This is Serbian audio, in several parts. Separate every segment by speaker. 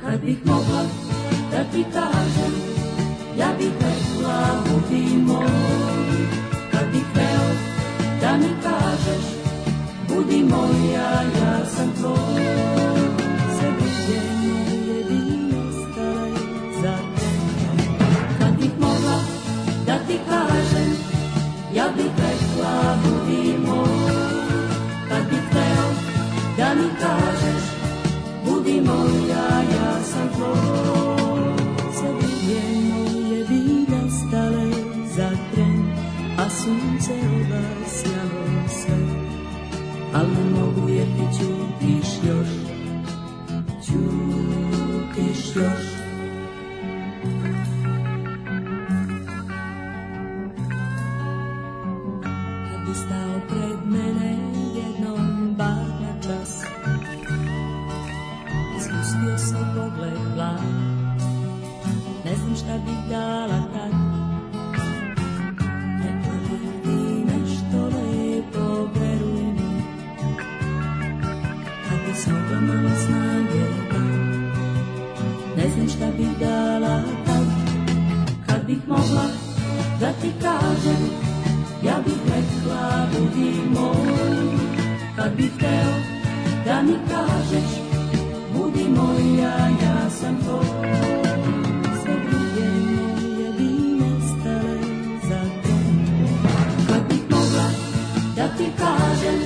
Speaker 1: Kad bih mogla da ti kažem, ja bih rekla budi moj. Kad bih hteo da mi kažeš, budi moja, ja sam tvoj. Zaviđenje je bilo stare za tebe. Kad bih mogla da ti kažem, ja bih rekla budi moj. Kad bih hteo da mi kažeš, budi moja, ja sam tvoj. Zaviljeno je vida stale za tren, a sunce obasjalo sve. Al ne mogu jer ti ćutiš još, ćutiš još. Kad bi stao pred mene jednom bar na čas, Ispustio sam pogled blag Ne znam šta bih dala tad Rekla bih ti nešto lepo, veruj mi Kad bi smogla malo snage da dam. Ne znam šta bih dala tad Kad bih mogla da ti kažem Ja bih rekla budi moj Kad bih hteo da mi kažeš Budi moja, ja sam tvoj. Sve druge moje bi nestale za to. Kad bih mogla da ti kažem,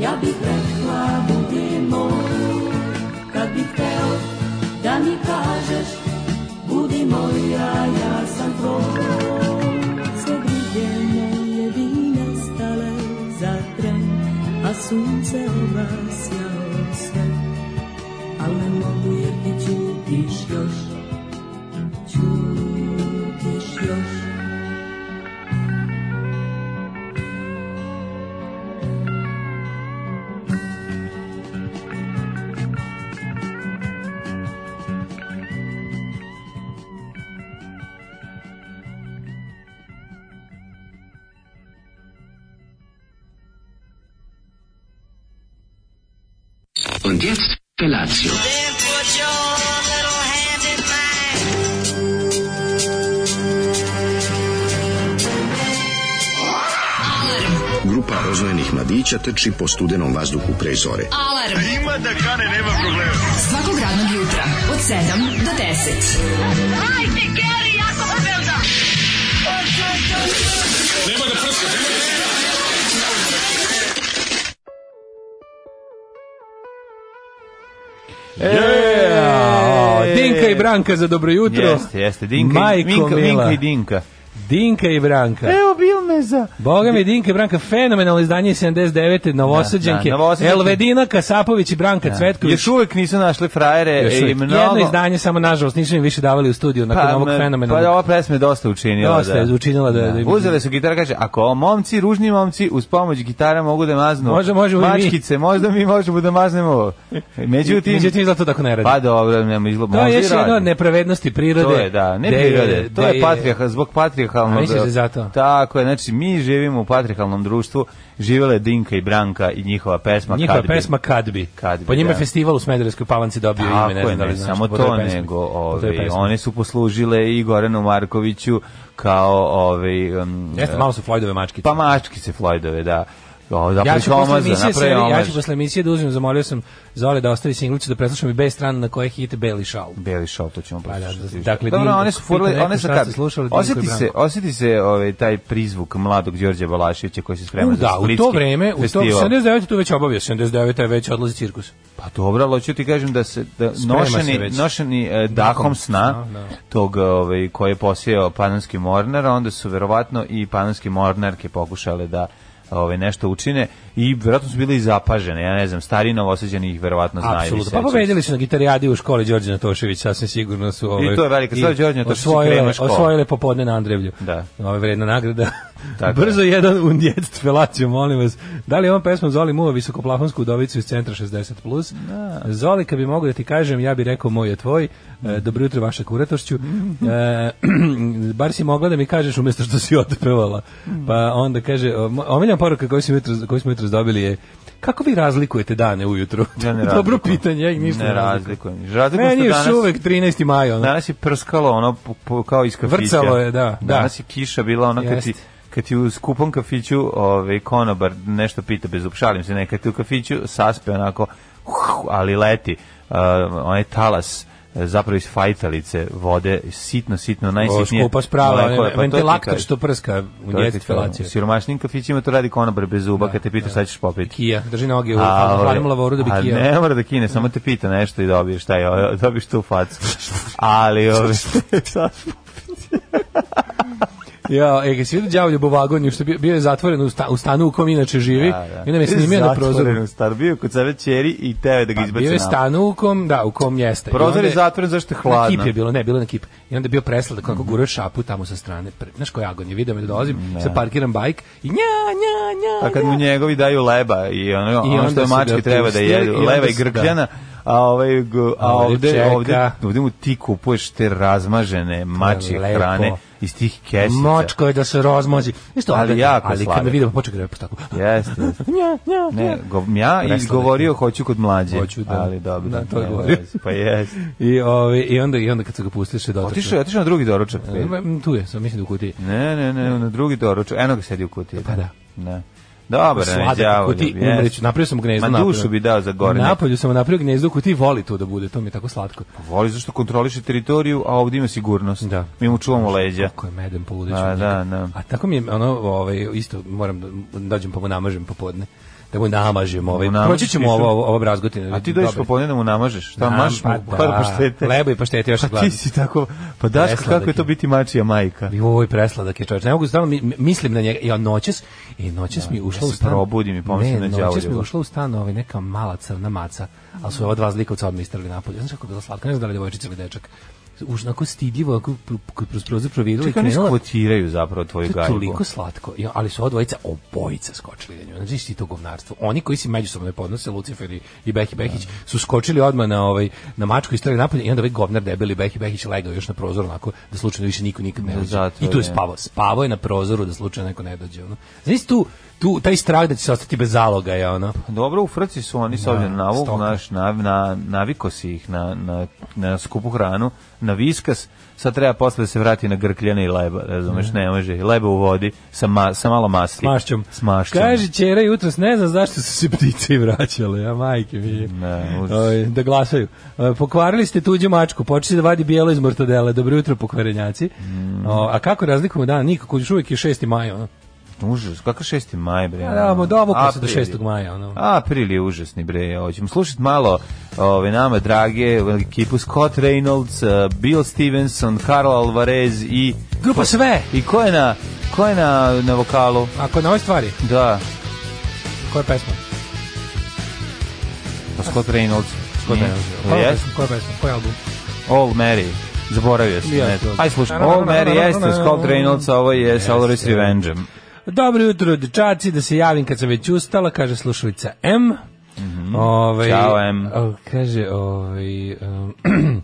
Speaker 1: ja bih rekla budi moj. Kad bih hteo da mi kažeš, budi moja, ja sam tvoj. Sve druge moje bi nestale za tren, a sunce obasjalo sve al ne mogu jer ti ćutiš još, ćutiš još.
Speaker 2: Und jetzt Felatio.
Speaker 3: Then put your little hand in mine.
Speaker 4: Grupa rozvojenih mladića trči po studenom vazduhu pre zore.
Speaker 5: Alarm. A ima da kane, nema problema. Svakog radnog jutra, od 7 do 10. Hajde, Geri, jako se velda.
Speaker 6: E, Dinka i Branka za dobro jutro.
Speaker 7: Jeste, jeste, Dinka, i,
Speaker 6: Majko
Speaker 7: Minka,
Speaker 6: mila.
Speaker 7: Minka i Dinka.
Speaker 6: Dinka i Branka.
Speaker 7: Evo bil me za...
Speaker 6: Boga mi Dinka i Branka, fenomenalno izdanje 79. Novosadđanke.
Speaker 7: Da, da, Novosađanke.
Speaker 6: Elvedina Kasapović i Branka Cvetković.
Speaker 7: Još uvek nisu našli frajere
Speaker 6: Još
Speaker 7: i
Speaker 6: uvijek.
Speaker 7: mnogo...
Speaker 6: Jedno izdanje, samo nažalost, nisu im više davali u studiju nakon Dakle, ovog
Speaker 7: me-
Speaker 6: fenomena.
Speaker 7: Pa ova pesma je dosta učinila.
Speaker 6: Dosta
Speaker 7: da.
Speaker 6: je učinila da- da im-
Speaker 7: Uzele su gitara, kaže, ako ovo momci, ružni momci, uz pomoć gitara mogu da maznu
Speaker 6: Može- možemo i mi.
Speaker 7: mačkice, možda mi možemo da maznemo ovo. Međutim,
Speaker 6: Međutim, izgleda to tako ne radi.
Speaker 7: pa dobro, nema izgleda.
Speaker 6: to je
Speaker 7: možda i
Speaker 6: još jedna
Speaker 7: radi.
Speaker 6: od nepravednosti prirode.
Speaker 7: To je, da, ne
Speaker 6: Gde
Speaker 7: prirode. To
Speaker 6: gde
Speaker 7: je patrijarha, zbog patrijarhalnog...
Speaker 6: A misliš da je zato?
Speaker 7: Tako je, znači mi živimo u patrijarhalnom društvu, živele Dinka i Branka i njihova pesma
Speaker 6: Njihova
Speaker 7: Kad bi.
Speaker 6: pesma Kad bi.
Speaker 7: Kad bi,
Speaker 6: po njima
Speaker 7: da.
Speaker 6: je festival u Smederevskoj palanci dobio
Speaker 7: Tako
Speaker 6: ime, ne znam
Speaker 7: je,
Speaker 6: da li
Speaker 7: ne
Speaker 6: znaš.
Speaker 7: samo
Speaker 6: po toj
Speaker 7: to,
Speaker 6: pesmi.
Speaker 7: nego
Speaker 6: Po toj
Speaker 7: ove,
Speaker 6: pesmi.
Speaker 7: one su poslužile i Goranu Markoviću kao ove... Um,
Speaker 6: Jeste, malo su Floydove mačkice.
Speaker 7: Pa mačkice Floydove, da. O,
Speaker 6: Ja
Speaker 7: napravi
Speaker 6: ću, posle
Speaker 7: omaza,
Speaker 6: emisije,
Speaker 7: napravi
Speaker 6: se- ja
Speaker 7: omaž.
Speaker 6: ću posle emisije da uzmem, zamolio sam Zole da ostavi singlicu da preslušam i bez strana na koje je hit Beli šal.
Speaker 7: Beli šal, to ćemo
Speaker 6: da,
Speaker 7: poslušati.
Speaker 6: da, dakle,
Speaker 7: Dobro,
Speaker 6: Dinko,
Speaker 7: one su
Speaker 6: pitaj
Speaker 7: furle, one
Speaker 6: neko
Speaker 7: su
Speaker 6: šta
Speaker 7: kad...
Speaker 6: ste slušali, Dinko i
Speaker 7: Osjeti se,
Speaker 6: Branko.
Speaker 7: osjeti se ovaj, taj prizvuk mladog Đorđa Balaševića koji se sprema
Speaker 6: U,
Speaker 7: za
Speaker 6: da, u
Speaker 7: splitski
Speaker 6: to vreme, u to,
Speaker 7: festival.
Speaker 6: 79. tu već obavio, 79. je već odlazi cirkus.
Speaker 7: Pa dobro, ali hoću ti kažem da se da
Speaker 6: Sprema se
Speaker 7: nošeni,
Speaker 6: već.
Speaker 7: nošeni e, dahom sna
Speaker 6: sna, da.
Speaker 7: tog ovaj, koji je posijao panonski mornar, onda su verovatno i panonski mornarke pokušale da ovaj, nešto učine i verovatno su bile i zapažene, ja ne znam, stari novoseđani ih verovatno znaju. i
Speaker 6: Apsolutno. Pa
Speaker 7: sećaju se.
Speaker 6: pobedili su na gitarijadi u školi Đorđe Natošević, sasvim sigurno su ovaj.
Speaker 7: to je velika stvar,
Speaker 6: i
Speaker 7: Đorđe Natošević je
Speaker 6: osvojile-
Speaker 7: krenuo školu.
Speaker 6: Osvojile popodne na Andrevlju.
Speaker 7: Da.
Speaker 6: Ove vredna nagrada.
Speaker 7: Tako je.
Speaker 6: Brzo jedan unjet felaciju, molim vas. Da li je on pesma Zoli Muva visokoplafonsku udovicu iz centra 60 plus? Zoli, kad bi mogu da ti kažem, ja bih rekao moj je tvoj. E,
Speaker 7: Mm.
Speaker 6: dobro jutro vaša kuratošću. E, bar si mogla da mi kažeš umjesto
Speaker 7: Mm.
Speaker 6: što si otpevala. Pa onda kaže, o, mo- omiljena poruka koju smo jutros koju smo jutros dobili je Kako vi razlikujete dane ujutru?
Speaker 7: Ja ne
Speaker 6: Dobro
Speaker 7: razlikujem.
Speaker 6: pitanje, ja ih ništa
Speaker 7: ne
Speaker 6: razlikujem.
Speaker 7: razlikujem. Razlikujem
Speaker 6: Meni
Speaker 7: što
Speaker 6: je još
Speaker 7: danas,
Speaker 6: uvek 13. maj, ono.
Speaker 7: danas je prskalo ono po, po, kao iz kafića.
Speaker 6: Vrcalo je, da, da.
Speaker 7: Danas je kiša bila ono kad ti
Speaker 6: Jeste.
Speaker 7: kad ti u skupom kafiću ovaj, konobar nešto pita bez upšalim se, ne, kad ti u kafiću saspe onako, uh, ali leti, uh, onaj talas eh, zapravo iz fajtalice vode, sitno, sitno,
Speaker 6: O,
Speaker 7: najsitnije.
Speaker 6: skupa sprava,
Speaker 7: molekule,
Speaker 6: onaj
Speaker 7: pa to ti
Speaker 6: ventilator
Speaker 7: kažem.
Speaker 6: što prska u ono,
Speaker 7: To ti
Speaker 6: njezit
Speaker 7: kažem.
Speaker 6: felacije.
Speaker 7: U siromašnim kafićima to radi konobar bez zuba, kad te pita šta ćeš popiti.
Speaker 6: Kija, drži noge u
Speaker 7: A, ovaj,
Speaker 6: hladnom lavoru da bi
Speaker 7: a
Speaker 6: kija.
Speaker 7: ne mora da kine, samo te pita nešto i dobiješ taj, o, dobiješ tu facu. Ali, ovaj, ove,
Speaker 6: Ja, e, ga si vidio đavolju u vagonju, što je bio, bio je zatvoren u, sta, u stanu u kom inače živi, i nam je snimio na prozoru.
Speaker 7: Star bio kod sebe čeri i teo je da ga
Speaker 6: Pa,
Speaker 7: izbaci
Speaker 6: bio je
Speaker 7: na-
Speaker 6: stanu u kom, da, u kom jeste. I
Speaker 7: Prozor
Speaker 6: onda
Speaker 7: je zatvoren zašto je
Speaker 6: Na
Speaker 7: hladno.
Speaker 6: kip je bilo, ne, bilo je na kip. I onda je bio presladak, kako gurao šapu tamo sa strane. Pre- Znaš koji agon je, vidio me da dolazim, se parkiram bajk i nja, nja, nja,
Speaker 7: A Pa kad mu
Speaker 6: nja.
Speaker 7: njegovi daju leba i ono, ono
Speaker 6: onda
Speaker 7: što je
Speaker 6: su
Speaker 7: mački
Speaker 6: ga
Speaker 7: treba da
Speaker 6: pustili i
Speaker 7: jedu,
Speaker 6: onda
Speaker 7: leba i
Speaker 6: su- da.
Speaker 7: grkljana, a ovaj g- a
Speaker 6: Ovde
Speaker 7: ovde
Speaker 6: čeka.
Speaker 7: ovde ovde mu ti kupuješ te razmažene mačje
Speaker 6: lepo.
Speaker 7: hrane iz tih kesica.
Speaker 6: Močko je da se rozmozi. Isto,
Speaker 7: Ali
Speaker 6: ali,
Speaker 7: jako
Speaker 6: ali kad
Speaker 7: sladak.
Speaker 6: me vidio, počekaj da je tako.
Speaker 7: Jeste. jeste.
Speaker 6: Nja, nja,
Speaker 7: Ne,
Speaker 6: nja.
Speaker 7: go, ja
Speaker 6: Presladak.
Speaker 7: izgovorio hoću kod mlađe.
Speaker 6: Hoću, da.
Speaker 7: Ali dobro.
Speaker 6: Da, to je
Speaker 7: nema
Speaker 6: govorio.
Speaker 7: veze, Pa jeste.
Speaker 6: I, ovaj, i, onda, I onda kad su ga pustili se dotakli.
Speaker 7: Otišao je, otišao na drugi doručak.
Speaker 6: Mm, Tu je, sam mislim da u kutiji.
Speaker 7: Ne, ne, ne, na drugi doručak. Eno ga sedi u kutiji.
Speaker 6: Pa da.
Speaker 7: Ne. Dobar, ne,
Speaker 6: Sladak u
Speaker 7: đavo.
Speaker 6: kutiji, umreću. Napravio sam gnezdo.
Speaker 7: Ma
Speaker 6: napolju.
Speaker 7: dušu bi dao za gore. nek-
Speaker 6: Napolju sam napravio gnezdo u kutiji, voli to da bude, to mi je tako slatko.
Speaker 7: Voli zašto kontroliše teritoriju, a ovdje ima sigurnost.
Speaker 6: Da.
Speaker 7: Mi mu čuvamo leđa.
Speaker 6: Kako je medem poludeću.
Speaker 7: A, da, da.
Speaker 6: A tako mi je ono, ovaj, isto moram da dođem pa mu namažem popodne. Da mu namažem ovaj.
Speaker 7: Mu namažiš
Speaker 6: Proći ćemo
Speaker 7: ti
Speaker 6: ovo,
Speaker 7: što-
Speaker 6: ovo, ovo brazgotine.
Speaker 7: A ti dođeš
Speaker 6: Dobar.
Speaker 7: popodne da mu namažeš. Šta
Speaker 6: Nam-
Speaker 7: maš mu
Speaker 6: pa
Speaker 7: par
Speaker 6: da.
Speaker 7: paštete.
Speaker 6: Leba i paštete, još je
Speaker 7: Ti
Speaker 6: gladno.
Speaker 7: si tako, pa Daško,
Speaker 6: Presladak
Speaker 7: kako je to
Speaker 6: je.
Speaker 7: biti mačija majka?
Speaker 6: Joj, presladak je čovječ. Ne mogu stalno, mi- mi- mislim na njega. Ja noćas, i noćas mi je ušla
Speaker 7: ja
Speaker 6: u
Speaker 7: se
Speaker 6: stan.
Speaker 7: probudim i pomislim na
Speaker 6: ne, noćas
Speaker 7: đavolja.
Speaker 6: mi je ušla u stan ovaj, neka mala crna maca, ali su ova dva zlikovca odmah istrali napolje. Znaš kako je bila slatka, ne znam da li je devojčica ili dečak. Už onako stidljivo, onako pr- pr- kroz prozor provirila i
Speaker 7: Čekaj, oni
Speaker 6: krenula.
Speaker 7: skvotiraju zapravo tvoju
Speaker 6: To je
Speaker 7: gajbu.
Speaker 6: toliko slatko. I- Ali su ova dvojica obojica skočili na nju. Znači ti to govnarstvo. Oni koji si međusobno ne podnose, Lucifer i, i Behi Behić, su skočili odmah na, ovaj, na mačku i strali napolje i onda ovaj govnar debeli Behi Behić legao još na prozoru onako da slučajno više niko nikad ne
Speaker 7: Da
Speaker 6: dođe.
Speaker 7: zatvori,
Speaker 6: I tu je
Speaker 7: ja.
Speaker 6: spavao. Spavao je na prozoru da slučajno neko ne dođe. Ono. Znači tu, tu, taj strah da će se ostati bez zaloga je ono.
Speaker 7: Dobro, u Frci su oni s obzirom na ovu,
Speaker 6: stoka.
Speaker 7: naš, na, na, naviko si ih na, na, na skupu hranu, na viskas, sad treba posle da se vrati na grkljane i leba, razumeš, ne može, i leba u vodi sa, ma, sa malo masli.
Speaker 6: S mašćom.
Speaker 7: S mašćom.
Speaker 6: Kaže ćera jutros, ne znam zašto su se ptice vraćale, a majke mi.
Speaker 7: Ne, užas.
Speaker 6: Oj, da glasaju. E, Pokvarili ste tuđu mačku, počeli da vadi bijelo iz mortadele. Dobro jutro, pokvarenjaci.
Speaker 7: Mm.
Speaker 6: O, a kako razlikujemo dan? Nikako, još uvijek je 6. maja. Ono.
Speaker 7: Užas, kakav 6. maj, bre. ono.
Speaker 6: A, da, mo- dovuklo se do
Speaker 7: April je.
Speaker 6: 6. maja. Ono.
Speaker 7: April je užasni, bre. Hoćemo slušati malo ove nama drage ekipu Scott Reynolds, uh, Bill Stevenson, Carl Alvarez i...
Speaker 6: Grupa sve!
Speaker 7: I ko je na, ko je na, na vokalu?
Speaker 6: Ako na ovoj stvari,
Speaker 7: Da,
Speaker 6: koja pesma?
Speaker 7: Mm. pa Scott Reynolds. Scott
Speaker 6: Koja
Speaker 7: Pa
Speaker 6: pesma?
Speaker 7: Yes,
Speaker 6: Koja pesma? Koji album?
Speaker 7: All Mary. Zaboravio sam.
Speaker 6: Ja,
Speaker 7: ne znam.
Speaker 6: dobro.
Speaker 7: Aj slušaj, All Mary jeste Scott Reynolds, a ovo je Solarist Revenge.
Speaker 6: Dobro jutro, dečaci, da se javim kad sam već ustala, kaže slušalica M. Ovaj,
Speaker 7: Mhm. Ćao, M.
Speaker 6: o, Kaže, ovaj... em,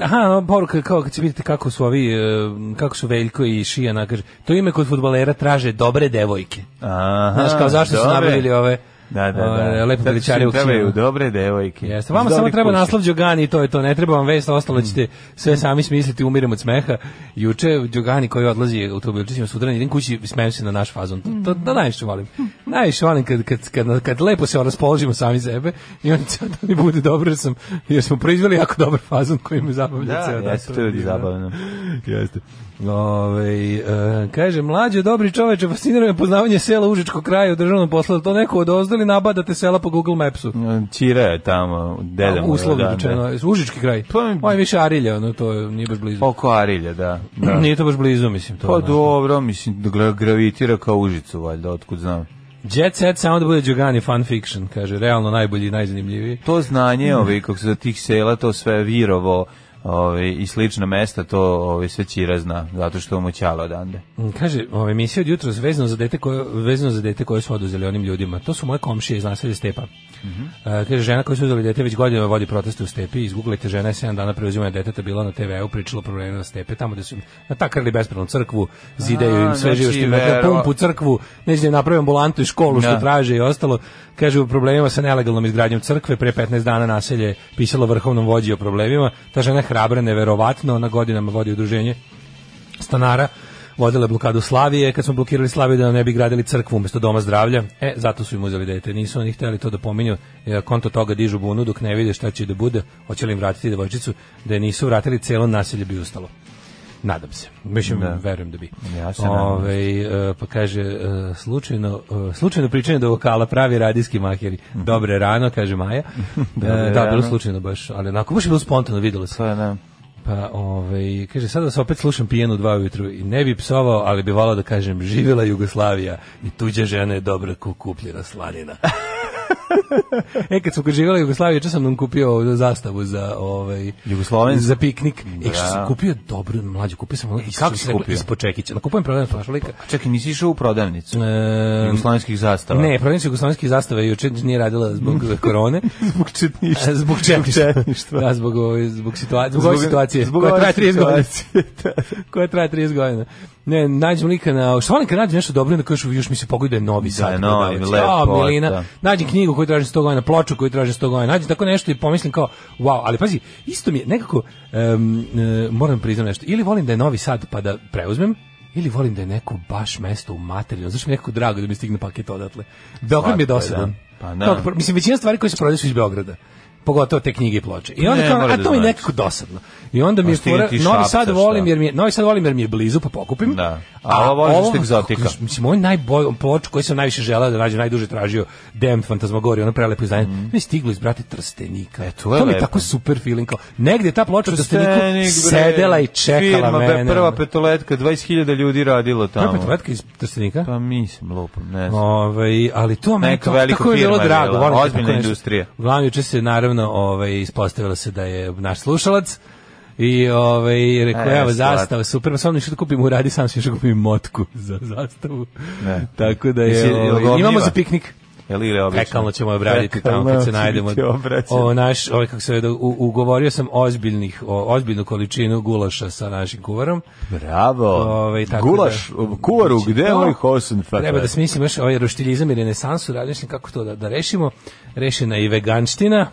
Speaker 6: Aha, ono poruka kao kad se vidite kako su ovi, em, kako su Veljko i Šijana, kaže, to ime kod futbalera traže dobre devojke.
Speaker 7: Aha,
Speaker 6: Znaš, kao zašto su
Speaker 7: dobre.
Speaker 6: nabavili ove
Speaker 7: Da, da,
Speaker 6: ove
Speaker 7: da.
Speaker 6: lepe
Speaker 7: Zato što
Speaker 6: veličare
Speaker 7: im
Speaker 6: u kinu.
Speaker 7: Trebaju dobre devojke.
Speaker 6: Jeste, vama
Speaker 7: Iz
Speaker 6: samo
Speaker 7: dobrih
Speaker 6: treba
Speaker 7: kuća.
Speaker 6: naslov Đogani i to je to, ne treba vam vest, ostalo
Speaker 7: Mm.
Speaker 6: ćete sve sami smisliti, umirem od smeha. Juče Đogani koji odlazi automobilčicima sutra, idem kući, smejem se na naš fazon. To, to, to najviše volim. Najviše volim kad, kad, kad, kad lepo se ono raspoložimo sami sebe i onda će da mi bude dobro jer, sam, jer smo proizveli jako dobar fazon koji me zabavlja
Speaker 7: Da,
Speaker 6: ceo dan.
Speaker 7: jeste, to je
Speaker 6: Divno.
Speaker 7: zabavno.
Speaker 6: Jeste. Ove, e, kaže, mlađe, dobri čoveče, fascinira me poznavanje sela Užičkog kraja u državnom poslu, to neko odozdali nabadate sela po Google Mapsu.
Speaker 7: Čira je tamo, deda mu je,
Speaker 6: Uslovno
Speaker 7: da, da.
Speaker 6: rečeno, Užički kraj.
Speaker 7: Pa-
Speaker 6: On je više Arilja, ono to je- nije baš blizu.
Speaker 7: Oko Arilja, da. da.
Speaker 6: Nije to baš blizu, mislim to.
Speaker 7: Pa
Speaker 6: ono.
Speaker 7: dobro, mislim, da gra- gravitira kao Užicu, valjda, otkud znam.
Speaker 6: Jet Set samo da bude Đogani fan fiction, kaže, realno najbolji i najzanimljiviji.
Speaker 7: To znanje, ovi, kako se za tih sela, to sve virovo, Ove, i slična mesta, to ove, sve Ćira zna, zato što mu ćala odande.
Speaker 6: Mm, Kaže, ova emisija od jutros vezano za dete koje vezano za dete koje su oduzeli onim ljudima. To su moje komšije iz naselja Stepa.
Speaker 7: Mhm.
Speaker 6: E, kaže žena koja su uzeli dete već godinama vodi proteste u Stepi. Izguglajte žena je 7 dana preuzimanja deteta bila na TV-u pričala o problemima na Stepe, tamo da su im natakrili bespravnu crkvu, zidaju
Speaker 7: A,
Speaker 6: im sve živo
Speaker 7: znači,
Speaker 6: što im
Speaker 7: vero-
Speaker 6: pumpu crkvu, neće da im naprave ambulantu i školu što
Speaker 7: Da.
Speaker 6: traže i ostalo. Kaže o problemima sa nelegalnom izgradnjom crkve, pre 15 dana naselje je pisalo vrhovnom vođi o problemima. Ta žena je hrabra, neverovatno, ona godinama vodi udruženje stanara vodila je blokadu Slavije, kad smo blokirali Slaviju da nam ne bi gradili crkvu umjesto doma zdravlja, e, zato su im uzeli dete, nisu oni hteli to da pominju, e, konto toga dižu bunu dok ne vide šta će da bude, hoće li im vratiti devojčicu, da je nisu vratili celo nasilje bi ustalo. Nadam se. Mislim,
Speaker 7: Da.
Speaker 6: verujem da bi.
Speaker 7: Ja se nadam.
Speaker 6: Ovaj, e, pa kaže, e, slučajno, e, slučajno pričanje do vokala pravi radijski maheri. Dobre rano, kaže Maja. E, da,
Speaker 7: Mhm. rano.
Speaker 6: bilo slučajno baš, ali onako, baš je bilo spontano, videlo se.
Speaker 7: To je, da.
Speaker 6: Pa, ovaj, kaže, sada se opet slušam pijenu dva ujutru i ne bi psovao, ali bi volao da kažem, živjela Jugoslavija i tuđa žena je dobra ko kupljena slanina. e, kad su kod živjela Jugoslavija, juče sam nam kupio zastavu za, ovaj,
Speaker 7: Jugoslovensku?
Speaker 6: za piknik. E, što sam
Speaker 7: Bravo.
Speaker 6: kupio dobru, mlađu, kupio sam ono,
Speaker 7: kako
Speaker 6: kako
Speaker 7: si
Speaker 6: se rekla,
Speaker 7: kupio?
Speaker 6: ispod čekića. Na kupujem prodajem flašolika.
Speaker 7: Čekaj, nisi išao u prodavnicu
Speaker 6: E,
Speaker 7: jugoslovenskih zastava?
Speaker 6: ne, prodavnica jugoslovenskih zastava juče nije radila zbog korone.
Speaker 7: E, zbog četništva.
Speaker 6: Zbog četništva. Da, zbog, ove- zbog, situa- zbog, ove situacije. koja
Speaker 7: ove
Speaker 6: traje 30 godina.
Speaker 7: situacije, da.
Speaker 6: koja traje 30 godina. Ne, nađem lika na, što volim kad nađem nešto dobro, onda kažu, još mi se pogodi da je novi sad.
Speaker 7: je novi,
Speaker 6: prodavac.
Speaker 7: lepo,
Speaker 6: A, milina,
Speaker 7: da.
Speaker 6: nađem knjigu koju tražim 100 godina, ploču koju tražim 100 godina, nađem tako nešto i pomislim kao, wow, ali pazi, isto mi je nekako, em, e, moram priznam nešto, ili volim da je novi sad pa da preuzmem, ili volim da je neko baš mesto u materinu, zašto mi je nekako drago da mi stigne paket odatle. Beograd mi je
Speaker 7: Slatko je,
Speaker 6: dosadan.
Speaker 7: da. Pa da.
Speaker 6: Kao, pr- mislim, većina stvari koje se prodaju su iz Beograda pogotovo te knjige i ploče. I onda
Speaker 7: Ne,
Speaker 6: kao,
Speaker 7: mora
Speaker 6: a
Speaker 7: da
Speaker 6: to mi je
Speaker 7: znači.
Speaker 6: nekako dosadno. I onda mi je
Speaker 7: Pa stigne
Speaker 6: fora,
Speaker 7: ti
Speaker 6: Novi
Speaker 7: Šapca,
Speaker 6: Sad
Speaker 7: šta?
Speaker 6: volim jer mi je, Novi Sad volim jer mi je blizu pa pokupim.
Speaker 7: Da. A ovo voliš što je egzotika.
Speaker 6: kako- Mislim on najbolj ploč koji sam najviše želeo da nađem, najduže tražio Damn Fantasmagoria, ono prelepo izdanje. Mm. Mi je stiglo iz brate Trstenika.
Speaker 7: Mhm. E, to je
Speaker 6: mi je
Speaker 7: lepo.
Speaker 6: tako super feeling kao negde ta ploča u Trsteniku
Speaker 7: Trstenik, bre.
Speaker 6: sedela i čekala
Speaker 7: Firma, bre,
Speaker 6: mene.
Speaker 7: prva
Speaker 6: ono.
Speaker 7: petoletka, 20.000 ljudi radilo tamo.
Speaker 6: Prva petletka iz Trstenika?
Speaker 7: Pa mislim, lupam, ne znam.
Speaker 6: Ovaj, ali to meni
Speaker 7: Neka
Speaker 6: to-
Speaker 7: velika
Speaker 6: tako je bilo
Speaker 7: firma je
Speaker 6: drago,
Speaker 7: bila,
Speaker 6: volim kad
Speaker 7: ozbiljna
Speaker 6: tako nešto-
Speaker 7: industrija.
Speaker 6: Uglavnom juče se naravno ovaj ispostavilo se da je naš slušalac i ovaj rekao
Speaker 7: E,
Speaker 6: evo
Speaker 7: stvar.
Speaker 6: zastava super, pa sam nešto da kupim u radi, sam se što kupim motku za zastavu.
Speaker 7: Ne.
Speaker 6: Tako da
Speaker 7: Jesi-
Speaker 6: je
Speaker 7: jel
Speaker 6: ovaj,
Speaker 7: ga
Speaker 6: imamo
Speaker 7: obnjiva?
Speaker 6: za piknik.
Speaker 7: Jel igra obično?
Speaker 6: Fekalno ćemo je obraditi
Speaker 7: Fekalno
Speaker 6: tamo kad
Speaker 7: će
Speaker 6: se najdemo.
Speaker 7: biti obrađeno.
Speaker 6: O, naš, ovaj, kako se vede, u- ugovorio sam ozbiljnih, o, ozbiljnu količinu gulaša sa našim kuvarom.
Speaker 7: Bravo.
Speaker 6: Ovaj, tako
Speaker 7: Gulaš,
Speaker 6: da-
Speaker 7: kuvaru, gde je
Speaker 6: To-
Speaker 7: moj hosen?
Speaker 6: Treba da smislimo još ovaj roštiljizam i renesansu, razmišljam kako to da, da rešimo. Rešena je i veganština,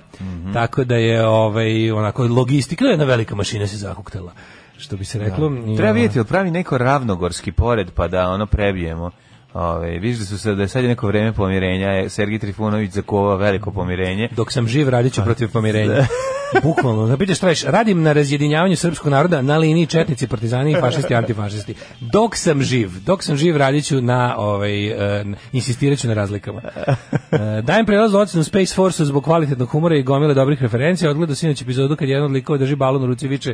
Speaker 6: tako da je ovaj, onako logistika, jedna velika mašina se zakuktala, što bi se reklo. I,
Speaker 7: Treba
Speaker 6: ono,
Speaker 7: vidjeti, jel pravi neko ravnogorski pored, pa da ono prebijemo. Ove, viš da, su sad, da je sad je neko vreme pomirenja, je Sergij Trifunović zakuvao veliko pomirenje.
Speaker 6: Dok sam živ, radit ću protiv pomirenja. Bukvalno, da pitaš šta radiš, radim na razjedinjavanju srpskog naroda na liniji četnici, partizani, fašisti, antifašisti. Dok sam živ, dok sam živ radit ću na, ovaj, e, insistirat ću na razlikama. E, dajem prelaz u ocenu Space Force zbog kvalitetnog humora i gomile dobrih referencija. Odgledao sinoć epizodu kad jedan od likova drži balon u ruci i viče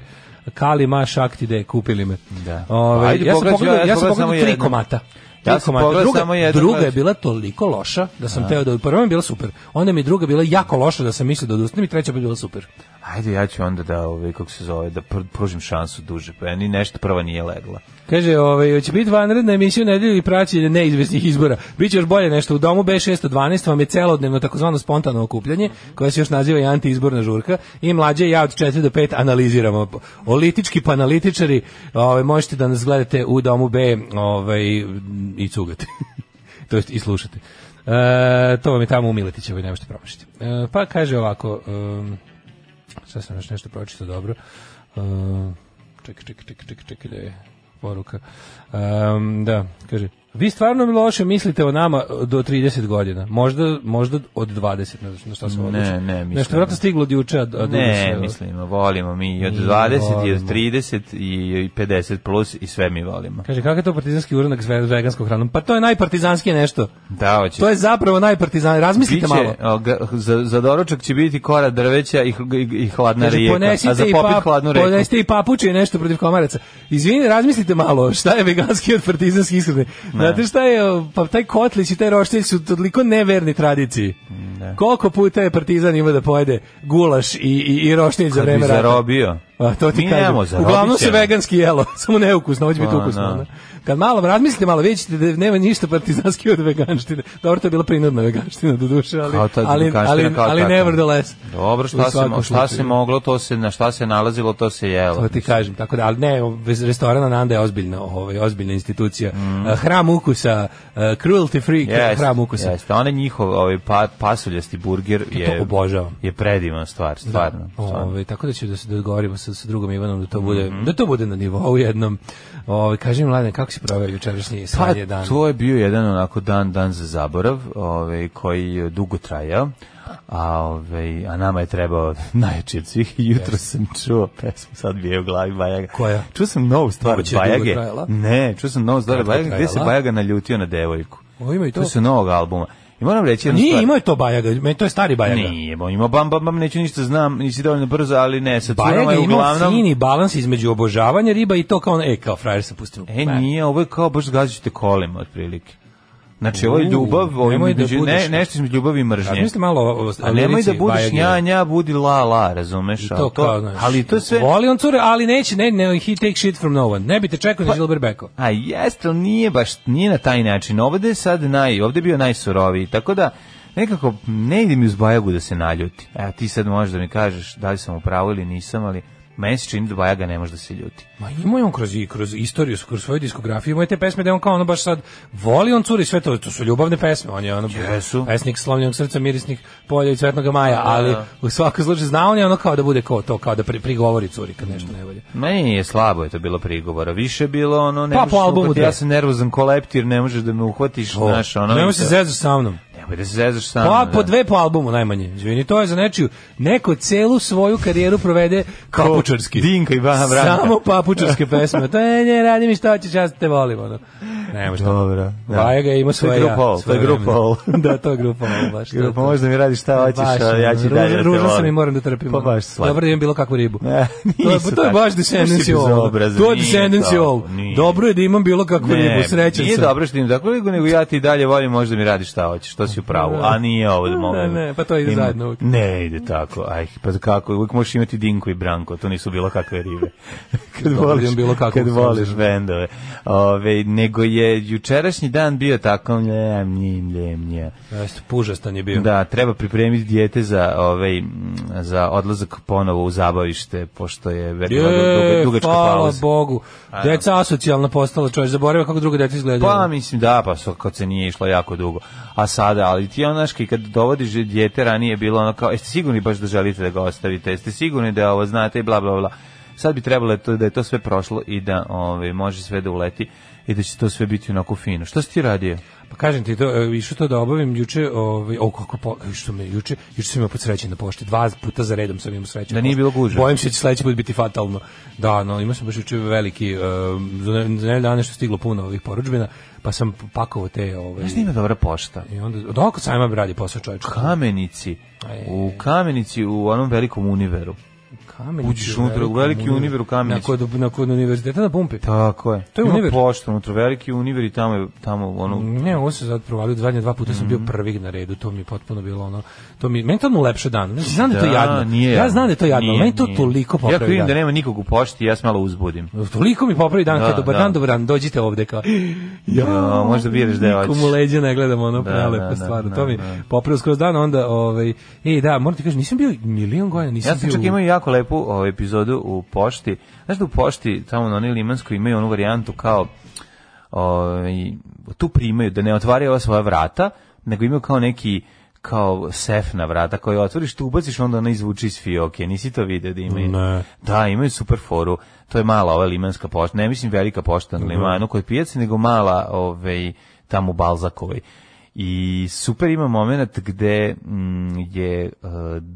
Speaker 6: Kali ma šakti de, kupili me.
Speaker 7: Da. Pa,
Speaker 6: Ovaj,
Speaker 7: Ajde,
Speaker 6: ja sam
Speaker 7: pogledaj,
Speaker 6: pogledao,
Speaker 7: ja sam
Speaker 6: ja sam pogledao
Speaker 7: pogledao samo
Speaker 6: tri
Speaker 7: jednu.
Speaker 6: komata.
Speaker 7: Ja
Speaker 6: Tri
Speaker 7: sam
Speaker 6: komata.
Speaker 7: pogledao
Speaker 6: Druga-
Speaker 7: samo jednu,
Speaker 6: Druga je
Speaker 7: gledaj.
Speaker 6: bila toliko loša da sam teo da prva mi je bila super. Onda mi je druga bila jako loša da sam mislio da odustanem i treća bi bila super.
Speaker 7: Ajde, ja ću onda da, ove, kako se zove, da pr- pružim šansu duže. Pa ja ni nešto prva nije legla.
Speaker 6: Kaže, ovaj će biti vanredna emisija u nedelju i praćenje neizvesnih izbora. Biće još bolje nešto u domu B612 vam je celodnevno takozvano spontano okupljanje koje se još naziva i antiizborna žurka i mlađe i ja od 4 do 5 analiziramo. Olitički pa analitičari, ovaj možete da nas gledate u domu B, ovaj i cugate. to jest i slušate. E, to vam je tamo u Miletićevoj, ne možete promašiti. E, pa kaže ovako, um, sad sam još nešto pročitao dobro. Um, čekaj, čekaj, čekaj, čekaj, čekaj da je poruka. Um, da, kaže, vi stvarno loše mislite o nama do 30 godina. Možda, možda od 20, ne znam na šta sam
Speaker 7: Ne,
Speaker 6: odlučio.
Speaker 7: ne, mislim.
Speaker 6: Nešto vratno stiglo od juče, a, a dugo
Speaker 7: Ne,
Speaker 6: se-
Speaker 7: mislimo, volimo mi i od
Speaker 6: Mi
Speaker 7: 20 i od
Speaker 6: volimo.
Speaker 7: 30 i i 50 plus i sve mi volimo.
Speaker 6: Kaže, kakav je to partizanski uranak s ve- veganskom hranom? Pa to je najpartizanskije nešto.
Speaker 7: Da, hoće.
Speaker 6: To je zapravo najpartizan. Razmislite malo.
Speaker 7: o, ga- za, za doručak će biti kora drveća i, hl- i, i hladna
Speaker 6: Kaže,
Speaker 7: rijeka, a za
Speaker 6: ponesite, i
Speaker 7: popit
Speaker 6: pap,
Speaker 7: hladnu reku.
Speaker 6: ponesite i papuče i nešto protiv komaraca. Izvini, razmislite malo, šta je veganski od partizanski iskrene? Znate šta je, o, pa taj kotlić i taj roštilj su toliko neverni tradiciji. Koliko puta je partizan ima da pojede gulaš i, i, i roštilj za
Speaker 7: Kad bi
Speaker 6: vreme rata?
Speaker 7: zarobio.
Speaker 6: A, to ti
Speaker 7: Mi
Speaker 6: kažem.
Speaker 7: nemamo, zarobit
Speaker 6: Uglavnom se
Speaker 7: ćemo.
Speaker 6: veganski jelo, samo neukusno, ovo će biti
Speaker 7: Pa,
Speaker 6: ukusno.
Speaker 7: da.
Speaker 6: ono. Kad malo razmislite, malo vidjet ćete da nema ništa partizanski od veganštine. Dobro, to je bila prinudna veganština do duše, ali,
Speaker 7: Kao ta
Speaker 6: ali,
Speaker 7: Đukaština,
Speaker 6: ali,
Speaker 7: kao
Speaker 6: ali
Speaker 7: takva.
Speaker 6: nevertheless.
Speaker 7: Dobro,
Speaker 6: U
Speaker 7: šta se,
Speaker 6: svakom
Speaker 7: mo- šta se
Speaker 6: slučaju.
Speaker 7: moglo, to se, na šta se nalazilo, to se jelo.
Speaker 6: To ti kažem, tako Pa da, ali ne, bez restorana Nanda je ozbiljna, ovaj, ozbiljna institucija. Eh, Hram ukusa, eh, cruelty free
Speaker 7: Mm. Jeste,
Speaker 6: hram ukusa.
Speaker 7: Jeste, onaj njihov ovaj pa, pasuljasti burger je
Speaker 6: obožavam.
Speaker 7: Je predivan stvar, stvarno. stvarno. Mhm.
Speaker 6: Ovaj, tako da ću da se dogovorimo sa, sa drugom Ivanom da to bude da to bude na nivou jednom. Ovaj kaži mi mladen kako si proveo jučerašnji
Speaker 7: Pa,
Speaker 6: sanje dan?
Speaker 7: to je bio jedan onako dan dan za zaborav, ovaj koji je dugo trajao. A, ovaj, a nama je trebao najjači od svih i jutro sam čuo pesmu, sad bi je u glavi Bajaga.
Speaker 6: Koja?
Speaker 7: Čuo sam novu stvar od
Speaker 6: Moguće je dugo
Speaker 7: Bajage.
Speaker 6: trajala?
Speaker 7: Ne, čuo sam novu stvar od
Speaker 6: Kratko je
Speaker 7: Bajage gdje se
Speaker 6: trajala?
Speaker 7: Bajaga naljutio na devojku.
Speaker 6: O, ima i to.
Speaker 7: To se novog albuma. I moram reći jednu
Speaker 6: Nije,
Speaker 7: stvar.
Speaker 6: imao je to Bajaga, meni to je stari Bajaga.
Speaker 7: Nije, bo ima bam bam bam, neću ništa znam, nisi dovoljno brzo, ali ne, sa
Speaker 6: Bajaga
Speaker 7: curama je
Speaker 6: je imao
Speaker 7: uglavnom...
Speaker 6: fini balans između obožavanja riba i to kao on, e, kao frajer se pustio.
Speaker 7: E, nije, ovo je kao baš gađate kolima, otprilike. Znači, ovo je
Speaker 6: U,
Speaker 7: ljubav, ovo je
Speaker 6: nemoj da
Speaker 7: među-
Speaker 6: budeš-
Speaker 7: ne, nešto između ljubavi i mržnje.
Speaker 6: Razmislite malo o, o,
Speaker 7: A nemoj da
Speaker 6: lirici
Speaker 7: budiš
Speaker 6: Bajage.
Speaker 7: nja, nja, budi la, la, razumeš?
Speaker 6: To
Speaker 7: ali
Speaker 6: kao, znaš,
Speaker 7: ali to je sve...
Speaker 6: Voli on cure, ali neće, ne, ne, he take shit from no one. Ne bi te čekao ni Gilbert Beko.
Speaker 7: A jeste, ali nije baš, nije na taj način. Ovde je sad naj, ovde je bio najsuroviji, tako da nekako ne ide mi uz Bajagu da se naljuti. E, a ti sad možeš da mi kažeš da li sam u pravu ili nisam, ali meni se čini da Bajaga ne može da se ljuti.
Speaker 6: Ma imao je on kroz, i kroz istoriju, kroz svoju diskografiju, imao je te pesme da je on kao ono baš sad voli on curi sve to, to su ljubavne pesme, on je ono
Speaker 7: Jesu.
Speaker 6: pesnik slomljenog srca, mirisnih polja i cvetnog maja, ali u svakom slučaju zna on je ono kao da bude kao to, kao da pri, prigovori curi kad nešto ne volje.
Speaker 7: Meni je slabo je to bilo prigovora. Više je bilo ono ne
Speaker 6: Pa,
Speaker 7: možeš
Speaker 6: po
Speaker 7: me
Speaker 6: albumu
Speaker 7: uhvatiti,
Speaker 6: da.
Speaker 7: ja sam nervozan ko leptir, ne možeš da me uhvatiš, znaš, ono.
Speaker 6: Nemoj
Speaker 7: i
Speaker 6: se
Speaker 7: to-
Speaker 6: zezu sa mnom.
Speaker 7: Nemoj da se zezaš sam.
Speaker 6: Pa,
Speaker 7: da.
Speaker 6: po dve po albumu najmanje. Izvini, to je za nečiju. Neko celu svoju karijeru provede
Speaker 7: Ko
Speaker 6: papučarski.
Speaker 7: Dinka i Bana Branka.
Speaker 6: Samo papučarske pesme. To je, ne, radi mi šta ćeš, ja te volim. Ono. Ne, možda.
Speaker 7: Dobro. da.
Speaker 6: Bajaga ima
Speaker 7: To je
Speaker 6: svoje
Speaker 7: grupa
Speaker 6: pa, ja.
Speaker 7: All, to
Speaker 6: svoje
Speaker 7: je grupa
Speaker 6: vremena.
Speaker 7: All.
Speaker 6: da, to je grupa All, baš. to je
Speaker 7: Grupa,
Speaker 6: to.
Speaker 7: možeš da mi radiš šta hoćeš,
Speaker 6: Baš,
Speaker 7: a ja ću
Speaker 6: ono,
Speaker 7: i dalje da
Speaker 6: ružan-
Speaker 7: te
Speaker 6: Ružan sam
Speaker 7: volim.
Speaker 6: i moram da trpim.
Speaker 7: Pa
Speaker 6: ono.
Speaker 7: baš slatko.
Speaker 6: Dobro da imam bilo kakvu ribu.
Speaker 7: Ne,
Speaker 6: to, je,
Speaker 7: nisu
Speaker 6: to je
Speaker 7: tako.
Speaker 6: baš Descendants
Speaker 7: Slušaj,
Speaker 6: All. ono.
Speaker 7: bezobrazan,
Speaker 6: To je
Speaker 7: nije
Speaker 6: Descendants
Speaker 7: to,
Speaker 6: All.
Speaker 7: nije.
Speaker 6: Dobro je da imam bilo kakvu ribu, srećan
Speaker 7: nije
Speaker 6: sam.
Speaker 7: dobro što im tako ligu, nego ja ti i dalje volim, možda mi radiš šta hoćeš, to si u pravu, a nije ovo da mogu.
Speaker 6: Ne, ne, pa to ide
Speaker 7: Ima-
Speaker 6: zajedno uvijek.
Speaker 7: Ne, ide tako, aj, pa kako, uvijek možeš imati Dinku i Branko, to nisu bilo kakve ribe. kad
Speaker 6: Dobro,
Speaker 7: voliš,
Speaker 6: imam bilo kakvu
Speaker 7: kad voliš
Speaker 6: sreću.
Speaker 7: bendove. Ove, nego je jučerašnji dan bio tako, mljem, mljem, mljem, mljem.
Speaker 6: Jeste, Pužastan je bio.
Speaker 7: Da, treba pripremiti dijete za ovaj m, za odlazak ponovo u zabavište pošto je verovatno duga,
Speaker 6: Je,
Speaker 7: dugačka
Speaker 6: hvala
Speaker 7: pauza.
Speaker 6: Bogu. Deca asocijalna postala, čovjek zaboravio kako druga deca izgledaju.
Speaker 7: Pa mislim da, pa so, kad se nije išlo jako dugo. A sada, ali ti ono, znaš, kad dovodiš dijete, ranije je bilo ono kao, jeste sigurni baš da želite da ga ostavite, jeste sigurni da ovo znate i bla, bla, bla. Sad bi trebalo to, da je to sve prošlo i da ovaj, može sve da uleti i da će to sve biti onako fino. Što si ti radio?
Speaker 6: Pa kažem ti to, e, išao to da obavim juče, ovaj, o kako po, što me juče, juče sam imao pod sreće na pošti, dva puta za redom sam imao sreće.
Speaker 7: Da
Speaker 6: na
Speaker 7: nije
Speaker 6: pošti.
Speaker 7: bilo gužve.
Speaker 6: Bojim se da će sledeći put biti fatalno. Da, no, imao sam baš juče veliki, um, za ne- za nedelju dana što je stiglo puno ovih poručbina, pa sam pakovao te, ovaj,
Speaker 7: Znaš, da ima dobra pošta.
Speaker 6: i onda, da, oko sajma radi posao čovječe.
Speaker 7: Kamenici. U Kamenici, u onom velikom univeru.
Speaker 6: Kamen.
Speaker 7: Uđeš unutra, u veliki univer u Kamenici.
Speaker 6: Na kod, na kod univerziteta na pumpi.
Speaker 7: Tako je.
Speaker 6: To je
Speaker 7: Ima
Speaker 6: univer.
Speaker 7: pošta, unutra veliki univer i tamo je, tamo ono,
Speaker 6: Ne, ovo se sad provalio zadnje dva puta sam bio
Speaker 7: Mhm.
Speaker 6: prvi na redu, to mi je potpuno bilo ono. To mi mentalno lepše dan. Znači, znam da, je to
Speaker 7: Da,
Speaker 6: jadno.
Speaker 7: nije
Speaker 6: ja
Speaker 7: jadno.
Speaker 6: znam da je to jadno, ali
Speaker 7: Nije,
Speaker 6: meni to
Speaker 7: nije.
Speaker 6: toliko
Speaker 7: Ja kad
Speaker 6: popravi
Speaker 7: vidim
Speaker 6: dan.
Speaker 7: da nema nikog u pošti, ja se malo uzbudim.
Speaker 6: Toliko mi popravi dan,
Speaker 7: Da,
Speaker 6: kad dobar
Speaker 7: da.
Speaker 6: dan, dobar dan, dođite ovde kao. Ja,
Speaker 7: Ja, možda biraš da je
Speaker 6: nikom
Speaker 7: hoćeš.
Speaker 6: u leđa ne gledam ono
Speaker 7: Da,
Speaker 6: prelepo
Speaker 7: da, da,
Speaker 6: stvarno.
Speaker 7: da,
Speaker 6: to mi
Speaker 7: da.
Speaker 6: popravi skroz dan, onda ovaj ej da, moram ti kažem, nisam bio milion godina, nisam
Speaker 7: Ja sam
Speaker 6: bio.
Speaker 7: čak
Speaker 6: u-
Speaker 7: imao jako lepu ovaj, epizodu u pošti. Znaš da u pošti, tamo na onoj Limanskoj, imaju onu varijantu kao ovaj, tu primaju, da ne otvaraju ova svoja vrata, nego imaju kao neki kao sef na vrata koje otvoriš, tu ubaciš, onda ona izvuči iz fioke. Nisi to video da imaju?
Speaker 6: Ne.
Speaker 7: Da, imaju super foru. To je mala ova limanska pošta. Ne mislim velika pošta na limanu kod pijace, nego mala ovaj, tamo u Balzakovoj. I super ima moment gde mm, je uh,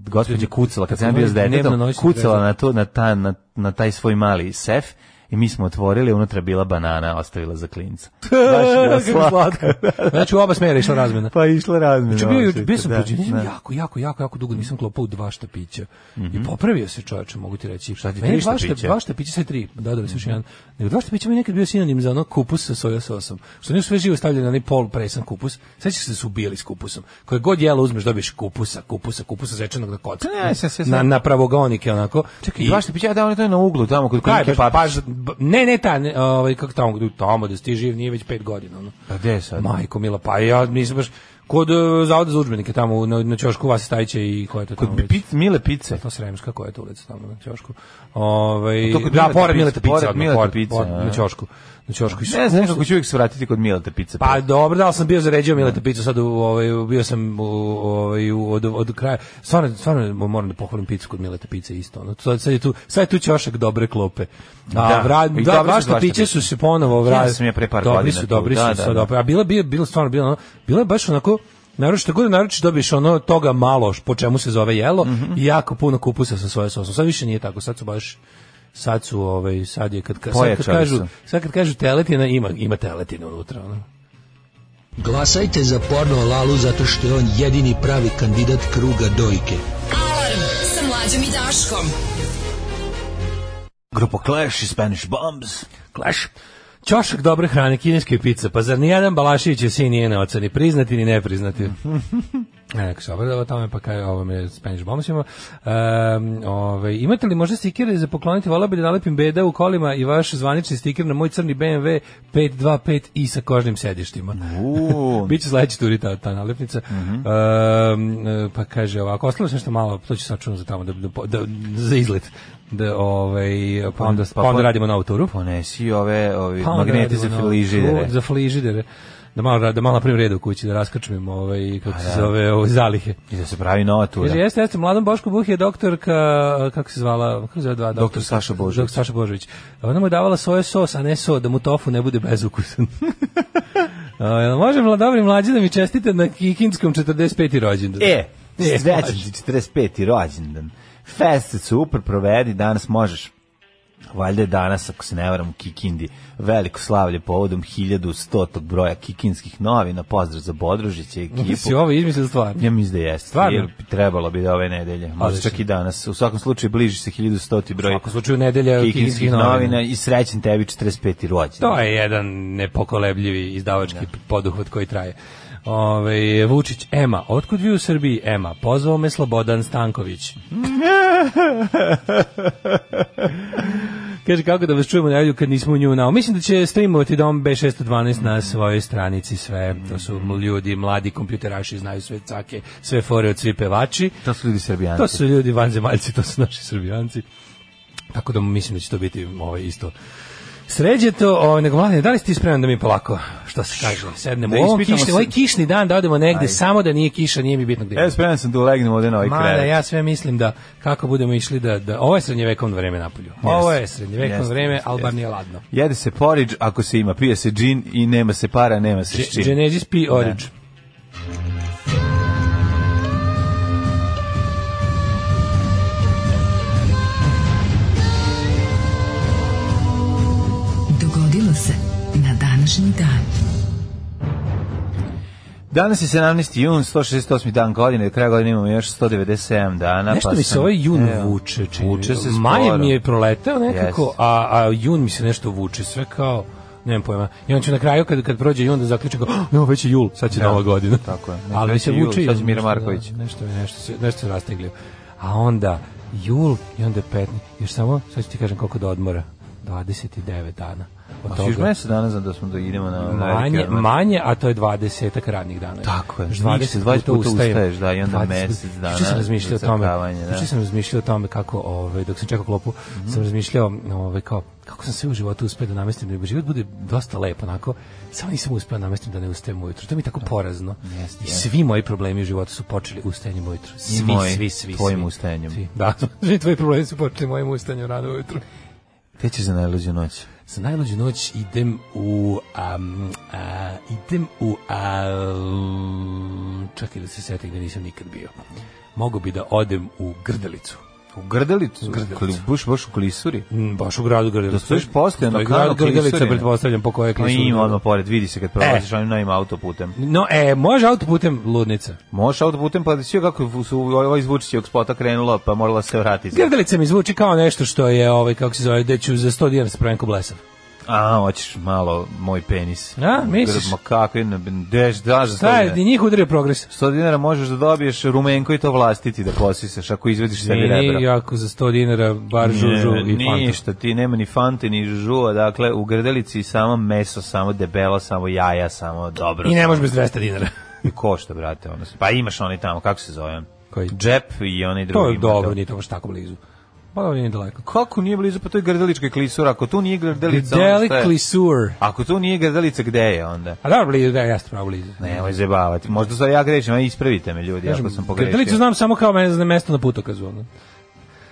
Speaker 7: gospođa kucala, kad sam ja bio s
Speaker 6: Dnevno
Speaker 7: detetom,
Speaker 6: noćni
Speaker 7: kucala na, to, na, ta, na, na taj svoj mali sef i mi smo otvorili, unutra je bila banana, ostavila za klinca. Baš je bila
Speaker 6: Kako
Speaker 7: slatka.
Speaker 6: slatko. Znači u oba smjera je išla razmena.
Speaker 7: Pa je išla razmjena.
Speaker 6: Znači, bio, juče-
Speaker 7: očito,
Speaker 6: bio sam
Speaker 7: da,
Speaker 6: prođen,
Speaker 7: da.
Speaker 6: jako, jako, jako, jako dugo nisam klopao u dva štapića. I popravio se čovječe, mogu ti reći. Šta
Speaker 7: Mhm. ti,
Speaker 6: meni
Speaker 7: tri
Speaker 6: dva
Speaker 7: štapića?
Speaker 6: Dva štapića, sve tri, da, da, sve jedan. Nego dva štapića mi je nekad bio sinonim za ono kupus sa soja sosom. Što nisu sve živo stavljali na onaj pol presan kupus. Sećaš se da su ubijali s kupusom. Koje god jelo uzmeš, dobiješ kupusa, kupusa, kupusa zečenog na kocka.
Speaker 7: Ne, sve, sve, sve.
Speaker 6: Na, na pravogonike, onako.
Speaker 7: Čekaj,
Speaker 6: I-
Speaker 7: dva štapića, da, on je to na uglu tamo, kod
Speaker 6: Kaj,
Speaker 7: klinike
Speaker 6: Pa baš-
Speaker 7: papić.
Speaker 6: baš- b- ne, ne, ta, ne, ovaj, kako tamo, gde- tamo da stiži, nije već pet godina. Ono.
Speaker 7: Pa gde je sad?
Speaker 6: Majko Mila, pa ja nisam baš kod e, zavoda za udžbenike tamo na na ćošku Vase Stajića i ko je to
Speaker 7: Kod
Speaker 6: tamo. već?
Speaker 7: pic, mile pice.
Speaker 6: to Sremska koja je to ulica tamo na ćošku. Ovaj
Speaker 7: To kod
Speaker 6: da
Speaker 7: Mileta
Speaker 6: pored
Speaker 7: Pice,
Speaker 6: Mileta Pice,
Speaker 7: pored
Speaker 6: odmah,
Speaker 7: Mileta
Speaker 6: pored-
Speaker 7: Pice,
Speaker 6: pored-
Speaker 7: a.
Speaker 6: na ćošku. Na ćošku. I
Speaker 7: Ne znam, nekako ću uvijek se vratiti kod Mileta pice.
Speaker 6: pa dobro, da ali sam bio zaređio Mileta picu, sad u, ovaj, bio sam u, ovaj, u- od, od kraja. Stvarno, stvarno moram da pohvalim picu kod Mileta pice isto. Ono, sad, sad, je tu, sad je tu ćošak dobre klope. A,
Speaker 7: Da,
Speaker 6: da, vra,
Speaker 7: i dobre
Speaker 6: da
Speaker 7: su
Speaker 6: baš
Speaker 7: svašta
Speaker 6: piće
Speaker 7: bile.
Speaker 6: su se ponovo vratili.
Speaker 7: Ja sam je pre par
Speaker 6: dobri
Speaker 7: godina
Speaker 6: su,
Speaker 7: tu,
Speaker 6: dobri
Speaker 7: da,
Speaker 6: su
Speaker 7: da,
Speaker 6: sad
Speaker 7: da.
Speaker 6: opet. A bilo, bilo, bilo stvarno, bilo, ono, bilo je baš onako, Naravno što god naručiš dobiješ ono toga malo š- po čemu se zove jelo
Speaker 7: Mhm.
Speaker 6: i jako puno kupusa sa svoje sosom. Sad više nije tako, sad su baš sad su ovaj sad je kad, kad, sad kad
Speaker 7: Pojačali
Speaker 6: kažu
Speaker 7: su.
Speaker 6: sad kad kažu teletina ima ima teletina unutra ono.
Speaker 8: Glasajte za porno Lalu zato što je on jedini pravi kandidat kruga dojke.
Speaker 5: Alarm sa mlađom i Daškom.
Speaker 7: Grupa Clash i Spanish Bombs.
Speaker 6: Klaš. Ćošak dobre hrane, kineske pice, pa zar nijedan Balašević sin nije na oca, ni priznati, ni nepriznati. E, Neko se obradava tome, pa kaj ovo me Spanish Bombs ima. Ehm, ovaj, imate li možda stikere za pokloniti? Vola bi da nalepim beda u kolima i vaš zvanični stiker na moj crni BMW 525 i sa kožnim sedištima.
Speaker 7: Uuu,
Speaker 6: Biće sledeći turi ta, ta nalepnica. Ehm, e, pa kaže ovako, ostalo sam što malo, to ću sačuvati za tamo, da, da, da, za izlet. Da, ovaj, pa onda, pa, onda radimo novu turu.
Speaker 7: ponesi ove, ovi
Speaker 6: Pa onda
Speaker 7: magnete
Speaker 6: radimo
Speaker 7: za
Speaker 6: na-
Speaker 7: frižidere.
Speaker 6: u, Za frižidere. Da malo, ra- da malo napravim red u kući, da raskačim ovaj, kako se zove, ove zalihe.
Speaker 7: I Pa da se pravi nova tura.
Speaker 6: Kaže, jeste, jeste, mladom Bošku Buh je doktorka, kako se zvala, kako se zove dva doktorka?
Speaker 7: Doktor Saša Božović.
Speaker 6: Doktor Saša Božović. Ona mu je davala soje sos, a ne so, da mu tofu ne bude bezukusan. A, Jel može mla, dobri mlađi da mi čestite na Kikinskom 45. rođendan?
Speaker 7: E,
Speaker 6: E,
Speaker 7: srećan ti 45. rođendan. Fest super provedi, danas možeš Valjda je danas, ako se ne varam, u Kikindi veliko slavlje povodom 1100. broja kikinskih novina. Pozdrav za Bodružića i
Speaker 6: Ti
Speaker 7: ekipu.
Speaker 6: si ovo izmislio stvar.
Speaker 7: Ja mislim da jeste.
Speaker 6: Stvarno?
Speaker 7: Jer bi trebalo bi da ove nedelje. Možda
Speaker 6: Odlično.
Speaker 7: čak i danas. U svakom slučaju bliži se 1100. broj
Speaker 6: Ako slučaju nedelja
Speaker 7: kikinskih novina i srećen tebi 45. rođendan.
Speaker 6: To je jedan nepokolebljivi izdavački poduhvat koji traje. Ove, Vučić, Ema, otkud vi u Srbiji, Ema? Pozvao me Slobodan Stanković. Kaže, kako da vas čujemo najbolju kad nismo u nju nao. Mislim da će streamovati Dom B612 na svojoj stranici sve. To su ljudi, mladi kompjuteraši, znaju sve cake, sve fore od svi pevači.
Speaker 7: To su ljudi srbijani.
Speaker 6: To su ljudi vanzemaljci, to su naši srbijanci. Tako da mislim da će to biti ovaj isto Sređeto, ovaj, nego mladine, da li ste ispreman da mi polako, što se kaže, sednemo
Speaker 7: Da
Speaker 6: u ovom
Speaker 7: ispitamo
Speaker 6: kišni,
Speaker 7: se.
Speaker 6: ovaj kišni dan da odemo negde, samo da nije kiša, nije mi bitno gde.
Speaker 7: Evo, spreman E, sam da ulegnem ovde na ovaj
Speaker 6: Mada
Speaker 7: krevet.
Speaker 6: ja sve mislim da kako budemo išli da, da ovo je srednjevekovno vreme napolju. Ovo je srednjevekovno
Speaker 7: Jeste,
Speaker 6: vreme,
Speaker 7: jeste,
Speaker 6: ali bar
Speaker 7: jeste.
Speaker 6: nije ladno.
Speaker 7: Jede se porič ako se ima, pije se džin i nema se para, nema se s čim.
Speaker 6: Genesis P. Orange.
Speaker 5: Dogodilo se na današnji dan.
Speaker 7: Danas je 17. jun, 168. dan godine, do kraja godine imamo još 197 dana.
Speaker 6: Nešto
Speaker 7: pa
Speaker 6: mi se
Speaker 7: sam-
Speaker 6: ovaj jun
Speaker 7: Evo.
Speaker 6: vuče. Čini.
Speaker 7: Vuče se sporo.
Speaker 6: Maj mi je proleteo nekako,
Speaker 7: Jest.
Speaker 6: a, a jun mi se nešto vuče. Sve kao, nemam pojma. I on će na kraju, kad, kad prođe jun, da zaključim kao, "Oh, evo već je jul, sad će nova godina.
Speaker 7: tako je. Neka
Speaker 6: Ali već se
Speaker 7: već je
Speaker 6: vuče.
Speaker 7: jul, sad će
Speaker 6: jun,
Speaker 7: Mira
Speaker 6: nešto, da,
Speaker 7: Marković.
Speaker 6: Nešto, mi- nešto, se, nešto se rasteglio. A onda jul i onda 15. Još samo, sad ću ti kažem koliko do odmora. 29 dana. Od
Speaker 7: Hoće Pa Još mesec dana znam da smo da idemo na... na
Speaker 6: Manje,
Speaker 7: veliki odmor.
Speaker 6: manje, a to je 20 radnih dana.
Speaker 7: Tako je.
Speaker 6: Još
Speaker 7: Ništa, 20 puta ustaješ, da, i onda
Speaker 6: 20
Speaker 7: mesec dana
Speaker 6: Juče sam razmišljao o tome.
Speaker 7: zacrtavanja, da. Mhm.
Speaker 6: Juče sam razmišljao o tome kako, ovaj, dok sam čekao klopu, sam razmišljao ovaj, kao, kako sam sve u životu uspeo da namestim, da mi život bude dosta lep, onako, samo nisam uspeo da namestim da ne ustajem ujutru. To mi je tako porazno.
Speaker 7: Jeste,
Speaker 6: I
Speaker 7: jeste.
Speaker 6: svi moji problemi u životu su počeli ustajanjem ujutru. Svi,
Speaker 7: moji,
Speaker 6: svi, svi.
Speaker 7: tvojim
Speaker 6: svi.
Speaker 7: ustajanjem.
Speaker 6: Svi. Da, svi tvoji problemi su počeli mojim ustajanjem rano ujutru.
Speaker 7: Te ćeš za najluđu noć.
Speaker 6: Za najluđu noć idem u... Um, a, idem u... Um, čekaj da se setim da nisam nikad bio. Mogu bi da odem u Grdelicu
Speaker 7: U Grdelicu? Grdelicu. Buš, baš u Klisuri?
Speaker 6: Mm, baš u gradu Grdelica.
Speaker 7: Da stojiš postojano
Speaker 6: Stoji
Speaker 7: kao
Speaker 6: grad Grdelica,
Speaker 7: Klisurine.
Speaker 6: pretpostavljam, po kojoj
Speaker 7: Pa
Speaker 6: klisuri.
Speaker 7: ima odmah pored, vidi se kad prolaziš
Speaker 6: E.
Speaker 7: onim novim autoputem.
Speaker 6: No, e, može autoputem ludnica.
Speaker 7: Možeš autoputem, pa da si joj kako su ovo izvučići ovog spota krenulo, pa morala se vratiti.
Speaker 6: Grdelica mi zvuči kao nešto što je, ovaj, kako se zove, gde ću za 100 dinara spravim ko blesav.
Speaker 7: A, hoćeš malo moj penis.
Speaker 6: A, misliš?
Speaker 7: Ma kako, jedna- deš, daš za
Speaker 6: Šta
Speaker 7: 100
Speaker 6: je, di
Speaker 7: dinara.
Speaker 6: njih udari progres.
Speaker 7: 100 dinara možeš da dobiješ rumenko i to vlastiti da posiseš ako izvediš sebi
Speaker 6: Mini,
Speaker 7: rebra.
Speaker 6: jako za 100 dinara, bar žužu
Speaker 7: Ne,
Speaker 6: i fantom.
Speaker 7: ništa, ti nema ni fante ni žužua, dakle u grdelici samo meso, samo debelo, samo jaja, samo dobro.
Speaker 6: I ne može bez 200 dinara.
Speaker 7: I košta, brate, ono. Pa imaš onaj tamo, kako se zove?
Speaker 6: Koji?
Speaker 7: Džep i onaj drugi.
Speaker 6: To je
Speaker 7: ima
Speaker 6: dobro, nije to baš tako blizu. Pa dobro, nije daleko.
Speaker 7: Kako nije blizu, pa to je grdelička klisura. Ako tu nije grdelica, onda
Speaker 6: Deli
Speaker 7: šta ono je?
Speaker 6: klisur.
Speaker 7: Ako tu nije grdelica, gde je onda?
Speaker 6: A dobro, blizu, da, jeste pravo blizu.
Speaker 7: Nemoj zajebavati. Možda sad ja grešim, a ispravite me ljudi, ako sam pogrešio.
Speaker 6: Grdelicu znam samo kao mene za mesto na putokazu. ono.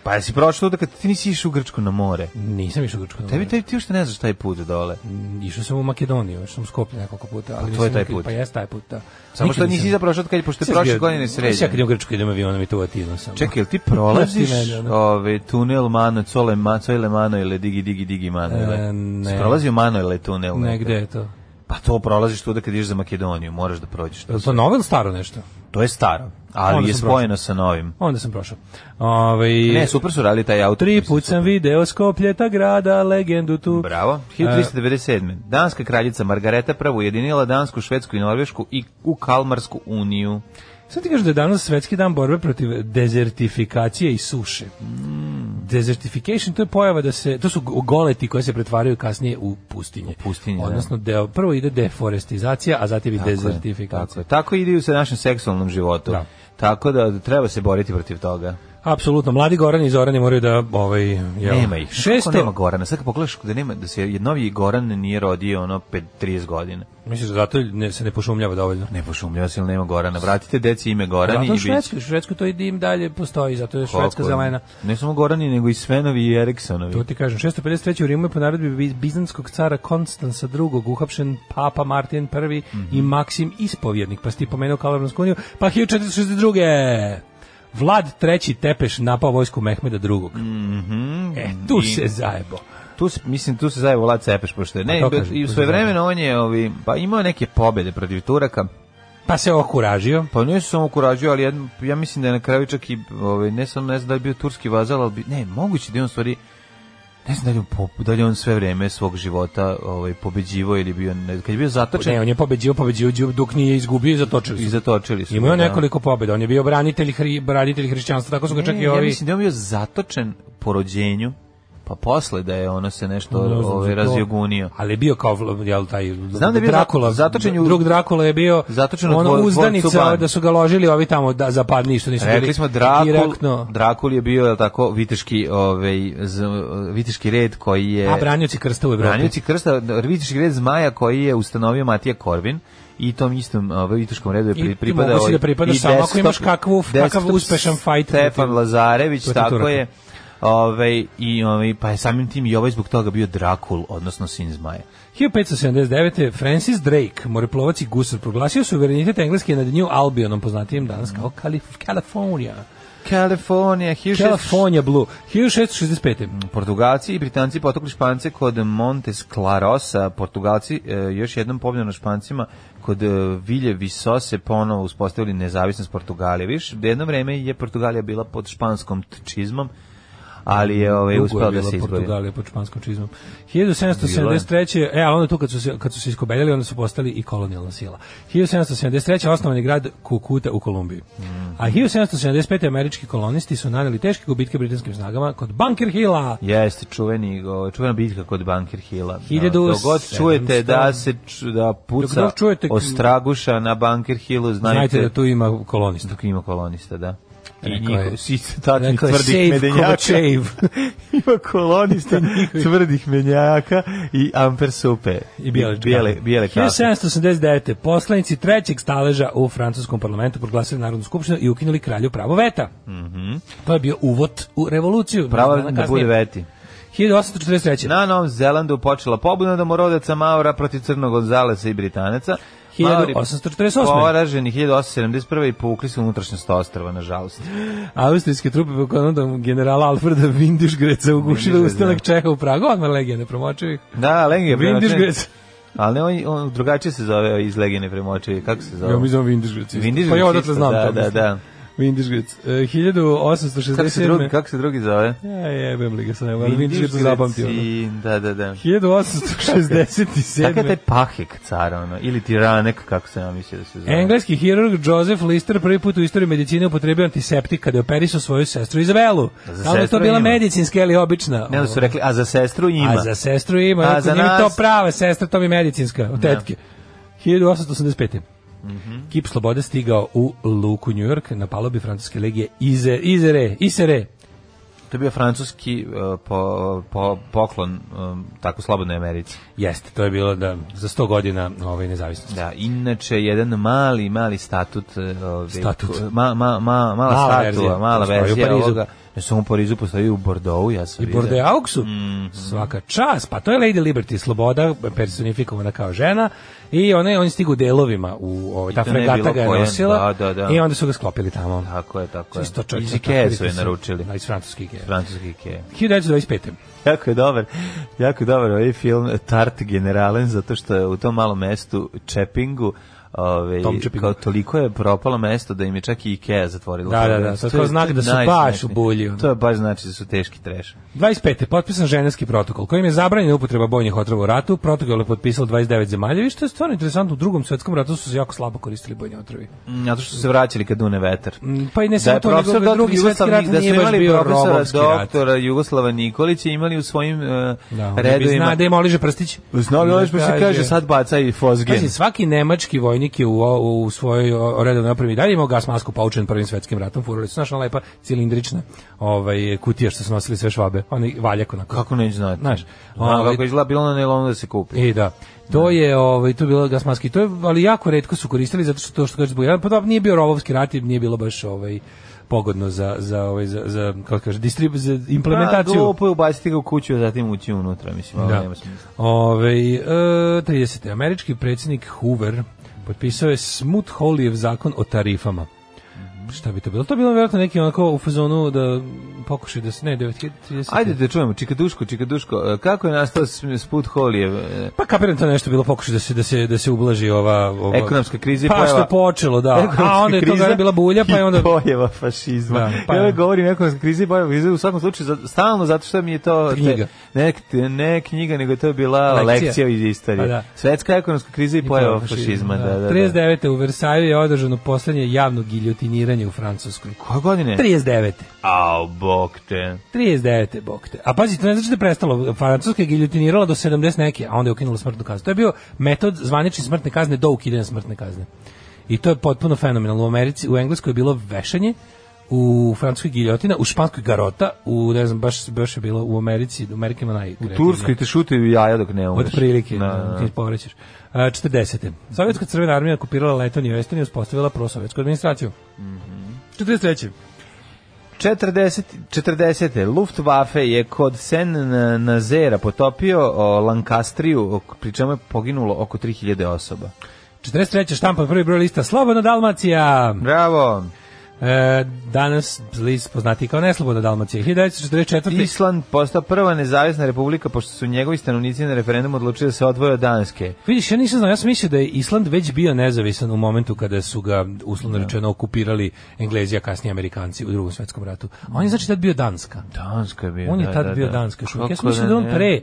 Speaker 7: Pa jesi prošao da kad ti nisi išao u Grčku na more?
Speaker 6: Nisam išao u Grčku. na
Speaker 7: Tebi,
Speaker 6: more.
Speaker 7: tebi ti ušte ne znaš taj put dole.
Speaker 6: Išao sam u Makedoniju, još sam u Skoplje nekoliko puta. Ali
Speaker 7: to je
Speaker 6: nisam
Speaker 7: taj
Speaker 6: nikad-
Speaker 7: put.
Speaker 6: Pa jeste taj put, da.
Speaker 7: Samo
Speaker 6: Nikad
Speaker 7: što nisi
Speaker 6: nisam-
Speaker 7: zapravo što od kad je, pošto je
Speaker 6: Sad
Speaker 7: prošle
Speaker 6: bio-
Speaker 7: godine
Speaker 6: Sad
Speaker 7: sređen.
Speaker 6: Ja kad idem u Grčku idem avionom i to ono, u Atinu sam.
Speaker 7: Čekaj, jel ti prolaziš
Speaker 6: Znaš ti mene, ono?
Speaker 7: ove, tunel Mano, Cole, Ma, Cole Mano ili Digi Digi Digi Mano?
Speaker 6: E, ne.
Speaker 7: Si prolazio Mano ili tunel? nekad?
Speaker 6: Negde je to.
Speaker 7: Pa to prolaziš tu da kad ideš za Makedoniju, moraš da prođeš.
Speaker 6: Je
Speaker 7: To,
Speaker 6: li to novo ili staro nešto?
Speaker 7: to je staro, ali
Speaker 6: Onda
Speaker 7: je
Speaker 6: sam
Speaker 7: spojeno sa novim.
Speaker 6: Onda sam prošao. Ove,
Speaker 7: Ne, super su radili taj auto.
Speaker 6: Tri put sam video Skoplje ta grada, legendu tu.
Speaker 7: Bravo.
Speaker 6: E.
Speaker 7: 1397. Danska kraljica Margareta prvo ujedinila Dansku, Švedsku i Norvešku i u Kalmarsku uniju.
Speaker 6: Sad ti kažu da je danas svetski dan borbe protiv dezertifikacije i suše. Desertification to je pojava da se to su goleti koje se pretvaraju kasnije u pustinje.
Speaker 7: U pustinje, da.
Speaker 6: Odnosno deo prvo ide deforestizacija, a zatim i
Speaker 7: Tako je,
Speaker 6: dezertifikacija.
Speaker 7: Tako, je. tako ide i sa našem seksualnom životu.
Speaker 6: Da.
Speaker 7: Tako da treba se boriti protiv toga.
Speaker 6: Apsolutno, mladi Gorani i Zorani moraju da ovaj jel,
Speaker 7: Nema ih. Šesto...
Speaker 6: 600
Speaker 7: Kako nema Gorana? Sad kad pogledaš da, nema, da se je novi Goran nije rodio ono pet- 30 godina.
Speaker 6: Misliš da zato ne, se ne pošumljava dovoljno?
Speaker 7: Ne pošumljava se ili nema Gorana. Vratite deci ime Gorani
Speaker 6: Zato
Speaker 7: i
Speaker 6: u
Speaker 7: biće.
Speaker 6: Švedskoj, u Švedskoj to i dim dalje postoji, zato je Švedska
Speaker 7: Koliko je?
Speaker 6: zelena.
Speaker 7: Ne samo Gorani, nego i Svenovi i
Speaker 6: To
Speaker 7: Eriksonovi.
Speaker 6: ti kažem, 653. u Rimu je po naredbi Bi- bizanskog cara Konstansa II. uhapšen Papa Martin I
Speaker 7: Mhm.
Speaker 6: i Maksim Ispovjednik, pa si ti pomenuo Kalaronsku uniju, pa 1462. Vlad III. Tepeš napao vojsku Mehmeda II. E, tu
Speaker 7: Mhm. I-
Speaker 6: se zajebo.
Speaker 7: Tu se, mislim, tu se zaje Vlad Cepeš, pošto je. Ne,
Speaker 6: Pa to kažem,
Speaker 7: i u
Speaker 6: tu se
Speaker 7: svoje vremena on je, ovi, pa imao neke pobede protiv Turaka,
Speaker 6: Pa se okuražio.
Speaker 7: Pa nije se samo kurađio, ali jedan, ja mislim da je na kraju čak i, ovaj, ne sam ne znam da je bio turski vazal, ali bi, ne, moguće da je on u stvari, ne znam da li, je on pop- da li je on sve vreme svog života ovaj, pobeđivo ili bio, ne, kad je bio
Speaker 6: Pa Ne,
Speaker 7: zatočen
Speaker 6: on je pobeđio, pobeđio, đu- dok nije izgubio i zatočio
Speaker 7: i
Speaker 6: se.
Speaker 7: zatočili su.
Speaker 6: Imao je
Speaker 7: ga, da.
Speaker 6: nekoliko pobjeda, on je bio branitelj, hri, branitelj hrišćanstva, tako su ga čak
Speaker 7: Ne,
Speaker 6: i
Speaker 7: Ja
Speaker 6: ovi...
Speaker 7: mislim da je on bio zatočen po rođenju, pa posle da je ono se nešto
Speaker 6: Ne znam za
Speaker 7: ovaj,
Speaker 6: to.
Speaker 7: razjogunio.
Speaker 6: Ali je bio kao vl- jel taj
Speaker 7: Znam da je bio
Speaker 6: Drakula,
Speaker 7: za- zatočen u-
Speaker 6: drug Drakula je bio
Speaker 7: Zatočen u
Speaker 6: ono
Speaker 7: dvor- dvorcu
Speaker 6: uzdanica
Speaker 7: Ban.
Speaker 6: ovaj, da su ga ložili ovi tamo da zapadni što nisu
Speaker 7: Rekli
Speaker 6: bili
Speaker 7: smo Drakul,
Speaker 6: direktno.
Speaker 7: Drakul je bio jel tako viteški, ovaj, z, viteški red koji je...
Speaker 6: A branioci krsta u Evropi.
Speaker 7: Branioci krsta, Vidiš red zmaja koji je ustanovio Matija Korvin i tom istom ovaj, vituškom redu je
Speaker 6: I
Speaker 7: pri,
Speaker 6: ti
Speaker 7: pripada
Speaker 6: moguće
Speaker 7: ovaj-
Speaker 6: da pripadaš
Speaker 7: i
Speaker 6: samo ako
Speaker 7: desktop-
Speaker 6: imaš kakvu- kakav
Speaker 7: desktop
Speaker 6: uspešan fight
Speaker 7: Stefan
Speaker 6: protiv-
Speaker 7: Lazarević,
Speaker 6: protiv
Speaker 7: tako
Speaker 6: Turaka.
Speaker 7: je. Ovaj, i, ovaj, pa je samim tim i ovaj zbog toga bio Drakul, odnosno sin zmaja.
Speaker 6: 1579. Francis Drake, moreplovac i gusar, proglasio suverenitet Engleske nad New Albionom, poznatijem danas kao Kalif California.
Speaker 7: Kalifornija,
Speaker 6: California Blue. 1665.
Speaker 7: Portugalci i Britanci potukli Špance kod Montes Clarosa. Portugalci e, još jednom pobjedom na Špancima kod e, Vilje Visose ponovo uspostavili nezavisnost Portugalije. Viš, jedno vreme je Portugalija bila pod španskom čizmom, ali je ovaj,
Speaker 6: Dugo
Speaker 7: uspela
Speaker 6: je
Speaker 7: da
Speaker 6: bila
Speaker 7: se izbori.
Speaker 6: Portugalija pod španskom čizmom. 1773. E, ali onda tu kad su se, kad su se iskobeljali, onda su postali i kolonijalna sila. 1773. osnovan je grad Kukuta u Kolumbiji. A 1775. američki kolonisti su naneli teške gubitke britanskim snagama kod Bunker Hilla.
Speaker 7: Jeste čuveni, o, čuvena bitka kod Bunker Hilla.
Speaker 6: Hiljadu
Speaker 7: Dok god čujete da se ču- da puca
Speaker 6: god čujete-
Speaker 7: ostraguša na Bunker Hillu,
Speaker 6: Znajte
Speaker 7: znajte
Speaker 6: da tu ima kolonista.
Speaker 7: dok ima kolonista, da. I
Speaker 6: Rekao je-
Speaker 7: njihov, si tačni
Speaker 6: Rekao je,
Speaker 7: tvrdih
Speaker 6: "Save
Speaker 7: medenjaka.
Speaker 6: Kovačev."
Speaker 7: ima kolonista tvrdih menjaka i amper supe
Speaker 6: i bijele čkape.
Speaker 7: bijele, bijele kafe.
Speaker 6: 1779. Poslanici trećeg staleža u francuskom parlamentu proglasili Narodnu skupštinu i ukinuli kralju pravo veta. To je bio uvod u revoluciju.
Speaker 7: Prava
Speaker 6: Dana
Speaker 7: Mhm. da
Speaker 6: kasnije.
Speaker 7: bude veti.
Speaker 6: 1843.
Speaker 7: Na Novom Zelandu počela pobuna domorodaca Maura protiv Crnog Gonzalesa i Britanaca.
Speaker 6: 1848.
Speaker 7: Poraženi 1871. i povukli se unutrašnjost ostrava, nažalost.
Speaker 6: Austrijske trupe pod komandom generala Alfreda Windischgreca ugušile
Speaker 7: Windischgreca,
Speaker 6: ustanak Čeha u Pragu, odmah legija nepromočivih.
Speaker 7: Da, Legije
Speaker 6: Windischgrec.
Speaker 7: Ali ne, on, on drugačije se zove iz Legije nepremočevi. Kako se zove?
Speaker 6: Ja mi zovem Windischgrec. isto.
Speaker 7: Windischgrec
Speaker 6: Pa ja
Speaker 7: isto,
Speaker 6: odatle znam
Speaker 7: da,
Speaker 6: to.
Speaker 7: da,
Speaker 6: mislim.
Speaker 7: da.
Speaker 6: Windischgrec. E,
Speaker 7: Kako se, drugi,
Speaker 6: 1867.
Speaker 7: kako se drugi zove?
Speaker 6: Ja jebem li ga sam, ali Windischgrec
Speaker 7: Windischgreci,
Speaker 6: zapamtio. ono.
Speaker 7: Da, da, da.
Speaker 6: 1867.
Speaker 7: Kakav je taj pahek car, ono, ili tiranek, kako se ja mislio da se zove.
Speaker 6: Engleski hirurg Joseph Lister prvi put u istoriji medicine upotrebio antiseptik kada je operisao svoju sestru Izabelu.
Speaker 7: Za
Speaker 6: Da li je to
Speaker 7: sestru
Speaker 6: bila
Speaker 7: ima.
Speaker 6: medicinska ili obična?
Speaker 7: Ne, da su rekli, a za sestru ima.
Speaker 6: A za sestru ima.
Speaker 7: A
Speaker 6: A
Speaker 7: za
Speaker 6: za nas... to
Speaker 7: nas-
Speaker 6: prava sestra, to mi je medicinska, od tetke. 1885.
Speaker 7: Mhm.
Speaker 6: Kip Slobode stigao u Luku, New York, na palobi francuske legije E, Ize, Izere, Isere.
Speaker 7: To je bio francuski uh, po, po, poklon um, tako slobodnoj Americi.
Speaker 6: Jeste, to je bilo da, za 100 godina ovaj, nezavisnosti.
Speaker 7: Da, inače jedan mali, mali statut, uh, ovaj,
Speaker 6: Statut.
Speaker 7: ko- Ma, ma, ma, mala,
Speaker 6: Mala
Speaker 7: statua,
Speaker 6: verzija.
Speaker 7: mala
Speaker 6: Postoji u
Speaker 7: verzija
Speaker 6: Parizu.
Speaker 7: ovoga. Ne samo u Parizu, postoji i u Bordeauxu, ja sam
Speaker 6: I
Speaker 7: vidio.
Speaker 6: Bordeauxu.
Speaker 7: Mhm.
Speaker 6: Svaka čas. Pa to je Lady Liberty, sloboda, personifikovana kao žena. I ona je, on je stigu u delovima. U, ovaj, ta
Speaker 7: to ne je
Speaker 6: fregata
Speaker 7: bilo
Speaker 6: ga je
Speaker 7: koje,
Speaker 6: nosila.
Speaker 7: da, da, da.
Speaker 6: I onda su ga sklopili tamo.
Speaker 7: Tako je, tako je.
Speaker 6: Isto čovjek
Speaker 7: Iz
Speaker 6: sa
Speaker 7: Ikea su je
Speaker 6: takvim-
Speaker 7: naručili.
Speaker 6: Da, iz francuske Ikea.
Speaker 7: Francuski Ikea.
Speaker 6: 1925.
Speaker 7: Jako je dobar, jako je dobar ovaj film Tart generalen, zato što je u tom malom mestu Čepingu Ove,
Speaker 6: Tom Čepingu.
Speaker 7: kao toliko je propalo mesto da im je čak i Ikea zatvorila.
Speaker 6: Da, da, da, sad kao znak da su baš u bulji, ono.
Speaker 7: To je baš znači da su teški treš.
Speaker 6: 25. je potpisan ženevski protokol kojim je zabranjena upotreba bojnih otrova u ratu. Protokol je potpisalo 29 zemalja. Vi što je stvarno interesantno, u drugom svetskom ratu su se jako slabo koristili bojni otrovi.
Speaker 7: Mm, Zato što su se vraćali kad dune vetar.
Speaker 6: Mm, Pa i ne
Speaker 7: Da
Speaker 6: samo
Speaker 7: je
Speaker 6: to,
Speaker 7: profesor
Speaker 6: nego
Speaker 7: doktor
Speaker 6: drugi svetski
Speaker 7: Jugoslav
Speaker 6: rat
Speaker 7: Nik- da su
Speaker 6: nije baš
Speaker 7: imali
Speaker 6: bio
Speaker 7: profesora
Speaker 6: robovski rat.
Speaker 7: doktora Jugoslava Nikolića imali u svojim uh,
Speaker 6: Da, on bi
Speaker 7: redovima.
Speaker 6: zna da ima Oliže Prstić.
Speaker 7: Znao bi ovo što se kaže, sad baca i Fosgen.
Speaker 6: Pazi, svaki nemački vojnik je u, o- u svojoj o- redovnoj opremi i dalje imao gas masku poučen prvim svetskim ratom, furali su naša lepa cilindrična ovaj, kutija što su nosili sve švabe, onaj valjak onako.
Speaker 7: Kako neću znati?
Speaker 6: Znaš,
Speaker 7: Znam
Speaker 6: ovaj-
Speaker 7: kako izgleda, bilo na nelonu da se kupi.
Speaker 6: E da. To je ovaj to je bilo gas maske. To je ali jako retko su koristili zato što to što kaže zbog pa dobro, nije bio rovovski rat i nije bilo baš ovaj pogodno za za ovaj za, za kako kaže distrib za
Speaker 7: Pa,
Speaker 6: implementaciju.
Speaker 7: glupo je ubaciti ga u kuću, a zatim ući unutra, mislim, ovo
Speaker 6: Da.
Speaker 7: nema smisla.
Speaker 6: Ovaj e, 30. američki predsjednik Hoover potpisao je Smoot-Hawleyjev zakon o tarifama.
Speaker 7: Mhm.
Speaker 6: Šta bi to bilo? To je bilo vjerojatno neki onako u fazonu da pokušaj da se ne 930.
Speaker 7: Ajde da čujemo, Čikaduško, Čikaduško, e, kako je nastao s- Sput Holijev? e,
Speaker 6: Pa kapiram to je nešto bilo pokušaj da se da se da se ublaži ova, ova
Speaker 7: Ekonomska kriza i
Speaker 6: pa što
Speaker 7: pojava-
Speaker 6: je počelo da
Speaker 7: ekonomska
Speaker 6: a onda je to
Speaker 7: kriza
Speaker 6: bila bulja pa je onda
Speaker 7: I pojava fašizma.
Speaker 6: Da, pa
Speaker 7: ja
Speaker 6: je.
Speaker 7: uvek govorim o ekonomskoj krizi i pojava fašizma, u svakom slučaju, za- stalno zato što mi je to... te-
Speaker 6: Knjiga.
Speaker 7: ne, ne knjiga, nego je to bila lekcija,
Speaker 6: Lekcija.
Speaker 7: iz istorije.
Speaker 6: Pa da.
Speaker 7: Svetska ekonomska kriza i pojava fašizma, da, da, da.
Speaker 6: 39. u Versaju je održano poslednje javno giljotiniranje u Francuskoj.
Speaker 7: Koje godine?
Speaker 6: 39.
Speaker 7: Au, bok te.
Speaker 6: 39. bog te. A pazi, to ne znači da je prestalo. Francuska je giljotinirala do 70 neke, a onda je ukinula smrtnu kaznu. To je bio metod zvanične smrtne kazne do ukidanja smrtne kazne. I to je potpuno fenomenalno. U Americi, u Engleskoj je bilo vešanje, u Francuskoj giljotina, u Španskoj garota, u, ne znam, baš, baš je bilo u Americi, u Amerika ima naj...
Speaker 7: U Turskoj te šutaju jaja dok ne umreš.
Speaker 6: Otprilike,
Speaker 7: Da,
Speaker 6: da,
Speaker 7: da, da.
Speaker 6: ti povraćaš. A, 40. Sovjetska crvena armija okupirala Letoniju i Estoniju i uspostavila prosovjetsku administraciju.
Speaker 7: Mhm.
Speaker 6: 43.
Speaker 7: 40. 40. Luftwaffe je kod Sen Nazera potopio o, Lancastriju, o, pri čemu je poginulo oko 3000 osoba.
Speaker 6: 43. štampan prvi broj lista Slobodna Dalmacija.
Speaker 7: Bravo!
Speaker 6: E, danas list poznati kao Neslobodna Dalmacija. 1944.
Speaker 7: Island postao prva nezavisna republika pošto su njegovi stanovnici na referendumu odlučili da se odvoje od Danske.
Speaker 6: Vidiš, ja nisam znao, ja sam mislio da je Island već bio nezavisan u momentu kada su ga, uslovno rečeno, okupirali Englezi, a kasnije Amerikanci u drugom svetskom ratu. A on je znači tad bio Danska.
Speaker 7: Danska je bio.
Speaker 6: On je
Speaker 7: da,
Speaker 6: tad
Speaker 7: da,
Speaker 6: bio
Speaker 7: da.
Speaker 6: Danska još uvijek. Ja sam
Speaker 7: Kako
Speaker 6: mislio da on
Speaker 7: ne?
Speaker 6: pre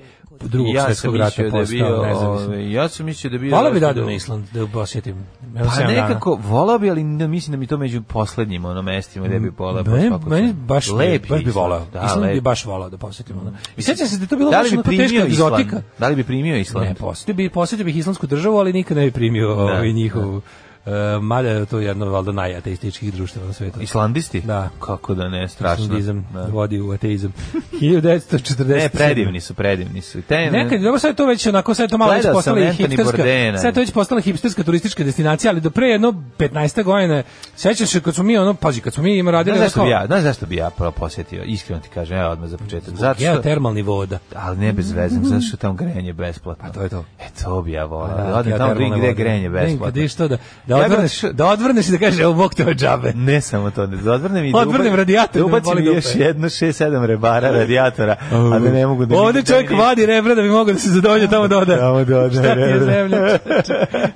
Speaker 6: drugog
Speaker 7: ja sam
Speaker 6: svjetskog rata
Speaker 7: mislio da je
Speaker 6: postao
Speaker 7: bio,
Speaker 6: nezavisan.
Speaker 7: ovaj, Ja sam mislio da je bio...
Speaker 6: Hvala bi
Speaker 7: dosta
Speaker 6: da ode
Speaker 7: dugo.
Speaker 6: na Island, da posjetim. Evo
Speaker 7: Pa
Speaker 6: sedam dana.
Speaker 7: nekako, volao bi, ali ne, mislim da mi to među poslednjim ono mestima gde bi volao. po
Speaker 6: Meni,
Speaker 7: svaku
Speaker 6: meni
Speaker 7: cenu.
Speaker 6: baš,
Speaker 7: Lep je
Speaker 6: baš bi
Speaker 7: Island,
Speaker 6: volao.
Speaker 7: da,
Speaker 6: Island
Speaker 7: lep
Speaker 6: bi
Speaker 7: je.
Speaker 6: baš volao da posjetim. Ono. I sjećam se da je to bilo
Speaker 7: Da
Speaker 6: baš
Speaker 7: li bi
Speaker 6: onako teška
Speaker 7: primio
Speaker 6: egzotika.
Speaker 7: Island? Da li bi primio Island?
Speaker 6: Ne, posjetio bi, posjetio bih islamsku državu, ali nikad ne bi primio ovaj, njihovu E, mada je to jedno valjda najateističkih društava na svetu.
Speaker 7: Islandisti?
Speaker 6: Da.
Speaker 7: Kako da ne, strašno.
Speaker 6: Islandizam
Speaker 7: Da.
Speaker 6: vodi u ateizam. 1940.
Speaker 7: Ne, predivni su, predivni su. I Te,
Speaker 6: Nekad, dobro, sad je to već onako, sad je to malo već
Speaker 7: Gledao sam
Speaker 6: postala i
Speaker 7: Anthony
Speaker 6: hipsterska,
Speaker 7: Bourdaina.
Speaker 6: sad je to već postala hipsterska turistička destinacija, ali do pre jedno 15. godine, sećaš se kad smo mi, ono, pazi, kad smo mi ima radili...
Speaker 7: Znaš zašto
Speaker 6: ono
Speaker 7: bi
Speaker 6: kao-
Speaker 7: ja, znaš zašto bi ja prvo posjetio, iskreno ti kažem, evo odmah za početak. Zato što,
Speaker 6: Geotermalni voda.
Speaker 7: ali ne bez veze, zato što tamo grenje besplatno.
Speaker 6: A Mhm. Pa to je to. Pa
Speaker 7: E, to bi ja volao.
Speaker 6: Da,
Speaker 7: Da, odem tamo da vidim
Speaker 6: geotermalna
Speaker 7: gde je
Speaker 6: voda.
Speaker 7: grenje
Speaker 6: Vidim
Speaker 7: besplatno.
Speaker 6: kad ideš to da, da,
Speaker 7: Ja bih
Speaker 6: odvrneš,
Speaker 7: otišao-
Speaker 6: da odvrneš i da kažeš, evo, bog te ovo džabe.
Speaker 7: Ne samo to, ne da odvrnem i da
Speaker 6: Odvrnem
Speaker 7: uba-
Speaker 6: radijator,
Speaker 7: da
Speaker 6: me boli
Speaker 7: ubacim
Speaker 6: dupe.
Speaker 7: još jedno 6-7 rebara radijatora, a da ne mogu da...
Speaker 6: Ovde čovjek vadi rebra da bi mogao da se zadovolje tamo da ode.
Speaker 7: Tamo da ode
Speaker 6: Šta ti je
Speaker 7: rebra.
Speaker 6: zemlja?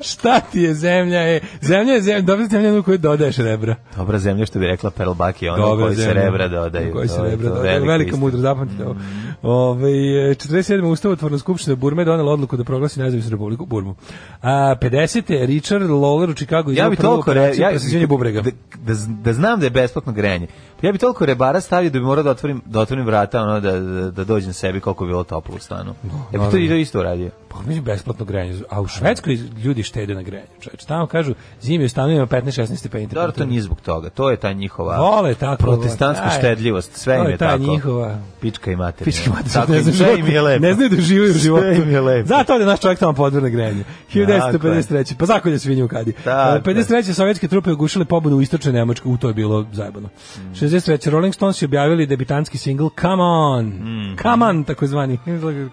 Speaker 6: Šta ti je zemlja? E, zemlja je zemlja, dobra zemlja je u koju dodaješ rebra.
Speaker 7: Dobra zemlja, što bi rekla Pearl Buck je ono
Speaker 6: Dobra
Speaker 7: koji se
Speaker 6: zemlja.
Speaker 7: rebra dodaju.
Speaker 6: Koji se
Speaker 7: To je
Speaker 6: rebra
Speaker 7: to,
Speaker 6: dodaju. Velika
Speaker 7: istina.
Speaker 6: mudrost, zapamtite ovo. Ove, 47. Ustavotvorna skupština Burme donela odluku da proglasi nezavisnu republiku Burmu. A, 50. Richard Lawler u Chicago
Speaker 7: Ja bi toliko re, ja
Speaker 6: presađenje bubrega.
Speaker 7: Da, da, z- da znam da je besplatno grejanje. Ja bi toliko rebara stavio da bi morao da otvorim da otvorim vrata ono da da, da dođem sebi koliko je bilo toplo u stanu. Ja bi to i to isto uradio.
Speaker 6: Pa mi je besplatno grejanje, a u Švedskoj ljudi štede na grejanju. Čoveče, tamo kažu zimi u stanovima 15-16 stepeni.
Speaker 7: Dobro, to nije zbog toga. To je ta njihova
Speaker 6: Vole tako,
Speaker 7: protestantska
Speaker 6: taj-
Speaker 7: štedljivost. Sve
Speaker 6: to
Speaker 7: im
Speaker 6: je
Speaker 7: je
Speaker 6: ta
Speaker 7: tako.
Speaker 6: njihova-
Speaker 7: Pička i mater.
Speaker 6: Pički mater,
Speaker 7: Tako
Speaker 6: ne
Speaker 7: im,
Speaker 6: znam
Speaker 7: sve
Speaker 6: kako-
Speaker 7: im je lepo.
Speaker 6: Ne znaju da žive u
Speaker 7: Sve
Speaker 6: životu.
Speaker 7: im je lepo.
Speaker 6: Zato je naš čovjek tamo podvrne grejanje. 1953. Pa zakolje svinju u kadi.
Speaker 7: Tako
Speaker 6: E, 53. sovjetske trupe ugušile pobunu u istočnoj Nemačkoj. U to je bilo zajebano.
Speaker 7: Mm.
Speaker 6: 63. Rolling Stones su objavili debitanski singl Come On.
Speaker 7: Mm.
Speaker 6: Come On, takozvani.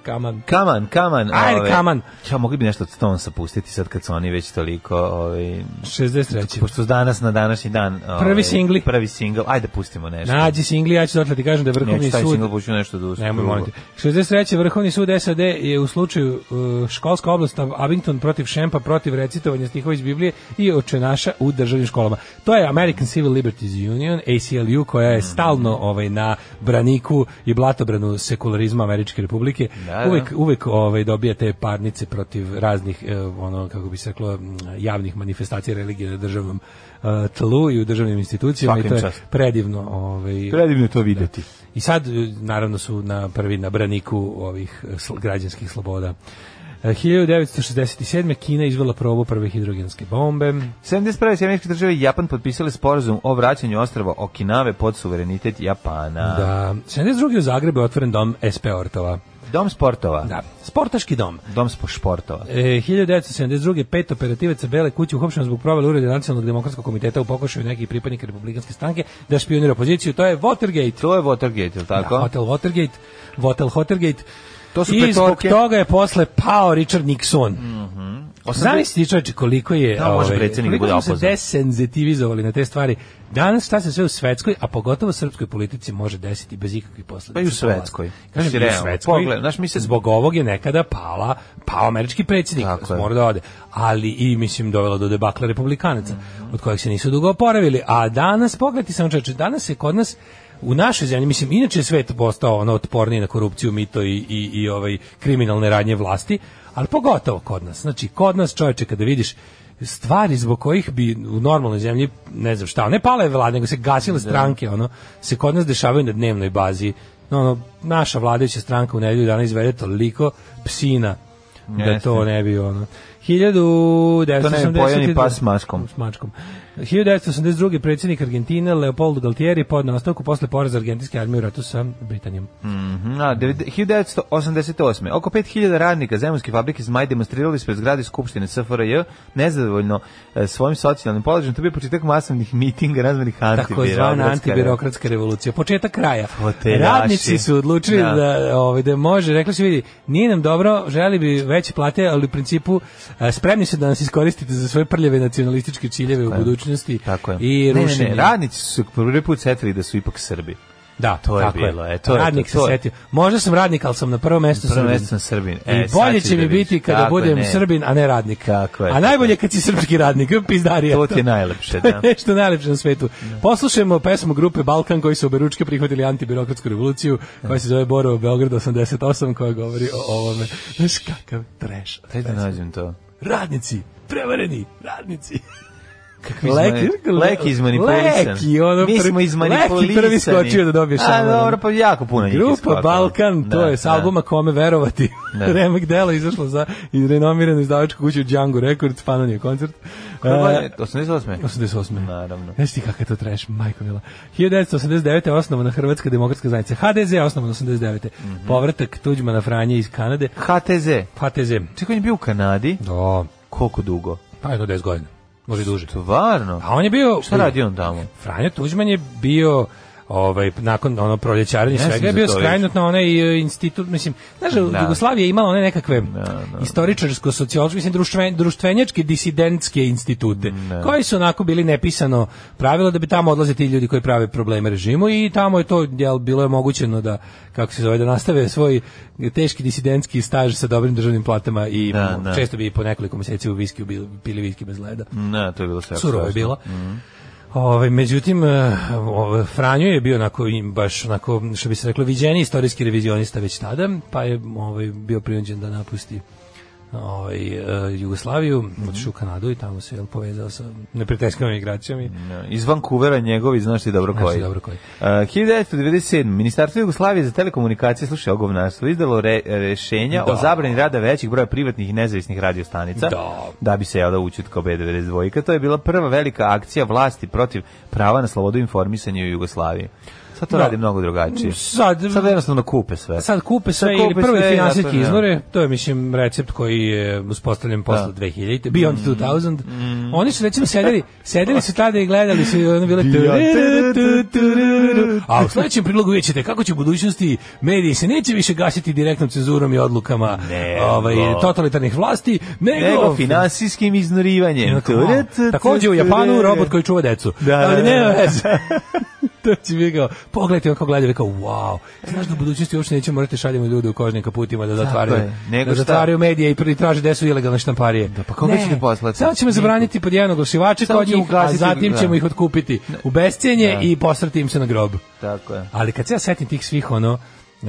Speaker 6: Come On.
Speaker 7: Kaman, kaman.
Speaker 6: Ajde,
Speaker 7: ove,
Speaker 6: come on.
Speaker 7: Ja mogli bi nešto od Stonesa pustiti sad kad su oni već toliko... ovaj, Ove,
Speaker 6: 63.
Speaker 7: pošto su danas na današnji dan... ove,
Speaker 6: Prvi singli.
Speaker 7: Prvi singl. Ajde, pustimo nešto.
Speaker 6: Nađi singli, ja ću dotle ti kažem da je Vrhovni
Speaker 7: Neću taj
Speaker 6: sud
Speaker 7: singl, puću nešto da uspiju.
Speaker 6: Nemoj moliti. 63. Vrhovni sud SAD je u slučaju uh, školska oblast Abington protiv Šempa protiv recitovanja stihova iz Biblije i očenaša u državnim školama. To je American Civil Liberties Union, ACLU, koja je stalno ovaj, na braniku i blatobranu sekularizma Američke republike.
Speaker 7: Da, da.
Speaker 6: Uvek, uvek ovaj, dobija te parnice protiv raznih, eh, ono, kako bi se reklo, m, javnih manifestacija religije na državnom eh, tlu i u državnim institucijama
Speaker 7: Svaka
Speaker 6: i to
Speaker 7: im
Speaker 6: je
Speaker 7: čast.
Speaker 6: predivno ovaj,
Speaker 7: Predivno je to videti.
Speaker 6: i sad, e, naravno, su na prvi na braniku ovih e, sl- građanskih sloboda. E, 1967. Kina izvela probu prve hidrogenske bombe.
Speaker 7: 71. Sjemeničke države i Japan potpisali sporazum o vraćanju ostrava Okinave pod suverenitet Japana.
Speaker 6: Da, 72. u Zagrebu je otvoren dom SP Ortova.
Speaker 7: Dom sportova.
Speaker 6: Da, sportaški dom.
Speaker 7: Dom spo športova.
Speaker 6: E, 1972. pet operativaca Bele kuće uhopšeno zbog provale ureda Nacionalnog demokratskog komiteta u pokušaju nekih pripadnika republikanske stranke da špionira opoziciju. To je Watergate.
Speaker 7: To je Watergate, ili tako?
Speaker 6: Da, hotel Watergate. Hotel Watergate.
Speaker 7: To su
Speaker 6: I zbog
Speaker 7: petorke. Mhm.
Speaker 6: toga je posle pao Richard Nixon. Zamisli ti čovječe koliko je
Speaker 7: Da, može
Speaker 6: ovaj,
Speaker 7: predsjednik da
Speaker 6: koliko smo
Speaker 7: bude
Speaker 6: se
Speaker 7: opozvan.
Speaker 6: desenzitivizovali na te stvari. Danas šta se sve u svetskoj, a pogotovo srpskoj politici može desiti bez ikakvih posledica.
Speaker 7: Pa i u
Speaker 6: po vlast.
Speaker 7: Svetskoj.
Speaker 6: Kažem, i u
Speaker 7: Realno,
Speaker 6: svetskoj.
Speaker 7: pogled, znaš, mi se-
Speaker 6: Zbog ovog je nekada pala, pao američki predsjednik,
Speaker 7: Tako je.
Speaker 6: mora da ode. Ali i, mislim, dovelo do debakla republikanaca, od kojeg se nisu dugo oporavili. A danas, pogledajte samo čovječe, danas je kod nas u našoj zemlji, mislim, inače je svet postao ono otporniji na korupciju, mito i, i, i ovaj kriminalne radnje vlasti, ali pogotovo kod nas. Znači, kod nas čovječe, kada vidiš stvari zbog kojih bi u normalnoj zemlji ne znam šta, ne pale vlade, nego se gasile stranke, ono, se kod nas dešavaju na dnevnoj bazi. No, ono, naša vladajuća stranka u nedelju dana izvede toliko psina da
Speaker 7: Jeste.
Speaker 6: to ne bi ono. 1982.
Speaker 7: To ne bi pojeni pas s mačkom.
Speaker 6: S mačkom. 1982. predsjednik Argentine Leopoldo Galtieri pod nastavku posle poraza argentinske armije u ratu sa Britanijom.
Speaker 7: Na, devet- 1988. Oko 5000 radnika Zemunske fabrike Zmaj demonstrirali ispred zgrade Skupštine SFRJ nezadovoljno e, svojim socijalnim položajem. To bi početak masovnih mitinga razmenih
Speaker 6: takozvana
Speaker 7: antibirokratska.
Speaker 6: antibirokratska revolucija. Početak kraja.
Speaker 7: Hotelaši.
Speaker 6: Radnici su odlučili
Speaker 7: Da.
Speaker 6: da, ovaj, da može, rekli su vidi, nije nam dobro, želi bi veće plate, ali u principu eh, spremni su da nas iskoristite za svoje prljave nacionalističke ciljeve u budućnosti
Speaker 7: Tako je.
Speaker 6: i
Speaker 7: Ne, ne,
Speaker 6: rušenje.
Speaker 7: ne, radnici su se prvi put setili da su ipak Srbi.
Speaker 6: Da,
Speaker 7: To je
Speaker 6: tako
Speaker 7: bilo, e, to je
Speaker 6: radnik
Speaker 7: to,
Speaker 6: se
Speaker 7: to je.
Speaker 6: setio. Možda sam radnik, ali sam na prvom mestu
Speaker 7: Prvo
Speaker 6: Srbin.
Speaker 7: mesto sam Srbin. E,
Speaker 6: I
Speaker 7: sad
Speaker 6: bolje
Speaker 7: ćeš
Speaker 6: će
Speaker 7: da
Speaker 6: mi
Speaker 7: vidiš.
Speaker 6: biti kada
Speaker 7: Tako
Speaker 6: budem
Speaker 7: ne.
Speaker 6: Srbin, a ne radnik.
Speaker 7: Tako je,
Speaker 6: a
Speaker 7: tako
Speaker 6: najbolje kad si srpski radnik, pizdarija.
Speaker 7: To ti je najlepše,
Speaker 6: To je
Speaker 7: da.
Speaker 6: nešto najlepše na svetu. Poslušajmo pesmu grupe Balkan koji su oberučke prihvatili antibirokratsku revoluciju, koja se zove Borovo Beograd 88, koja govori o ovome. Znaš kakav trash.
Speaker 7: Daj da nađem to.
Speaker 6: Radnici, prevareni, radnici.
Speaker 7: Kakvi izmani- leki izmanipulisan.
Speaker 6: Leki, ono
Speaker 7: Mi smo
Speaker 6: prvi-
Speaker 7: izmanipulisani.
Speaker 6: Leki prvi skočio da dobije
Speaker 7: A,
Speaker 6: šamar, ono.
Speaker 7: dobro, pa jako puno njih je
Speaker 6: Grupa
Speaker 7: skočilo.
Speaker 6: Balkan, to
Speaker 7: Da,
Speaker 6: je s
Speaker 7: da.
Speaker 6: albuma Kome verovati.
Speaker 7: Da.
Speaker 6: Remek dela izašlo za i renomiranu izdavačku kuću Django Records, fanan je koncert.
Speaker 7: Koje godine?
Speaker 6: E,
Speaker 7: 88.
Speaker 6: 88.
Speaker 7: Naravno.
Speaker 6: Znaš ti kakav je to trash, majko mila. 1989. je osnovana Hrvatska demokratska zajednica. HDZ je osnovana 89.
Speaker 7: Mhm.
Speaker 6: Povratak Tuđmana Franje iz Kanade.
Speaker 7: HTZ.
Speaker 6: HTZ.
Speaker 7: Čekaj, on je bio u Kanadi.
Speaker 6: Do,
Speaker 7: Koliko dugo?
Speaker 6: pa jedno 10 godina. Može i duže.
Speaker 7: Tvarno.
Speaker 6: A on je bio...
Speaker 7: Šta radi on tamo?
Speaker 6: Franjo Tuđman je bio ovaj nakon ono proljećarenja
Speaker 7: Ne
Speaker 6: svega
Speaker 7: znam
Speaker 6: je
Speaker 7: za
Speaker 6: bio
Speaker 7: to,
Speaker 6: skrajnut na onaj e, institut mislim znaš
Speaker 7: Da.
Speaker 6: Jugoslavija je imala one nekakve
Speaker 7: da.
Speaker 6: istoričarsko sociološke mislim društven, društvenjačke disidentske institute koji su onako bili nepisano pravilo da bi tamo odlaze ti ljudi koji prave probleme režimu i tamo je to jel, bilo je omogućeno da kako se zove da nastave svoj teški disidentski staž sa dobrim državnim platama i
Speaker 7: Da, da.
Speaker 6: često bi i po nekoliko mjeseci u viskiju bili- pili viski bez leda
Speaker 7: Ne, to je bilo sve.
Speaker 6: surovo je bilo.
Speaker 7: Mhm.
Speaker 6: Ovaj međutim eh, ovaj, Franjo je bio onako im- baš onako što bi se reklo viđeni istorijski revizionista već tada, pa je ovaj bio prinuđen da napusti ovaj eh, Jugoslaviju,
Speaker 7: Mhm.
Speaker 6: otišao u Kanadu i tamo se je povezao sa neprijateljskom migracijom
Speaker 7: Mhm.
Speaker 6: i
Speaker 7: Iz Vancouvera njegovi, znaš ti dobro
Speaker 6: Znaš ti
Speaker 7: koji.
Speaker 6: dobro koji.
Speaker 7: Uh, 1997. Ministarstvo Jugoslavije za telekomunikacije, slušaj, ogovnarstvo, izdalo re, rešenja o zabrani rada većih broja privatnih i nezavisnih radiostanica,
Speaker 6: Da.
Speaker 7: bi se jela učutka B92. To je bila prva velika akcija vlasti protiv prava na slobodu informisanja u Jugoslaviji. Sad to
Speaker 6: Da.
Speaker 7: radi mnogo drugačije.
Speaker 6: sad
Speaker 7: Sad jednostavno kupe sve.
Speaker 6: sad kupe sve
Speaker 7: Sad
Speaker 6: ili
Speaker 7: kupe
Speaker 6: prve
Speaker 7: sve i
Speaker 6: finansijske
Speaker 7: naprave, da.
Speaker 6: izvore, to je mislim recept koji je uspostavljen posle 2000, Beyond
Speaker 7: Mhm.
Speaker 6: 2000. Oni su recimo sedeli, sedeli su tada i gledali su i ono bile
Speaker 7: Beyond.
Speaker 6: tururu, tururu. A u sledećem prilogu vidjet ćete kako će u budućnosti mediji se neće više gasiti direktnom cenzurom i odlukama
Speaker 7: Nego.
Speaker 6: ovaj, totalitarnih vlasti, nego,
Speaker 7: Nego finansijskim iznorivanjem.
Speaker 6: Onako, a, Takođe u Japanu robot koji čuva decu.
Speaker 7: Da, da,
Speaker 6: ali
Speaker 7: da,
Speaker 6: nema
Speaker 7: da.
Speaker 6: veze. to će mi kao, pogledajte on kao gledaju, kao, wow, E, znaš da u budućnosti uopšte nećemo morati šaljemo ljude u kožnim kaputima da zatvaraju,
Speaker 7: je, nego
Speaker 6: da
Speaker 7: šta?
Speaker 6: zatvaraju medije i pri- traže gde su ilegalne štamparije. Da,
Speaker 7: pa koga ćete poslati?
Speaker 6: Samo ćemo zabraniti pod jedan oglašivače
Speaker 7: Samo
Speaker 6: kod
Speaker 7: ćemo
Speaker 6: njih, a
Speaker 7: ugasiti-
Speaker 6: zatim
Speaker 7: da.
Speaker 6: ćemo ih otkupiti u bescenje i posrati im se na grob.
Speaker 7: Tako je.
Speaker 6: Ali kad se ja setim tih svih ono,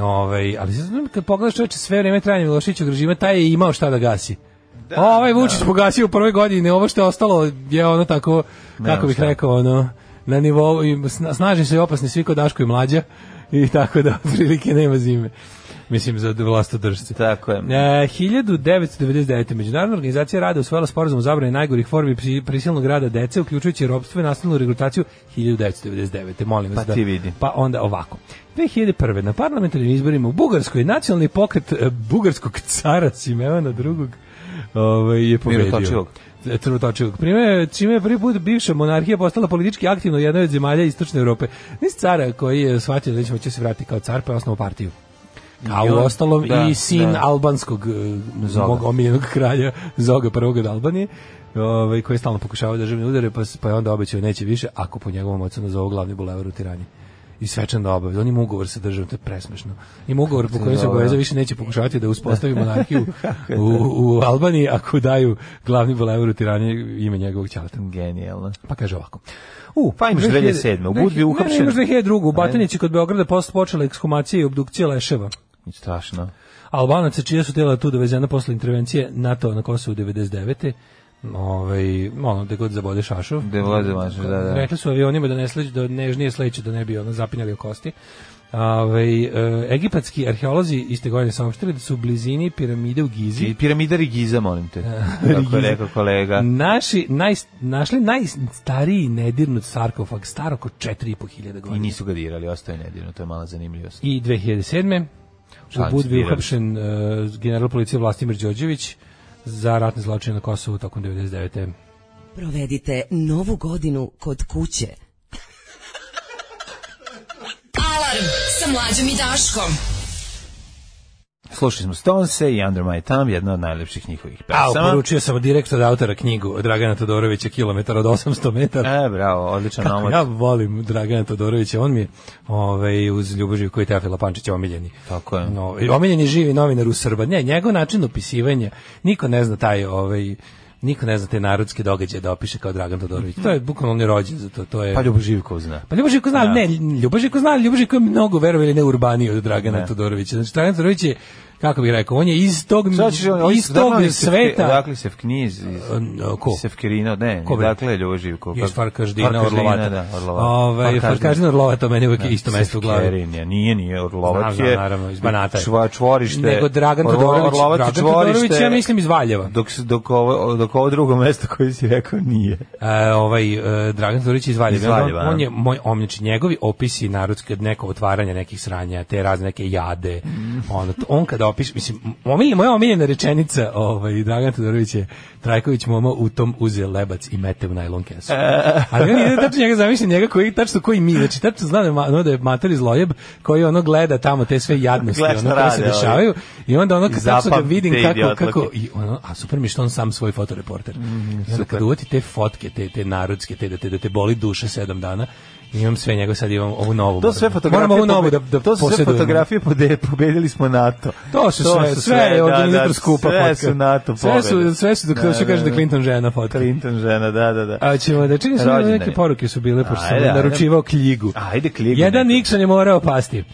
Speaker 6: ovaj, ali sad, znam, kad pogledaš čoveče sve vreme trajanja Miloševićeg režima, taj je imao šta da gasi. Da, ovaj Vučić pogasio u prvoj godini, ovo što je ostalo je ono tako, kako bih
Speaker 7: šta.
Speaker 6: rekao, ono, na nivou, i sna- snažni su i opasni svi kod Daško i mlađa, i tako da, prilike nema zime. Mislim, za vlastodržce.
Speaker 7: Tako je.
Speaker 6: E, 1999. Međunarodna organizacija rada usvojila sporazum o zabrani najgorih formi psi- prisilnog rada dece, uključujući robstvo i nasilnu rekrutaciju 1999. Molim vas
Speaker 7: Pa
Speaker 6: da,
Speaker 7: ti vidi.
Speaker 6: Pa onda ovako. 2001. na parlamentarnim izborima u Bugarskoj nacionalni pokret e, bugarskog cara Simeona II. Ovaj, je pobedio.
Speaker 7: Mirotočivog.
Speaker 6: E, Crvotočivog. Prime, čime je prvi put bivša monarhija postala politički aktivna u jednoj od zemalja Istočne Europe. Nis cara koji je shvatio da nećemo će se vratiti kao car, pa je osnovu partiju. Kao
Speaker 7: I
Speaker 6: u
Speaker 7: on-
Speaker 6: ostalom
Speaker 7: da,
Speaker 6: i sin
Speaker 7: da.
Speaker 6: albanskog e,
Speaker 7: Zoga.
Speaker 6: mog omiljenog kralja Zoga prvog od Albanije, ovaj koji je stalno pokušavao državne udare, pa s- pa je onda obećao neće više ako po njegovom ocenu za glavni bulevar u Tirani. I svečan da obavi. On ima ugovor sa državom, to je presmešno. Ima ugovor po kojem se
Speaker 7: dobro.
Speaker 6: obavezao više neće pokušavati da uspostavi monarhiju u, u Albaniji ako daju glavni bulevar u Tirani ime njegovog ćaleta.
Speaker 7: Genijalno.
Speaker 6: Pa kaže ovako. U,
Speaker 7: Pa imaš 2007. U Budvi
Speaker 6: Ne, ne,
Speaker 7: uhapšen.
Speaker 6: imaš 2002. U
Speaker 7: Ajde.
Speaker 6: Batinići kod Beograda posle počela ekshumacija i obdukcija leševa.
Speaker 7: Strašno.
Speaker 6: Albanaca čija su tela tu dovezena posle intervencije NATO na Kosovu 99. Ovaj, ono, da god zabode šašu.
Speaker 7: Gde god zabode, da, da.
Speaker 6: Rekli su avionima da ne sleću, da nežnije sleću, da ne bi ono zapinjali o kosti. Ovaj, e, egipatski arheolozi iste godine saopštili da su u blizini piramide u Gizi.
Speaker 7: I piramidari Giza, molim te. Kako je rekao kolega.
Speaker 6: Naši, naj, našli najstariji nedirnut sarkofag, star oko 4500 godina.
Speaker 7: I nisu ga dirali, ostaje nedirno, to je mala zanimljivost.
Speaker 6: I 2007. U
Speaker 7: Šalim se,
Speaker 6: Budvi je
Speaker 7: dirali
Speaker 6: uhapšen eh, general policije Vlastimir Đorđević za ratne zločine na Kosovu tokom 99.
Speaker 9: Provedite novu godinu kod kuće.
Speaker 5: Alarm sa mlađom i Daškom.
Speaker 7: Slušali smo Stonese i Under My Thumb, jedna od najlepših njihovih
Speaker 6: A,
Speaker 7: pesama.
Speaker 6: poručio sam direkt od autora knjigu od Dragana Todorovića, kilometar od 800 metara.
Speaker 7: E, bravo, odličan
Speaker 6: Kako
Speaker 7: omot.
Speaker 6: ja volim Dragana Todorovića, on mi je ovaj, uz Ljubožiju koji je Teofila Pančića omiljeni.
Speaker 7: Tako je.
Speaker 6: No, i omiljeni živi novinar u Srba. Ne, njegov način opisivanja, niko ne zna taj ovaj, niko ne zna te narodske događaje da opiše kao Dragan Todorović. To je bukvalno on je rođen za to. To je
Speaker 7: Pa Ljubo Živkov zna.
Speaker 6: Pa Ljubo Živko zna,
Speaker 7: Da.
Speaker 6: ne, Ljubo Živko zna, Ljubo Živko je mnogo verovali ne urbaniji od Dragana Todorovića. Znači, Dragan Todorović je kako bih rekao, on je iz tog,
Speaker 7: Šta ćeš, on-
Speaker 6: iz
Speaker 7: ovi-
Speaker 6: tog
Speaker 7: odakle se-
Speaker 6: sveta.
Speaker 7: Odakle se v knjiz, iz,
Speaker 6: E, ko?
Speaker 7: iz Sefkirina, ne,
Speaker 6: Ko
Speaker 7: ko
Speaker 6: bre?
Speaker 7: dakle je Ljuživko.
Speaker 6: Još Farkaždina,
Speaker 7: Farkaždina,
Speaker 6: Orlovata.
Speaker 7: Da, Orlovata.
Speaker 6: Ove, Farkaždina, Orlovata, to meni je uvek isto mesto u glavi.
Speaker 7: Sefkerin je, Znači, nije, nije, Orlovat
Speaker 6: Znam,
Speaker 7: je.
Speaker 6: znam, naravno, iz Banata je.
Speaker 7: Čva, čvorište.
Speaker 6: Nego Dragan
Speaker 7: Orlo-
Speaker 6: Todorović,
Speaker 7: Orlovat je
Speaker 6: Dragan Todorović,
Speaker 7: čvorište,
Speaker 6: ja mislim iz Valjeva.
Speaker 7: Dok, s- dok, ovo, dok ovo drugo mesto koje si rekao nije.
Speaker 6: E, ovaj e, Dragan Todorović iz Valjeva.
Speaker 7: Iz Valjeva,
Speaker 6: on, on
Speaker 7: a?
Speaker 6: je moj omljač, njegovi opisi narodski od neko otvaranja nekih sranja, te razne neke jade.
Speaker 7: Mhm.
Speaker 6: Ono, t- on kada opiše, mislim, omilj, moja omiljena rečenica, ovaj Dragan Todorović je Trajković momo u tom uze lebac i mete u najlon kesu.
Speaker 7: E.
Speaker 6: Ali on je tačno njega zamišlja, njega koji tačno koji mi, znači tačno zna da je ma- ono da je mater iz Lojeb koji ono gleda tamo te sve jadnosti,
Speaker 7: Gleda šta
Speaker 6: ono koje se
Speaker 7: rade, ovaj.
Speaker 6: dešavaju i onda ono
Speaker 7: I
Speaker 6: kad tačno ga
Speaker 7: zapamti
Speaker 6: vidim
Speaker 7: te
Speaker 6: kako,
Speaker 7: idiotluke.
Speaker 6: kako, i ono, a super mi je što on sam svoj fotoreporter.
Speaker 7: Mhm,
Speaker 6: I onda kad uvati te fotke, te, te narodske, te da te, da te boli duše sedam dana, imam sve njega, sad imam ovu novu.
Speaker 7: To su sve
Speaker 6: moram.
Speaker 7: fotografije.
Speaker 6: Moram ovu novu da,
Speaker 7: pobe-
Speaker 6: da
Speaker 7: to su sve
Speaker 6: posedujem.
Speaker 7: fotografije pode, pobedili smo NATO.
Speaker 6: To su sve, sve je
Speaker 7: da,
Speaker 6: organizator
Speaker 7: da,
Speaker 6: skupa
Speaker 7: Sve
Speaker 6: fotka.
Speaker 7: su NATO
Speaker 6: Sve su-
Speaker 7: pobede.
Speaker 6: sve su, dok-
Speaker 7: Da,
Speaker 6: što kaže
Speaker 7: da,
Speaker 6: da Clinton žena fotka.
Speaker 7: Clinton žena, da, da, da.
Speaker 6: A ćemo da čini se
Speaker 7: Rođendan
Speaker 6: neke
Speaker 7: je.
Speaker 6: poruke su bile pošto sam
Speaker 7: Ajde, ajde.
Speaker 6: naručivao knjigu.
Speaker 7: Ajde, Mhm. kligu.
Speaker 6: Jedan
Speaker 7: neku.
Speaker 6: Nixon je morao pasti.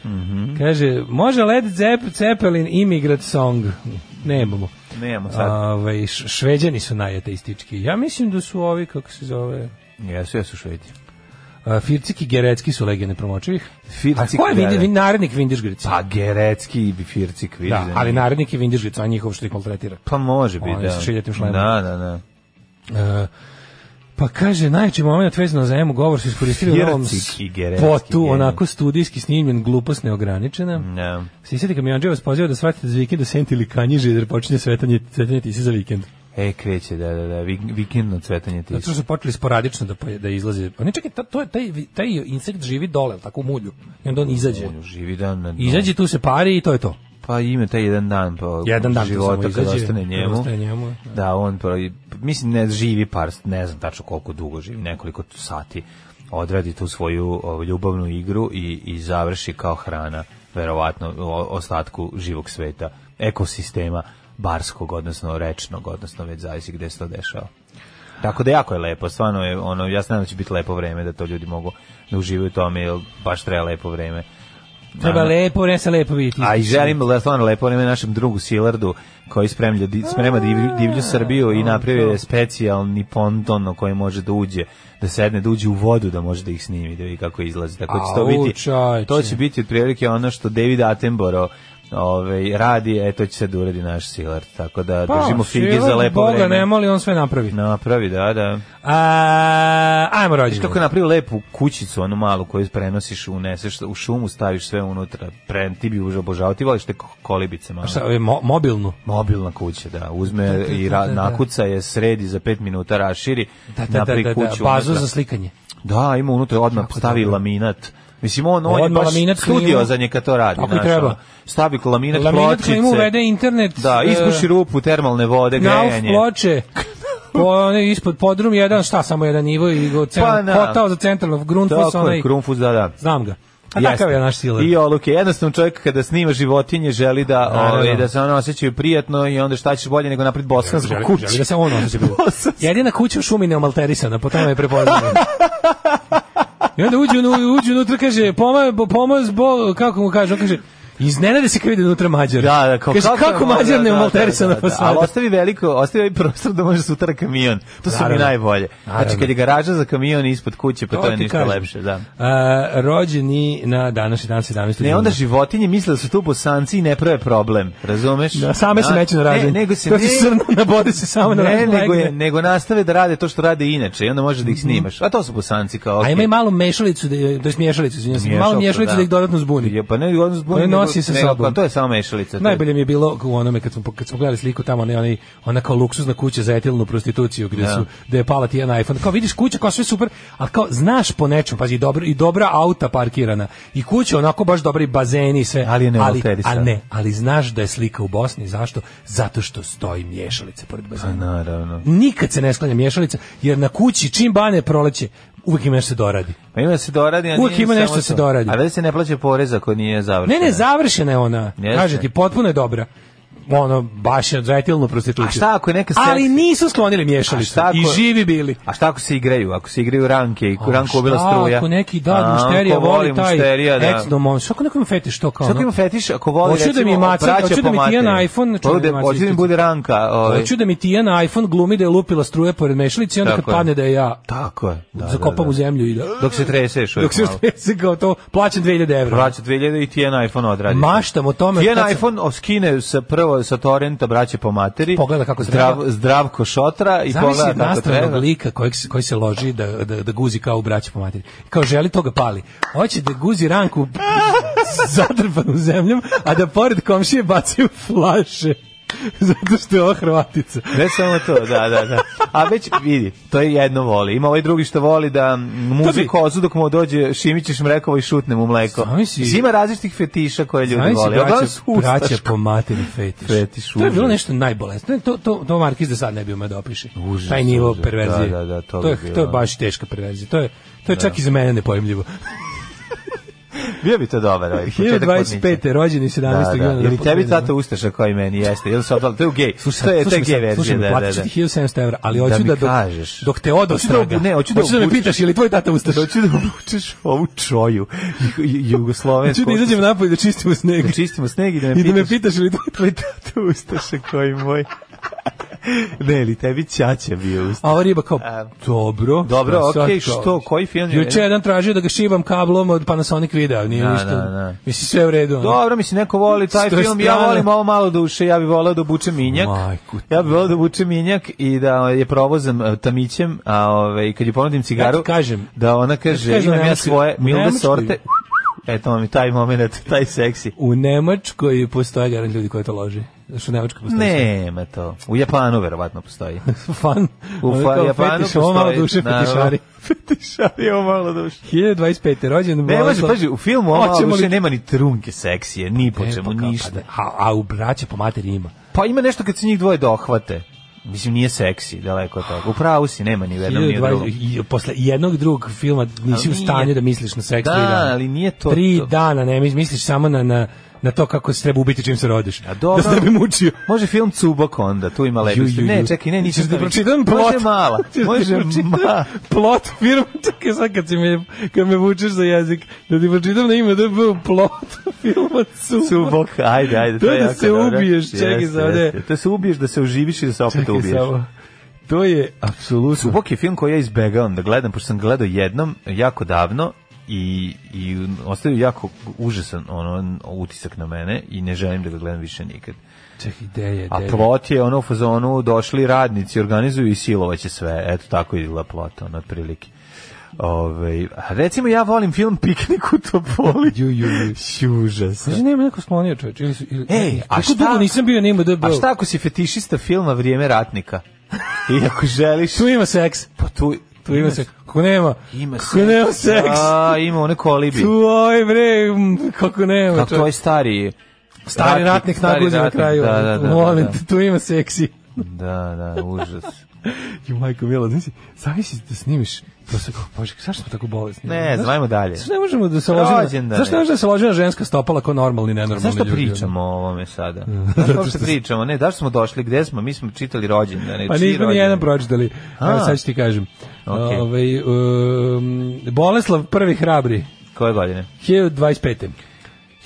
Speaker 6: Kaže, može Led Zepp- Zeppelin Immigrant Song? Nemamo.
Speaker 7: Nemamo sad.
Speaker 6: Ove, š- šveđani su najateistički. Ja mislim da su ovi, kako se zove,
Speaker 7: Jesu, jesu švedi.
Speaker 6: a, Fircik i Gerecki su legije nepromočivih.
Speaker 7: Fircik,
Speaker 6: A ko je
Speaker 7: da,
Speaker 6: vin,
Speaker 7: da.
Speaker 6: vin, narednik Vindižgrica?
Speaker 7: Pa Gerecki i Bifircik, vidiš.
Speaker 6: da, ali narednik je Vindižgrica, a njihov što ih maltretira.
Speaker 7: Pa može biti,
Speaker 6: Oni
Speaker 7: da.
Speaker 6: sa šiljatim šlemom.
Speaker 7: Da, da, da.
Speaker 6: E, pa kaže, najveći moment vezano za emu govor su iskoristili u ovom
Speaker 7: Fircik i Gerecki,
Speaker 6: potu,
Speaker 7: je.
Speaker 6: onako studijski snimljen, glupost neograničena.
Speaker 7: Da.
Speaker 6: Sisati kamionđe vas poziva da shvatite za vikend da senti ili kanjiže jer počinje svetanje, svetanje tisi za vikend.
Speaker 7: E, kreće, da, da, da. Vik- Vikendno cvetanje ti.
Speaker 6: Zato što su počeli sporadično da, poje- da izlaze. Oni čekaj, ta, to je, taj, vi- taj insekt živi dole, jel tako u mulju. I onda on izađe.
Speaker 7: Živi dan na dnu.
Speaker 6: Izađe, tu se pari i to je to.
Speaker 7: Pa ima taj jedan dan pa
Speaker 6: Jedan dan tu
Speaker 7: života
Speaker 6: samo
Speaker 7: kad
Speaker 6: izađe,
Speaker 7: ostane
Speaker 6: kad
Speaker 7: njemu.
Speaker 6: ostane njemu,
Speaker 7: Da, on pa, mislim ne živi par, ne znam tačno koliko dugo živi, nekoliko sati. Odradi tu svoju o, ljubavnu igru i, i završi kao hrana, verovatno o- ostatku živog sveta, ekosistema barskog, odnosno rečnog, odnosno već zavisi gde se to dešava. Tako da jako je lepo, stvarno je ono, ja se nadam da će biti lepo vreme da to ljudi mogu da uživaju u tome, jer baš treba lepo vreme.
Speaker 6: Treba
Speaker 7: Naravno-
Speaker 6: lepo, ne se lepo vidjeti.
Speaker 7: a i želim le- stvarno lepo vreme našem drugu Silardu koji spremlja di- sprema divlju, divlju Srbiju i napravio je specijalni ponton na koji može da uđe da sedne, da uđe u vodu da može da ih snimi da vidi kako izlazi. Tako će to
Speaker 6: Au,
Speaker 7: biti.
Speaker 6: čoveče.
Speaker 7: To će biti otprilike ono što David Attenborough ovaj radi, e to će sad uradi naš Silard. Tako da
Speaker 6: Pa,
Speaker 7: držimo fige za
Speaker 6: silat
Speaker 7: lepo
Speaker 6: Boga
Speaker 7: vreme.
Speaker 6: ne moli, on sve napravi.
Speaker 7: Napravi, da, da.
Speaker 6: A, ajmo rođendan.
Speaker 7: Kako je napravio lepu kućicu, onu malu koju prenosiš, uneseš u šumu, staviš sve unutra. Pre, ti bi užao obožavao, ti voliš te ko- kolibice malo.
Speaker 6: Šta, e, mo- mobilnu.
Speaker 7: mobilna kuća, da, uzme i ra,
Speaker 6: da, da.
Speaker 7: nakuca je sredi za 5 minuta raširi,
Speaker 6: Da, da, da,
Speaker 7: napravi
Speaker 6: da, da,
Speaker 7: kuću
Speaker 6: bazu
Speaker 7: unutra.
Speaker 6: za slikanje.
Speaker 7: Da, ima unutra odmah stavi laminat. Mislim, on, on je
Speaker 6: Odmah
Speaker 7: baš
Speaker 6: laminat klimu.
Speaker 7: studio za nje kad to radi.
Speaker 6: Tako i
Speaker 7: znaš,
Speaker 6: treba.
Speaker 7: ono. Stavi laminat,
Speaker 6: Laminat
Speaker 7: pločice.
Speaker 6: klimu uvede internet.
Speaker 7: Da,
Speaker 6: e,
Speaker 7: ispuši rupu termalne vode,
Speaker 6: Nauf
Speaker 7: grejanje.
Speaker 6: ploče. Po one ispod podrum jedan, šta, samo jedan nivo i go
Speaker 7: Pa,
Speaker 6: cel,
Speaker 7: na.
Speaker 6: kotao za centralno, Grundfos,
Speaker 7: Tako je,
Speaker 6: onaj,
Speaker 7: krumfus, da, da.
Speaker 6: znam ga. A
Speaker 7: Jeste.
Speaker 6: takav je naš siler.
Speaker 7: I oluke, jednostavno čovjek kada snima životinje želi da,
Speaker 6: Naravno.
Speaker 7: ove, da se ono osjećaju prijatno i onda šta ćeš bolje nego napred bosansku
Speaker 6: Želi-
Speaker 7: kuću.
Speaker 6: želi da se on osjeća bolje.
Speaker 7: Bosanska.
Speaker 6: Jedina kuća u šumi neomalterisana, po tome je prepoznana. I onda uđe, unu- uđe unutra, kaže, pomoz, pomoz, bo, kako mu kaže, on kaže, iznenade se kad vidi unutra Mađar.
Speaker 7: Da, da, kao
Speaker 6: kaže, kako, Mađar neomalterisana
Speaker 7: da, da, da, Ali
Speaker 6: fasada?
Speaker 7: ostavi veliko, ostavi ovaj prostor da može sutra kamion. To su mi
Speaker 6: Naravno.
Speaker 7: najbolje.
Speaker 6: Naravno.
Speaker 7: Znači kad je garaža za kamion ispod kuće, pa to, je
Speaker 6: ti
Speaker 7: ništa
Speaker 6: kažem.
Speaker 7: lepše, da.
Speaker 6: A, rođeni na današnji dan 17.
Speaker 7: Ne,
Speaker 6: juna.
Speaker 7: onda životinje misle da su tu bosanci i ne prave problem, razumeš?
Speaker 6: Da, same se
Speaker 7: Na-
Speaker 6: neće narađen.
Speaker 7: Ne, nego se
Speaker 6: to
Speaker 7: ne,
Speaker 6: ti srna nabode se samo na
Speaker 7: ne,
Speaker 6: razne
Speaker 7: nego, je,
Speaker 6: legne.
Speaker 7: nego nastave da rade to što rade inače i onda može da ih snimaš. A to su bosanci
Speaker 6: Mhm.
Speaker 7: kao,
Speaker 6: A
Speaker 7: okej.
Speaker 6: ima i malu mešalicu, da, je- to je miješalicu, izvinjam se, malu
Speaker 7: Miješalku,
Speaker 6: miješalicu da. ih dodatno zbuni.
Speaker 7: Je, pa ne, on zbuni,
Speaker 6: Koje
Speaker 7: nego-
Speaker 6: nosi sa
Speaker 7: nego-
Speaker 6: sobom.
Speaker 7: pa To je samo mešalica. to je-
Speaker 6: Najbolje mi je bilo u onome kad smo kad smo gledali sliku tamo ne onaj ona kao luksuzna kuća za etilnu prostituciju gde su da je pala ti jedan iPhone. Kao vidiš kuća koja sve super, ali kao znaš po nečemu, pazi i dobro i dobra auta parkirana i kuća onako baš dobra i bazeni i sve.
Speaker 7: Ali je
Speaker 6: ali,
Speaker 7: nealterisana.
Speaker 6: a ne, ali znaš da je slika u Bosni, zašto? Zato što stoji miješalica pored bazena.
Speaker 7: Naravno.
Speaker 6: Nikad se ne sklanja miješalica jer na kući čim bane proleće uvek ima nešto se doradi.
Speaker 7: Pa ima da se doradi, a
Speaker 6: Uvijek
Speaker 7: nije
Speaker 6: ima
Speaker 7: samo
Speaker 6: nešto da se
Speaker 7: to.
Speaker 6: doradi.
Speaker 7: A već se ne plaća porez ako nije
Speaker 6: Pa Ne,
Speaker 7: završeno.
Speaker 6: ne, završena je ona.
Speaker 7: Jeste.
Speaker 6: Kaže ti, potpuno je dobra. ono baš je odvratilnu prostituciju.
Speaker 7: A šta ako je neka
Speaker 6: Ali
Speaker 7: seksi-
Speaker 6: nisu sklonili
Speaker 7: A
Speaker 6: miješalicu
Speaker 7: šta ako-
Speaker 6: i živi bili.
Speaker 7: A šta ako se igraju? Ako se igraju ranke i
Speaker 6: A
Speaker 7: ranko obila
Speaker 6: šta
Speaker 7: struja.
Speaker 6: Ako neki
Speaker 7: A,
Speaker 6: da mušterija
Speaker 7: ako
Speaker 6: voli taj
Speaker 7: mušterija, da.
Speaker 6: etno mom. Što ako neko ima fetiš to kao?
Speaker 7: Šta ako
Speaker 6: ono?
Speaker 7: ima fetiš, ako voli
Speaker 6: Hoću da
Speaker 7: recimo
Speaker 6: mi maca-
Speaker 7: braća
Speaker 6: hoću da mi
Speaker 7: pomate.
Speaker 6: Tijan iPhone, znači,
Speaker 7: Hoću da-
Speaker 6: maca
Speaker 7: Hoću da mi bude ranka. ovaj.
Speaker 6: Hoću da mi Tijan iPhone glumi da je lupila struje pored mešalice i onda kad
Speaker 7: Tako je.
Speaker 6: padne da je ja
Speaker 7: Tako je. Da,
Speaker 6: zakopam u zemlju i da...
Speaker 7: Dok se treseš.
Speaker 6: Dok se stresi kao to, plaćam 2000 evra.
Speaker 7: Braća 2000 i Tijan iPhone odradi.
Speaker 6: Maštam o tome.
Speaker 7: Tijan
Speaker 6: pa kad sam-
Speaker 7: iPhone o- skine sa prvo sa torrenta braće po materi.
Speaker 6: Pogleda kako
Speaker 7: zdrav,
Speaker 6: treba.
Speaker 7: Zdravko šotra i
Speaker 6: Zamisli
Speaker 7: pogleda kako
Speaker 6: nastavnog
Speaker 7: treba.
Speaker 6: lika kojeg, se- koji se loži da, da, da guzi kao u braći po materi. Kao želi to ga pali. Hoće da guzi ranku zatrpanu zemljom, a da pored komšije bacaju flaše. Zato što je ova Hrvatica.
Speaker 7: Ne samo to, da, da, da. A već vidi, to je jedno voli. Ima ovaj drugi što voli da muzi
Speaker 6: bi-
Speaker 7: kozu dok mu dođe Šimićeš mrekovo i šutne mu mleko.
Speaker 6: Zamisli-
Speaker 7: Mislim, Ima različitih fetiša koje ljudi
Speaker 6: Znaš si
Speaker 7: vole.
Speaker 6: braća,
Speaker 7: Uglavnom su ustaška.
Speaker 6: braća po materi fetiš.
Speaker 7: Fetiš,
Speaker 6: to je bilo
Speaker 7: užas.
Speaker 6: nešto najbolesnije. To, to, to Markiz da sad ne bi umeo da opiše.
Speaker 7: Užas,
Speaker 6: Taj nivo
Speaker 7: užas.
Speaker 6: perverzije.
Speaker 7: Da, da, da, to
Speaker 6: to, je,
Speaker 7: bi bilo.
Speaker 6: to je baš teška perverzija. To je, to je čak i za mene nepojemljivo.
Speaker 7: Bio bi to dobar. Ovaj, početak podmića.
Speaker 6: 1025. rođeni 17.
Speaker 7: Da, da.
Speaker 6: juna.
Speaker 7: Ili tebi
Speaker 6: Da, da.
Speaker 7: tata ustaša kao i meni jeste. Ili su odali, to je u gej.
Speaker 6: Slušaj,
Speaker 7: to je, to je
Speaker 6: slušaj
Speaker 7: gej
Speaker 6: me sad,
Speaker 7: verzija,
Speaker 6: slušaj me,
Speaker 7: da, da,
Speaker 6: platit ću
Speaker 7: da.
Speaker 6: ti 1700 evra, ali hoću
Speaker 7: Da
Speaker 6: da,
Speaker 7: mi
Speaker 6: dok,
Speaker 7: kažeš.
Speaker 6: dok te odostraga,
Speaker 7: Hoću da obu- ne, hoću da
Speaker 6: me
Speaker 7: obučeš.
Speaker 6: pitaš je li tvoj tata ustaš.
Speaker 7: Doću da obučeš ovu čoju ju- ju-
Speaker 6: Hoću
Speaker 7: jugoslovensku.
Speaker 6: da izađem napolje da čistimo sneg.
Speaker 7: Da čistimo sneg i da me
Speaker 6: I da me
Speaker 7: Znači, pitaš-
Speaker 6: pitaš je li tvoj
Speaker 7: tvoj tata ustaša koji moj. Ne, ili tebi ćaća bio ustaša.
Speaker 6: A ova riba kao, dobro.
Speaker 7: Dobro,
Speaker 6: šta sad
Speaker 7: okej,
Speaker 6: kao?
Speaker 7: što, koji film je?
Speaker 6: Juče jedan tražio da ga šivam kablom od Panasonic videa, nije
Speaker 7: Da,
Speaker 6: ništa.
Speaker 7: da, da.
Speaker 6: Mislim, sve u redu. ono.
Speaker 7: Dobro, mislim, neko voli taj
Speaker 6: S te
Speaker 7: film, ja
Speaker 6: strane-
Speaker 7: volim ovo malo duše, ja bih volao da obučem minjak.
Speaker 6: Majku ti.
Speaker 7: Ja bih volao da obučem minjak i da je provozam eh, tamićem, a ove, i kad je ponudim cigaru,
Speaker 6: Ja ti kažem.
Speaker 7: da ona kaže,
Speaker 6: Ja ti kažem,
Speaker 7: imam ja
Speaker 6: Nemačkoj-
Speaker 7: svoje milde
Speaker 6: Nemačkoj-
Speaker 7: sorte. E, to mi taj moment, taj seksi.
Speaker 6: U Nemačkoj postoje garant ljudi koji to loži. Znaš, u Nemačkoj postoji
Speaker 7: Nema to. U Japanu verovatno postoji.
Speaker 6: sve. fan.
Speaker 7: U
Speaker 6: ono
Speaker 7: fa-
Speaker 6: kao
Speaker 7: Japanu
Speaker 6: fetiš, ovo malo
Speaker 7: postoji,
Speaker 6: duše
Speaker 7: naravno.
Speaker 6: fetišari.
Speaker 7: Fetišari, ovo malo duše.
Speaker 6: 1025. rođen.
Speaker 7: Ne može,
Speaker 6: Vojislav-
Speaker 7: paži, u filmu ovo malo
Speaker 6: Hoćemo
Speaker 7: duše
Speaker 6: li-
Speaker 7: nema ni trunke seksije, ni po
Speaker 6: E,
Speaker 7: čemu,
Speaker 6: pa kao,
Speaker 7: ništa.
Speaker 6: pa da, A, a u braća po materi ima.
Speaker 7: Pa ima nešto kad se njih dvoje dohvate. Mislim, nije seksi, daleko od toga. U pravu si, nema ni u jednom, ni u drugom.
Speaker 6: 1020 i posle jednog drugog filma nisi
Speaker 7: Ali
Speaker 6: u
Speaker 7: nije-
Speaker 6: stanju da misliš na seks
Speaker 7: Da,
Speaker 6: tri dana.
Speaker 7: ali nije to-
Speaker 6: Tri
Speaker 7: to-
Speaker 6: dana, ne mis- misliš samo na, na, na to kako se treba ubiti čim se rodiš.
Speaker 7: A dobro.
Speaker 6: Da se ne bi mučio.
Speaker 7: Može film Cubok onda, tu ima
Speaker 6: Ju,
Speaker 7: leposti.
Speaker 6: ju,
Speaker 7: Ne,
Speaker 6: ju.
Speaker 7: čekaj, ne, nisam
Speaker 6: Hoćeš da pročitam plot.
Speaker 7: Može mala,
Speaker 6: Hoćeš da
Speaker 7: može
Speaker 6: pročitam
Speaker 7: mala.
Speaker 6: Plot firma, čekaj sad kad, si me, kad me vučeš za jezik, da ti pročitam na ime da je bio plot filma Cubok.
Speaker 7: Cubok, ajde, ajde.
Speaker 6: To je da
Speaker 7: jako
Speaker 6: se
Speaker 7: dobro.
Speaker 6: ubiješ, čekaj,
Speaker 7: Jeste,
Speaker 6: sad,
Speaker 7: jeste.
Speaker 6: ne.
Speaker 7: To se ubiješ da se oživiš i da se opet
Speaker 6: Čekaj
Speaker 7: ubiješ.
Speaker 6: samo. To je apsolutno...
Speaker 7: Cubok je film koji ja izbegavam da gledam, pošto sam ga gledao jednom, jako davno, i, i ostavio jako užasan ono, utisak na mene i ne želim da ga gledam više nikad.
Speaker 6: Čekaj, ideje, ideje.
Speaker 7: A plot je ono u fazonu došli radnici, organizuju i silovaće sve. Eto tako izgleda plot, ono, otprilike. Ove, a recimo ja volim film Piknik u Topoli.
Speaker 6: Ju, ju, ju.
Speaker 7: Užasan.
Speaker 6: Kaže, Pa znači nema neko sklonio čoveč. Ili su, ili,
Speaker 7: Ej, a
Speaker 6: Kako
Speaker 7: šta-
Speaker 6: dugo nisam bio na IMDb-u?
Speaker 7: A šta ako si fetišista filma Vrijeme ratnika? I ako želiš...
Speaker 6: Tu ima seks.
Speaker 7: Pa tu,
Speaker 6: Tu ima seks. Kako nema?
Speaker 7: Ima
Speaker 6: Kako nema seks?
Speaker 7: A, ima one kolibi.
Speaker 6: Tu, oj bre, m, kako nema
Speaker 7: Kako
Speaker 6: čoveč.
Speaker 7: je stari...
Speaker 6: Stari ratnik,
Speaker 7: stari
Speaker 6: naguzi na
Speaker 7: ratnik,
Speaker 6: kraju. ono,
Speaker 7: Da, da, da.
Speaker 6: Molim
Speaker 7: da,
Speaker 6: te, tu ima seksi.
Speaker 7: da, da, da, užas.
Speaker 6: Ju, majko, mila, znači, zavisi da snimiš. To se kao, bože, zašto smo tako bolesni?
Speaker 7: Ne,
Speaker 6: Znaš,
Speaker 7: znajmo dalje.
Speaker 6: Zašto ne možemo da se ložimo?
Speaker 7: Rođendan
Speaker 6: Zašto
Speaker 7: je.
Speaker 6: ne možemo da se ložimo na ženska stopala kao normalni, nenormalni
Speaker 7: Zašto
Speaker 6: ljudi? ono?
Speaker 7: pričamo o ovome sada? Zašto uopšte pričamo? Ne, zašto smo došli? Gde smo? Mi smo čitali rođendane.
Speaker 6: Pa
Speaker 7: čiji
Speaker 6: nismo ni
Speaker 7: rođendan?
Speaker 6: jedan pročitali.
Speaker 7: A.
Speaker 6: Evo sad ću ti kažem.
Speaker 7: Okej.
Speaker 6: Ovaj, um, Boleslav prvi hrabri.
Speaker 7: Koje godine?
Speaker 6: 1025.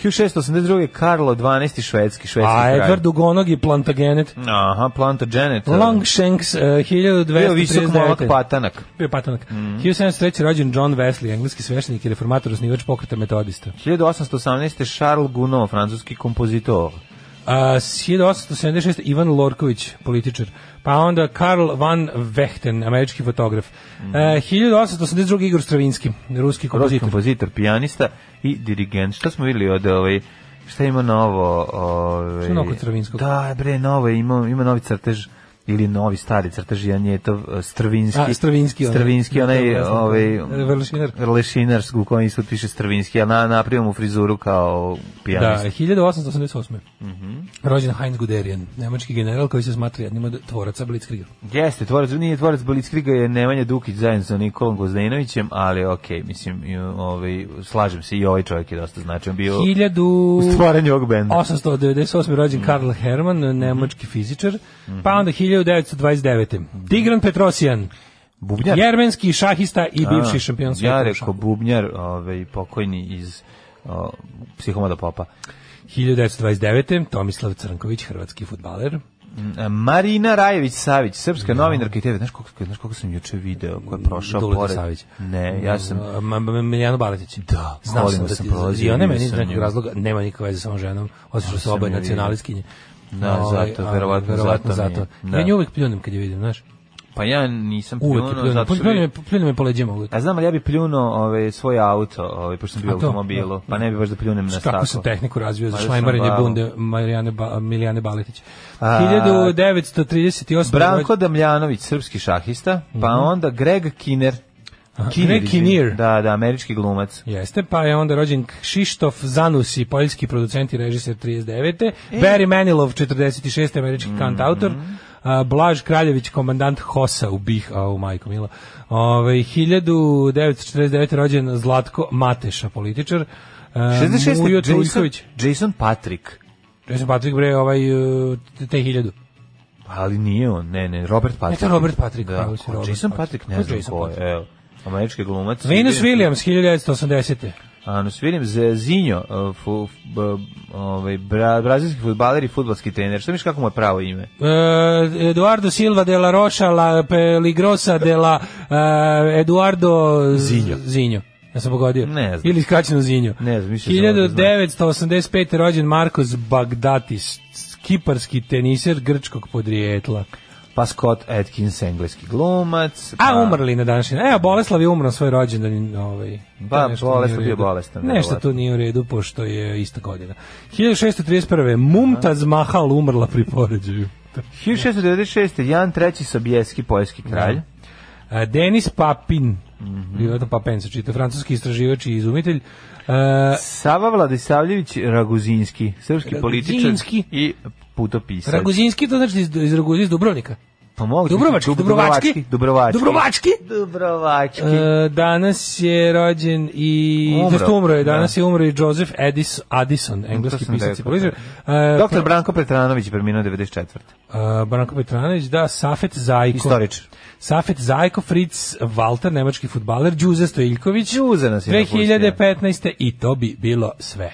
Speaker 7: 1682. Karlo 12. švedski, švedski
Speaker 6: A
Speaker 7: kralj.
Speaker 6: Edward Ugonog i Plantagenet.
Speaker 7: Aha, Plantagenet.
Speaker 6: Longshanks, uh,
Speaker 7: Bio visok momak Mhm.
Speaker 6: 1239.
Speaker 7: patanak.
Speaker 6: Bio patanak. 1703. rođen John Wesley, engleski sveštenik i reformator, osnivač pokreta metodista.
Speaker 7: 1818. Charles Gounod, francuski kompozitor.
Speaker 6: A, s 1876. Ivan Lorković, političar. Pa onda Karl van Vechten, američki fotograf.
Speaker 7: Mhm.
Speaker 6: E, 1882. Igor Stravinski, ruski
Speaker 7: Ruski
Speaker 6: kompozitor.
Speaker 7: kompozitor, pijanista i dirigent. Šta smo videli od ovaj Šta ima novo? Ovaj
Speaker 6: Šta je novo kod Stravinskog?
Speaker 7: Da, bre, novo je, ima ima novi crtež ili novi stari crtež Janjetov eh, Stravinski.
Speaker 6: A, Stravinski, onaj.
Speaker 7: Stravinski,
Speaker 6: Da,
Speaker 7: onaj,
Speaker 6: da, da.
Speaker 7: ovaj,
Speaker 6: Lešinar.
Speaker 7: Lešinar, u kojem isto piše Stravinski, a na, napravio mu frizuru kao
Speaker 6: Da,
Speaker 7: pijanist.
Speaker 6: 1888.
Speaker 7: Mhm.
Speaker 6: Rođen Heinz Guderian, nemački general koji se smatra jednim od tvoraca Blitzkriega.
Speaker 7: Jeste, tvorac, nije tvorac Blitzkriga je Nemanja Dukić zajedno sa Nikolom Gozdenovićem, ali okej, mislim, i, ovaj, slažem se, i ovaj čovjek je dosta značajan bio u
Speaker 6: 1000
Speaker 7: stvaranju ovog benda.
Speaker 6: 898.
Speaker 7: Mm.
Speaker 6: rođen Karl Hermann,
Speaker 7: Mhm.
Speaker 6: nemački fizičar. Pa onda 1929. Tigran Petrosijan,
Speaker 7: Mhm. Bubnjar.
Speaker 6: jermenski šahista i bivši
Speaker 7: A,
Speaker 6: šampion sveta.
Speaker 7: Ja
Speaker 6: u
Speaker 7: rekao
Speaker 6: šahu.
Speaker 7: Bubnjar, ovaj, pokojni iz o, Psihomada Popa.
Speaker 6: 1929. Tomislav Crnković, hrvatski futbaler.
Speaker 7: E, Marina Rajević Savić, srpska novinarka i TV. Znaš koliko, znaš koliko sam juče video ko je prošao
Speaker 6: Duleta
Speaker 7: pored?
Speaker 6: Savić. Mm,
Speaker 7: Ne, ja sam...
Speaker 6: Ma- ma- Miljano Baletić.
Speaker 7: Da,
Speaker 6: Znao
Speaker 7: volim
Speaker 6: sam
Speaker 7: da
Speaker 6: da
Speaker 7: sam
Speaker 6: ti-
Speaker 7: prolazio,
Speaker 6: I ona
Speaker 7: vidio
Speaker 6: meni iz
Speaker 7: sam
Speaker 6: nekog
Speaker 7: nju.
Speaker 6: razloga nema nikakve veze sa mojom ženom, osim što su
Speaker 7: sam
Speaker 6: oboje
Speaker 7: je vidio.
Speaker 6: nacionalistkinje.
Speaker 7: Da,
Speaker 6: Ovaj,
Speaker 7: zato,
Speaker 6: a,
Speaker 7: verovatno
Speaker 6: verovatno
Speaker 7: zato mi
Speaker 6: zato.
Speaker 7: je.
Speaker 6: Ja
Speaker 7: Da.
Speaker 6: nju uvijek pljunem kad je vidim, znaš.
Speaker 7: Pa ja nisam
Speaker 6: Uvek je
Speaker 7: pljunuo,
Speaker 6: pljunem.
Speaker 7: zato što E, bi...
Speaker 6: Pljunem, pljunem je po leđima uvijek.
Speaker 7: Ja znam, ali ja bi pljunuo ovaj, svoj auto, ovaj, pošto sam bio
Speaker 6: A
Speaker 7: u
Speaker 6: to?
Speaker 7: automobilu, pa ne bi baš da pljunem na
Speaker 6: Kako
Speaker 7: staklo.
Speaker 6: sam tehniku razvio za
Speaker 7: Pa da sam
Speaker 6: šlajmarenje
Speaker 7: bravo.
Speaker 6: bunde Marijane ba, Milijane Baletić.
Speaker 7: A,
Speaker 6: 1938.
Speaker 7: Branko Damljanović, srpski šahista, pa onda Greg Kinner.
Speaker 6: Mhm. Greg
Speaker 7: izvini.
Speaker 6: Kinnear.
Speaker 7: Da, da, američki glumac.
Speaker 6: Jeste, pa je onda rođen Kšištof Zanusi, poljski producent i režiser 39. Barry Manilov, 46. američki kantautor. A, Blaž Kraljević, komandant Hosa u Bih, a u majko mila. Ovaj, Ove, 1949. rođen Zlatko Mateša, političar. A,
Speaker 7: 66.
Speaker 6: Mujo
Speaker 7: Jason,
Speaker 6: Čuljković.
Speaker 7: Jason Patrick.
Speaker 6: Jason Patrick Bre, ovaj, e, te hiljadu.
Speaker 7: Pa, Ali nije on, ne, ne, Robert Patrick.
Speaker 6: to je Robert Patrick,
Speaker 7: Da,
Speaker 6: pravo si,
Speaker 7: ko-
Speaker 6: Robert
Speaker 7: Jason
Speaker 6: Patrick.
Speaker 7: Patrick,
Speaker 6: Ko
Speaker 7: ne
Speaker 6: je
Speaker 7: znam
Speaker 6: Jason
Speaker 7: ko je,
Speaker 6: Patrick?
Speaker 7: evo. Američki glumac.
Speaker 6: Venus Williams, 1980.
Speaker 7: Anus Williams, Zinjo, uh, fu, f- b- ovaj, bra, brazilski futbaler i futbalski trener. Što miš kako mu je pravo ime?
Speaker 6: Eh, Eduardo Silva de la Rocha, la Peligrosa de la eh, Eduardo Z-
Speaker 7: Zinjo.
Speaker 6: Zinjo. Ja sam pogodio.
Speaker 7: Ne znam.
Speaker 6: Ili skraćeno Zinjo.
Speaker 7: Ne znam, mislio sam da znam.
Speaker 6: 1985. rođen Markos Bagdatis, kiparski teniser grčkog podrijetla.
Speaker 7: Pa Scott Atkins, engleski glumac.
Speaker 6: A
Speaker 7: pa-
Speaker 6: umrli na današnji. dan. Evo, Boleslav je umro na svoj rođendan. Ovaj,
Speaker 7: Pa,
Speaker 6: to nešto nije
Speaker 7: Boleslav
Speaker 6: u
Speaker 7: je
Speaker 6: redu.
Speaker 7: bolestan,
Speaker 6: Nešto
Speaker 7: verovatno.
Speaker 6: tu nije u redu, pošto je ista godina. 1631. Mumtaz Mahal umrla pri porođaju.
Speaker 7: 1696. Jan III. Sobieski, poljski kralj.
Speaker 6: A, E, Denis Papin, vjerojatno Papin se čita, francuski istraživač i izumitelj. E,
Speaker 7: Sava Vladisavljević Raguzinski, srpski političar
Speaker 6: Raguzinski.
Speaker 7: i putopisac.
Speaker 6: Raguzinski, to znači iz, iz, Ragu- iz Dubrovnika.
Speaker 7: Pa mogu ti-
Speaker 6: Dubrovački,
Speaker 7: Dub-
Speaker 6: Dubrovački,
Speaker 7: Dubrovački.
Speaker 6: Dubrovački.
Speaker 7: Dubrovački.
Speaker 6: E, danas je rođen i...
Speaker 7: Umro.
Speaker 6: Umro. umro je, danas
Speaker 7: Da.
Speaker 6: je umro i Joseph Addis, Addison, engleski
Speaker 7: sam
Speaker 6: pisac i
Speaker 7: rekao,
Speaker 6: političar. E,
Speaker 7: Doktor Branko Petranović je preminuo 94.
Speaker 6: e, Branko Petranović, da, Safet Zajko.
Speaker 7: Istoričar.
Speaker 6: Safet Zajko, Fritz Walter, nemački futbaler, Đuze Stojiljković.
Speaker 7: Đuze nas je napustio.
Speaker 6: 2015. I to bi bilo sve.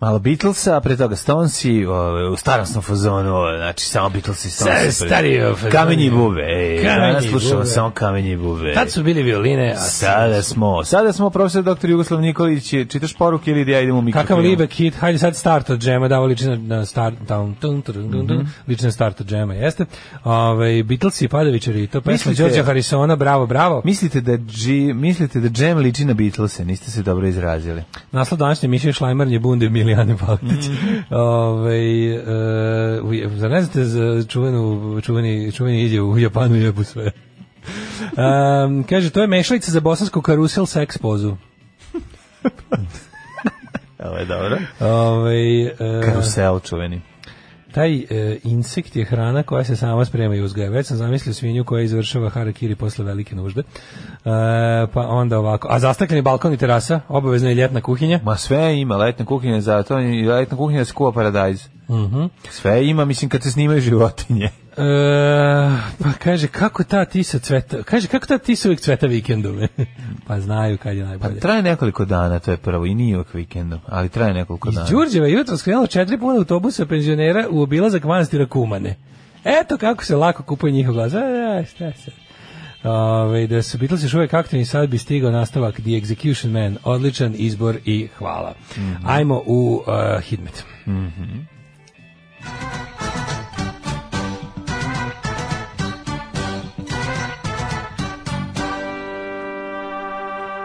Speaker 7: Malo Beatlesa, a pre toga Stonesi, ovaj, u starom sam fazonu, ovaj, znači samo Beatles i Stonesi.
Speaker 6: Sa- stario fazon.
Speaker 7: Kamenje i bube, ej,
Speaker 6: Kamenje
Speaker 7: danas
Speaker 6: i
Speaker 7: slušamo
Speaker 6: bube.
Speaker 7: samo kamenje i bube.
Speaker 6: Tad su bili violine, a
Speaker 7: Sada smo, sada smo profesor doktor Jugoslav Nikolić, čitaš poruke ili da ja idem u mikrofon?
Speaker 6: Kakav libek hit, hajde sad start od džema, da ovo liči na, na start, down, tun, tun, tun, tun,
Speaker 7: Mhm.
Speaker 6: liči na start od džema, jeste. Ove, Beatlesi i Padovićari, to pesma
Speaker 7: Mislite-
Speaker 6: Đorđa Harisona, bravo, bravo.
Speaker 7: Mislite da, G, mislite da Jam liči na Beatlese, niste se dobro izrazili.
Speaker 6: Naslov današnje mišlje šlajmarnje bunde Milijane Baletić.
Speaker 7: Mhm.
Speaker 6: Ove, e, u Je- zar ne znate za čuvenu, čuveni, čuveni idje u Japanu jebu sve? Um, kaže, to je mešalica za bosansku karusel seks pozu.
Speaker 7: Ovo je dobro.
Speaker 6: Ove, e,
Speaker 7: Karusel čuveni.
Speaker 6: Taj e, insekt je hrana koja se sama sprema i uzgaja. Već sam zamislio svinju koja izvršava harakiri posle velike nužde. E, pa onda ovako. A zastakljeni balkon i terasa, obavezna je ljetna kuhinja.
Speaker 7: Ma sve ima, letna kuhinja za to, i letna kuhinja se kuva paradajz.
Speaker 6: Mhm.
Speaker 7: Sve ima, mislim, kad se snimaju životinje.
Speaker 6: E, pa kaže, kako ta tisa cveta... Kaže, kako ta tisa uvijek cveta vikendove? pa znaju kad je
Speaker 7: Pa
Speaker 6: najbolje.
Speaker 7: traje nekoliko dana, to je prvo, i nije uvijek vikendom, ali traje nekoliko
Speaker 6: Iz
Speaker 7: dana.
Speaker 6: Đurđeva je jutro skrenulo četiri puna autobusa penzionera u obilazak manastira Kumane. Eto kako se lako kupuje njihov glas. E, e, šta se. Ove, da su Beatles još uvek aktivni, sad bi stigao nastavak The Execution Man. Odličan izbor i hvala. Ajmo u uh, Hidmet.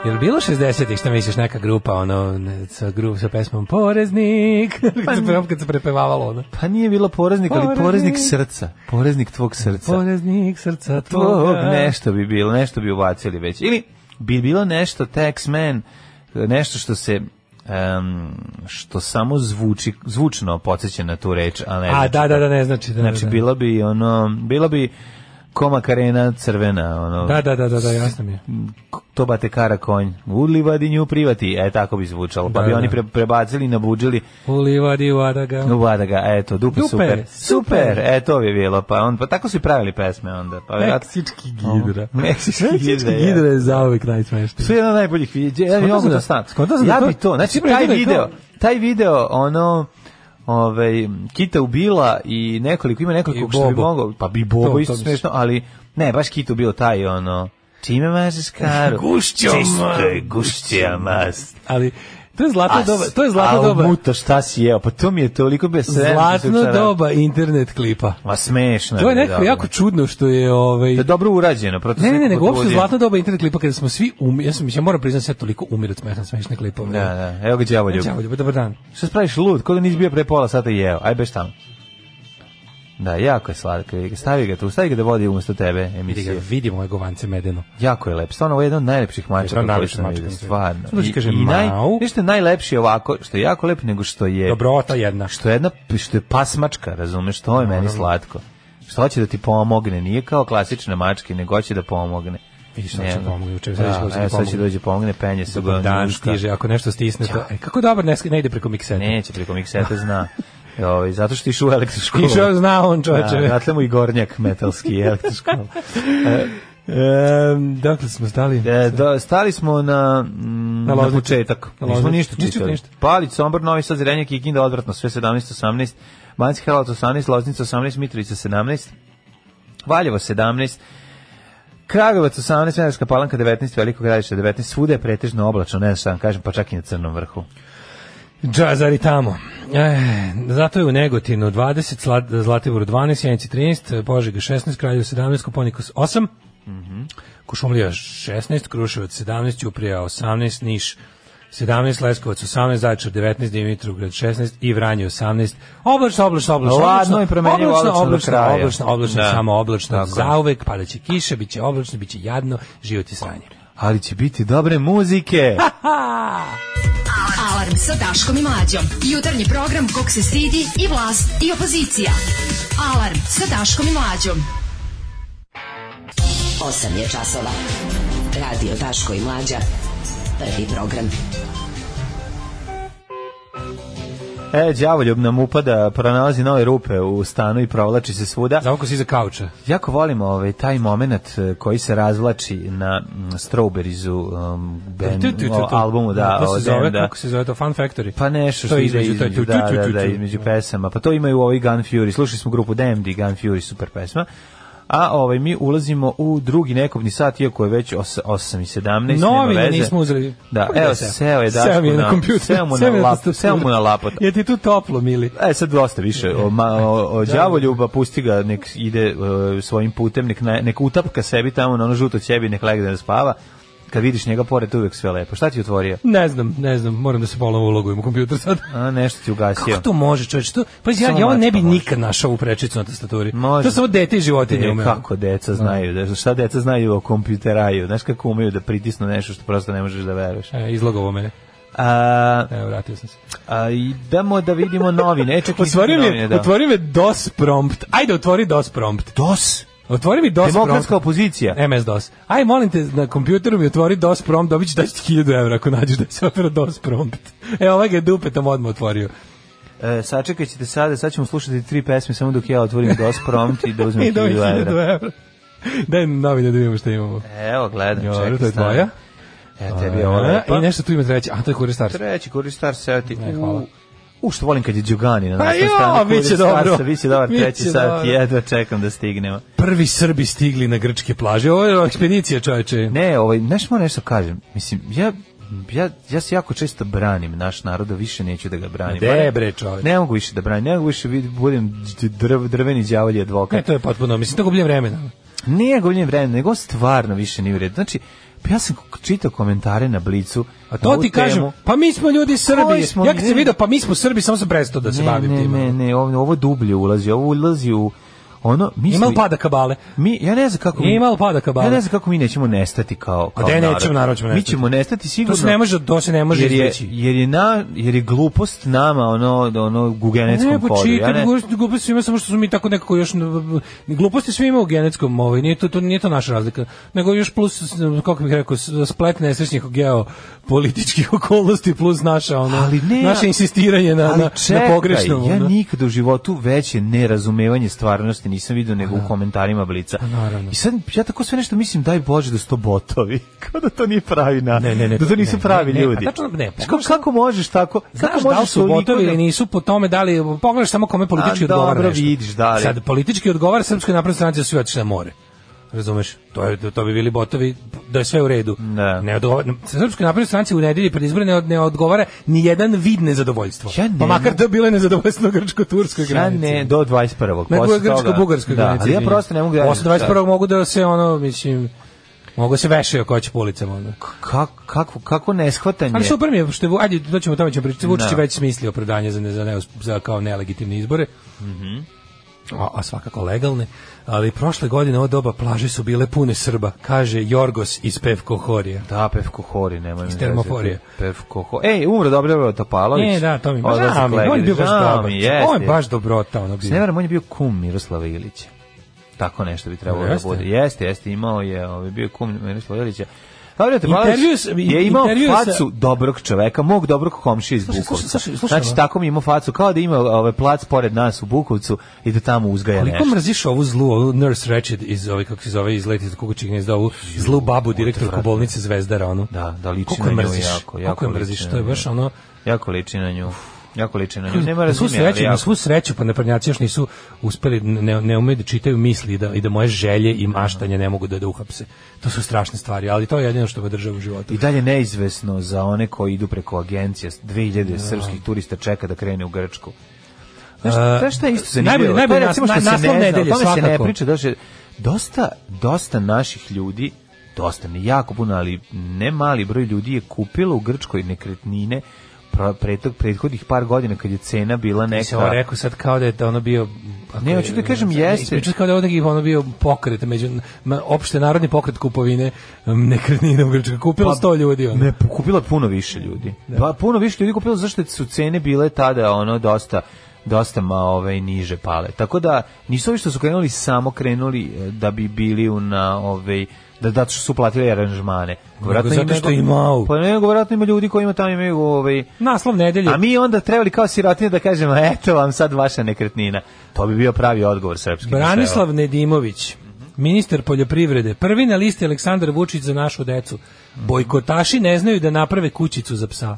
Speaker 6: Jel bilo 60-ih, šta misliš, neka grupa, ono, ne, sa, gru, sa pesmom Poreznik, kad se, pre- kad se prepevavalo, ono.
Speaker 7: Pa nije bilo poreznik, ali
Speaker 6: Poreznik.
Speaker 7: poreznik srca. Poreznik tvog srca.
Speaker 6: Poreznik srca
Speaker 7: Tvog
Speaker 6: tvoga.
Speaker 7: nešto bi bilo, nešto bi ubacili već. Ili bi bilo nešto Taxman, nešto što se em, što samo zvuči, zvučno podsjeća na tu reč, a ne
Speaker 6: A,
Speaker 7: znači
Speaker 6: da, da, da, ne znači. Da,
Speaker 7: Znači
Speaker 6: da, da.
Speaker 7: bila bi ono, bila bi koma karena crvena, ono.
Speaker 6: Da, da, da, da, da, jasno mi je.
Speaker 7: k- To bate kara konj. U livadinju privati. E, tako bi zvučalo. Pa
Speaker 6: Da,
Speaker 7: bi
Speaker 6: da.
Speaker 7: oni pre, prebacili, nabuđili.
Speaker 6: U livadi u Adaga.
Speaker 7: U Badaga, eto, dupe,
Speaker 6: Dupe,
Speaker 7: super.
Speaker 6: super.
Speaker 7: Super, e, to bi bilo. Pa, on, pa tako su i pravili pesme onda. Pa, vjerojatno-
Speaker 6: Meksički gidra.
Speaker 7: Meksički
Speaker 6: Meksički
Speaker 7: gidra, ja.
Speaker 6: gidra je zauvek najsmešniji.
Speaker 7: Sve jedno od najboljih videa. Ja bi
Speaker 6: Skontao
Speaker 7: mogu
Speaker 6: sam da-
Speaker 7: to stan.
Speaker 6: skontao sam da
Speaker 7: Ja
Speaker 6: to-
Speaker 7: bi to, znači
Speaker 6: Super,
Speaker 7: taj
Speaker 6: to je
Speaker 7: video,
Speaker 6: kao-
Speaker 7: taj video, ono, ovaj Kita ubila i nekoliko ima nekoliko
Speaker 6: I
Speaker 7: što bi
Speaker 6: Bobo.
Speaker 7: mogao, pa bi
Speaker 6: To-
Speaker 7: Bobo
Speaker 6: to
Speaker 7: isto
Speaker 6: mislim.
Speaker 7: smešno, ali ne, baš Kita ubila taj ono Čime mažeš karu?
Speaker 6: Gušćom.
Speaker 7: Čisto je gušća mast.
Speaker 6: Ali to je zlatno
Speaker 7: A s-
Speaker 6: doba, to je zlatno
Speaker 7: a
Speaker 6: doba.
Speaker 7: Muta, šta si jeo? Pa to mi je toliko besredno.
Speaker 6: Zlatno doba internet klipa.
Speaker 7: Ma smešno.
Speaker 6: To je
Speaker 7: mi
Speaker 6: nekako
Speaker 7: dobro.
Speaker 6: jako čudno što je ovaj
Speaker 7: To je dobro urađeno. proto
Speaker 6: Ne,
Speaker 7: se
Speaker 6: ne, ne, nego
Speaker 7: neko
Speaker 6: uopšte
Speaker 7: trudi.
Speaker 6: zlatno doba internet klipa kada smo svi umir, ja sam ja moram priznati sve toliko umir od smeha na smešne klipove.
Speaker 7: Da, da. Evo ga đavo
Speaker 6: Ćao, ljubav, dobar dan.
Speaker 7: Šta spraviš lud? Kod da nisi bio pre pola sata i jeo. Aj bež tamo. Da, jako je sladak. Stavi ga tu, stavi ga da vodi umesto tebe
Speaker 6: Vidi ga,
Speaker 7: emisiju.
Speaker 6: vidi moje govance medeno.
Speaker 7: Jako je lep. Stvarno, ovo je jedan od najlepših
Speaker 6: Jedan od
Speaker 7: mačaka koji
Speaker 6: najlepših
Speaker 7: sam
Speaker 6: mačaka
Speaker 7: vidio.
Speaker 6: na svijetu.
Speaker 7: Stvarno.
Speaker 6: Samo da ti kažem,
Speaker 7: naj,
Speaker 6: mau.
Speaker 7: nešto je najlepši ovako, što je jako lep, nego što je...
Speaker 6: Dobrota jedna.
Speaker 7: E, Što je jedna, što je pasmačka, razumeš? To je meni slatko. Što hoće da ti pomogne, nije kao klasične mačke, nego hoće da pomogne.
Speaker 6: Vidiš, sad će
Speaker 7: Ne,
Speaker 6: da pomogne, juče, sad će doći da
Speaker 7: evo, sad će
Speaker 6: pomogne.
Speaker 7: dođe pomogne, penje se
Speaker 6: Dobar
Speaker 7: ga
Speaker 6: dan
Speaker 7: njuška.
Speaker 6: stiže, ako nešto stisne to. E, kako dobar, ne, ne ide preko mikseta.
Speaker 7: Neće, preko mikseta zna. Ovaj, zato što išu u elektroškolu.
Speaker 6: Išao zna on čoveče.
Speaker 7: Da, Odatle mu i gornjak metalski elektroškol.
Speaker 6: Em, dakle smo stali.
Speaker 7: E, da, stali smo na, mm,
Speaker 6: Na
Speaker 7: na,
Speaker 6: Loznici.
Speaker 7: početak.
Speaker 6: Na
Speaker 7: Nismo
Speaker 6: Loznici.
Speaker 7: ništa
Speaker 6: Nisi
Speaker 7: čitali.
Speaker 6: ništa.
Speaker 7: Palić, Sombor, Novi Sad, Zrenjak i Kinda, odvratno, sve 17, 18, Banjski Hralac 18, Loznica 18, Mitrovica 17, Valjevo 17, Kragovac 18, Venarska palanka 19, Veliko gradište 19, svuda je pretežno oblačno, ne znam šta vam kažem, pa čak i na crnom vrhu.
Speaker 6: Džazari tamo. E, zato je u Negotinu 20, Zlat, Zlatiboru 12, Jenici 13, Požega 16, Kraljevo 17, Koponikos 8,
Speaker 7: Mhm.
Speaker 6: Kušumlija 16, Kruševac 17, Ćuprija 18, Niš 17, Leskovac 18, Zaječar 19, Dimitrovgrad 16 i Vranje 18. Oblačno, oblačno, oblačno.
Speaker 7: Ladno i promenljivo
Speaker 6: oblačno,
Speaker 7: oblačno do
Speaker 6: oblačno,
Speaker 7: kraja.
Speaker 6: oblačno, oblačno,
Speaker 7: Da.
Speaker 6: samo oblačno.
Speaker 7: Tako je.
Speaker 6: Zauvek padaće kiše, biće oblačno, biće jadno, život je sranje.
Speaker 7: Ali će biti dobre muzike!
Speaker 5: Alarm sa Daškom i Mlađom. Jutarnji program kog se stidi i vlast i opozicija. Alarm sa Daškom i Mlađom.
Speaker 9: 8 je časova. Radio Daško i Mlađa. Prvi program.
Speaker 7: E, đavoljub nam upada, pronalazi nove rupe u stanu i provlači se svuda.
Speaker 6: Zavako si iza kauča.
Speaker 7: Jako volim ovaj, taj moment eh, koji se razvlači na mm, Strawberries-u um, ben-
Speaker 6: Tu, tu, tu, tu.
Speaker 7: o, albumu, da,
Speaker 6: to se
Speaker 7: od
Speaker 6: zove,
Speaker 7: benda.
Speaker 6: kako se zove to, Fun Factory.
Speaker 7: Pa nešto
Speaker 6: to
Speaker 7: što
Speaker 6: je
Speaker 7: ide
Speaker 6: između, to je tu,
Speaker 7: između,
Speaker 6: tu,
Speaker 7: da,
Speaker 6: tu,
Speaker 7: da,
Speaker 6: tu,
Speaker 7: da,
Speaker 6: tu.
Speaker 7: između pesama. Pa to imaju ovi Gun Fury. Slušali smo grupu DMD, Gun Fury, super pesma. A ovaj, mi ulazimo u drugi nekobni sat, iako je već 8 i
Speaker 6: Novine
Speaker 7: 17. nema veze.
Speaker 6: nismo uzeli.
Speaker 7: Da,
Speaker 6: Kako
Speaker 7: evo,
Speaker 6: seo?
Speaker 7: seo je Daško
Speaker 6: Seo mi je na
Speaker 7: na-
Speaker 6: kompjuter.
Speaker 7: seo mu na
Speaker 6: mi je
Speaker 7: lap-
Speaker 6: tastaturu.
Speaker 7: seo mu na laptop.
Speaker 6: Je ti tu toplo, mili.
Speaker 7: E, sad dosta više. O, ma, o, o đavoljuba pusti ga, nek ide e, svojim putem, nek, na- nek utapka sebi tamo na ono žuto ćebi, nek legne da spava. Kad vidiš njega pored, to je uvek sve lepo. Šta ti je otvorio?
Speaker 6: Ne znam, ne znam, moram da se ponovo ulogujem u kompjuter sad.
Speaker 7: A, nešto ti ugasio.
Speaker 6: Kako to može, čovječ? To, pa ja,
Speaker 7: Samo
Speaker 6: ja ovo ne bi
Speaker 7: mačka može.
Speaker 6: nikad našao u prečicu na tastaturi.
Speaker 7: Može.
Speaker 6: To samo dete i životinje
Speaker 7: E,
Speaker 6: umeo.
Speaker 7: kako deca znaju, da, šta deca znaju o kompjuteraju, znaš kako umeju da pritisnu nešto što prosto ne možeš da veruješ.
Speaker 6: E, izlogovo mene.
Speaker 7: A,
Speaker 6: Evo, vratio sam se.
Speaker 7: a, idemo da vidimo novine. E, čekaj,
Speaker 6: Otvorio mi,
Speaker 7: novine,
Speaker 6: je-
Speaker 7: da.
Speaker 6: otvorio mi je DOS prompt. Ajde, otvori DOS prompt.
Speaker 7: DOS,
Speaker 6: Otvori mi DOS E. prompt.
Speaker 7: demokratska opozicija.
Speaker 6: MS-DOS. Aj, molim te, na kompjuteru mi otvori DOS prompt, dobit ću 10.000 evra ako nađeš da se otvira DOS prompt. E, ovaj ga je dupetom odmah otvorio.
Speaker 7: E, sačekaj ćete sada, sad ćemo slušati tri pesme samo dok ja otvorim DOS prompt i da uzmem
Speaker 6: I dobit
Speaker 7: 1000
Speaker 6: 1000
Speaker 7: evra.
Speaker 6: evra. Daj novine da vidimo šta imamo.
Speaker 7: Evo, gledam,
Speaker 6: Jo,
Speaker 7: čekaj,
Speaker 6: to je
Speaker 7: stani.
Speaker 6: tvoja.
Speaker 7: E, tebi je ovo lepa.
Speaker 6: I nešto tu ima treće. A, to je Kurir Stars.
Speaker 7: Treći kuristar seo ti.
Speaker 6: Ne, hvala. Pa
Speaker 7: U, U, što volim kad je Đugani na nasnoj
Speaker 6: jo,
Speaker 7: strani.
Speaker 6: bit će dobro.
Speaker 7: Biće dobar
Speaker 6: Bit
Speaker 7: treći
Speaker 6: će
Speaker 7: sat,
Speaker 6: dobro.
Speaker 7: jedva čekam da stignemo.
Speaker 6: Prvi Srbi stigli na grčke plaže. Ovo je ekspedicija, čoveče.
Speaker 7: Ne, ovaj, znaš, moram nešto kažem. Mislim, ja, ja, ja se jako često branim naš narod, a više neću da ga branim.
Speaker 6: De, bre, čoveče.
Speaker 7: Ne mogu više da branim, ne mogu više vid- budem d- drv, drveni đavolji advokat.
Speaker 6: Ne, to je potpuno, mislim, to gubljenje vremena.
Speaker 7: Nije gubljenje vremena, nego stvarno više nije u redu. Znači, pa ja sam čitao komentare na Blicu.
Speaker 6: A to ti kažem, pa mi smo ljudi Srbi. Smo, ja kad sam vidio, pa mi smo Srbi, samo sam prestao da se
Speaker 7: ne,
Speaker 6: bavim ono.
Speaker 7: ne,
Speaker 6: time.
Speaker 7: Ne, ne, ovo, ovo dublje ulazi, ovo ulazi u ono, mi
Speaker 6: Ima
Speaker 7: smo-
Speaker 6: li pada kabale?
Speaker 7: Mi, ja ne znam kako...
Speaker 6: Ima li pada kabale?
Speaker 7: Ja ne znam kako mi nećemo nestati kao, kao
Speaker 6: gde nećemo, narod ćemo
Speaker 7: Mi
Speaker 6: nestati.
Speaker 7: ćemo nestati sigurno.
Speaker 6: To se ne može, to se ne može
Speaker 7: jer je,
Speaker 6: izbeći.
Speaker 7: jer je, na, jer je glupost nama ono, ono u genetskom
Speaker 6: Ne, pa
Speaker 7: kodu.
Speaker 6: čika,
Speaker 7: ja ne,
Speaker 6: gluposti svima, samo što su mi tako nekako još... Gluposti svima u genetskom, ovaj, nije to, to, nije to naša razlika. Nego još plus, kako bih rekao, s- splet nesrećnih geopolitičkih okolnosti plus naša, ono,
Speaker 7: Ali ne,
Speaker 6: naše
Speaker 7: ja-
Speaker 6: insistiranje na,
Speaker 7: ali
Speaker 6: na,
Speaker 7: čekaj,
Speaker 6: na pogrešnom.
Speaker 7: ja
Speaker 6: ono.
Speaker 7: nikad u životu veće nerazumevanje stvarnosti nisam vidio nego u komentarima Blica.
Speaker 6: Pa naravno.
Speaker 7: I sad ja tako sve nešto mislim, daj Bože da su to botovi. Kao da to nije pravi na...
Speaker 6: Ne, ne, ne,
Speaker 7: Da to
Speaker 6: to-
Speaker 7: nisu
Speaker 6: ne,
Speaker 7: pravi
Speaker 6: ne, ne,
Speaker 7: ljudi.
Speaker 6: pa tačno, ne,
Speaker 7: Znaš,
Speaker 6: pogledaš
Speaker 7: kako možeš tako? kako
Speaker 6: Znaš da li
Speaker 7: možeš
Speaker 6: su
Speaker 7: toliko
Speaker 6: botovi
Speaker 7: da-
Speaker 6: ili nisu po tome da li pogledaš samo kome politički
Speaker 7: A,
Speaker 6: odgovara
Speaker 7: dobro,
Speaker 6: nešto.
Speaker 7: vidiš, da li.
Speaker 6: Sad politički odgovara srpskoj naprednoj stranci da su svi otišli na more. Razumeš? To je to bi bili botovi da je sve u redu.
Speaker 7: Da.
Speaker 6: Ne odgovara srpskoj naprednoj stranci u nedelji pred izbore ne, od- ne odgovara ni jedan vid nezadovoljstva.
Speaker 7: Ja ne
Speaker 6: pa makar
Speaker 7: mogu-
Speaker 6: to bilo nezadovoljstvo grčko-turskoj
Speaker 7: Ja
Speaker 6: granici.
Speaker 7: ne, do 21.
Speaker 6: Nego
Speaker 7: posle
Speaker 6: je grčko-bugarskoj
Speaker 7: toga- da,
Speaker 6: granici.
Speaker 7: ali ja prosto ne mogu da...
Speaker 6: Posle 21. mogu da se ono, mislim, mogu da se vešaju ko će po ulicama. Ono.
Speaker 7: Kako, kako, kako neshvatanje...
Speaker 6: Ali super mi je što je Vu- ajde doćemo tamo ćemo pričati. Vučić
Speaker 7: Da.
Speaker 6: je već smislio opravdanje za ne, za, ne, za kao nelegitimne izbore.
Speaker 7: Mhm.
Speaker 6: a, a svakako legalne. Ali prošle godine ovo doba plaže su bile pune Srba, kaže Jorgos iz Pevko Horija.
Speaker 7: Da, Pevko Hori, nemoj mi zezati.
Speaker 6: Termoforije.
Speaker 7: Pevko Hori. Ej, umro Dobro Topalović.
Speaker 6: Ne, E, da, to mi
Speaker 7: Odlazak
Speaker 6: baš mi, on je
Speaker 7: Legedi.
Speaker 6: bio baš
Speaker 7: Žao
Speaker 6: dobar.
Speaker 7: mi, jeste.
Speaker 6: On je baš dobrota, ono
Speaker 7: S
Speaker 6: bio.
Speaker 7: ne varam, on je bio kum Miroslava Ilića. Tako nešto bi trebalo
Speaker 6: Jeste.
Speaker 7: da bude. Jeste, jeste, imao je, ovaj, bio je kum Miroslava Ilića. Dobro
Speaker 6: Intervju
Speaker 7: Topalović
Speaker 6: s-
Speaker 7: je imao
Speaker 6: intervju sa-
Speaker 7: facu dobrog čoveka, mog dobrog komšija iz
Speaker 6: Slušaj, slušaj,
Speaker 7: Bukovca.
Speaker 6: slušaj, slušaj,
Speaker 7: Znači,
Speaker 6: ovo.
Speaker 7: tako mi je imao facu, kao da ima ovaj, plac pored nas u Bukovcu i da tamo uzgaja
Speaker 6: Koliko
Speaker 7: nešto.
Speaker 6: mrziš ovu zlu, ovu Nurse Ratched iz ove, kako se zove, iz Leti iz Kukućeg gnezda, ovu zlu babu, direktorku
Speaker 7: odvratno.
Speaker 6: bolnice Zvezdara, onu.
Speaker 7: Da, da liči
Speaker 6: Koliko je
Speaker 7: na nju
Speaker 6: mrziš?
Speaker 7: jako, jako
Speaker 6: Koliko je
Speaker 7: liči
Speaker 6: mrziš,
Speaker 7: na
Speaker 6: to je
Speaker 7: nju.
Speaker 6: baš ono...
Speaker 7: Jako liči na nju. Jako liči na nju. Nema
Speaker 6: na svu
Speaker 7: razumijevanja,
Speaker 6: sreću, na
Speaker 7: jako.
Speaker 6: svu sreću pa naprednjaci još nisu uspeli, ne, ne umeju da čitaju misli i da, i da moje želje i maštanje ne mogu da, da uhapse. To su strašne stvari, ali to je jedino što me drže u životu.
Speaker 7: I dalje neizvesno za one koji idu preko agencije. 2000 srpskih turista čeka da krene u Grčku. Znaš, znaš šta je isto
Speaker 6: E, najbolje-
Speaker 7: zanimljivo? To je
Speaker 6: najbolje
Speaker 7: recimo
Speaker 6: nas- na-
Speaker 7: što se
Speaker 6: naslov
Speaker 7: ne zna,
Speaker 6: nedelje,
Speaker 7: o tome se ne
Speaker 6: svakako.
Speaker 7: priča. Da se- dosta, dosta naših ljudi, dosta, ne jako puno, ali ne mali broj ljudi je kupilo u Grčkoj nekretnine pro- pretog, prethodnih par godina kad je cena bila
Speaker 6: Ja sam ovo
Speaker 7: neka...
Speaker 6: rekao sad kao da je to ono bio... ako
Speaker 7: Ne,
Speaker 6: je-
Speaker 7: hoću da kažem,
Speaker 6: ne,
Speaker 7: jeste.
Speaker 6: ispričao kao da je ovo neki ono bio pokret, među, ma, opšte narodni pokret kupovine um, nekretnina u Grčkoj. Kupilo
Speaker 7: Pa,
Speaker 6: sto ljudi. Ono.
Speaker 7: Ne, kupilo je puno više ljudi. Pa puno više ljudi kupilo zašto su cene bile tada ono dosta dosta ma ovaj niže pale. Tako da nisu ovi što su krenuli samo krenuli e, da bi bili u na ovaj da da što su platili aranžmane.
Speaker 6: zato što imao.
Speaker 7: Pa ne, verovatno ima ljudi koji ima tamo imaju ovaj
Speaker 6: Naslov nedelje.
Speaker 7: A mi onda trebali kao sirotinje da kažemo eto vam sad vaša nekretnina. To bi bio pravi odgovor srpski.
Speaker 6: Branislav Nedimović, ministar poljoprivrede, prvi na listi Aleksandar Vučić za našu decu. Bojkotaši ne znaju da naprave kućicu za psa.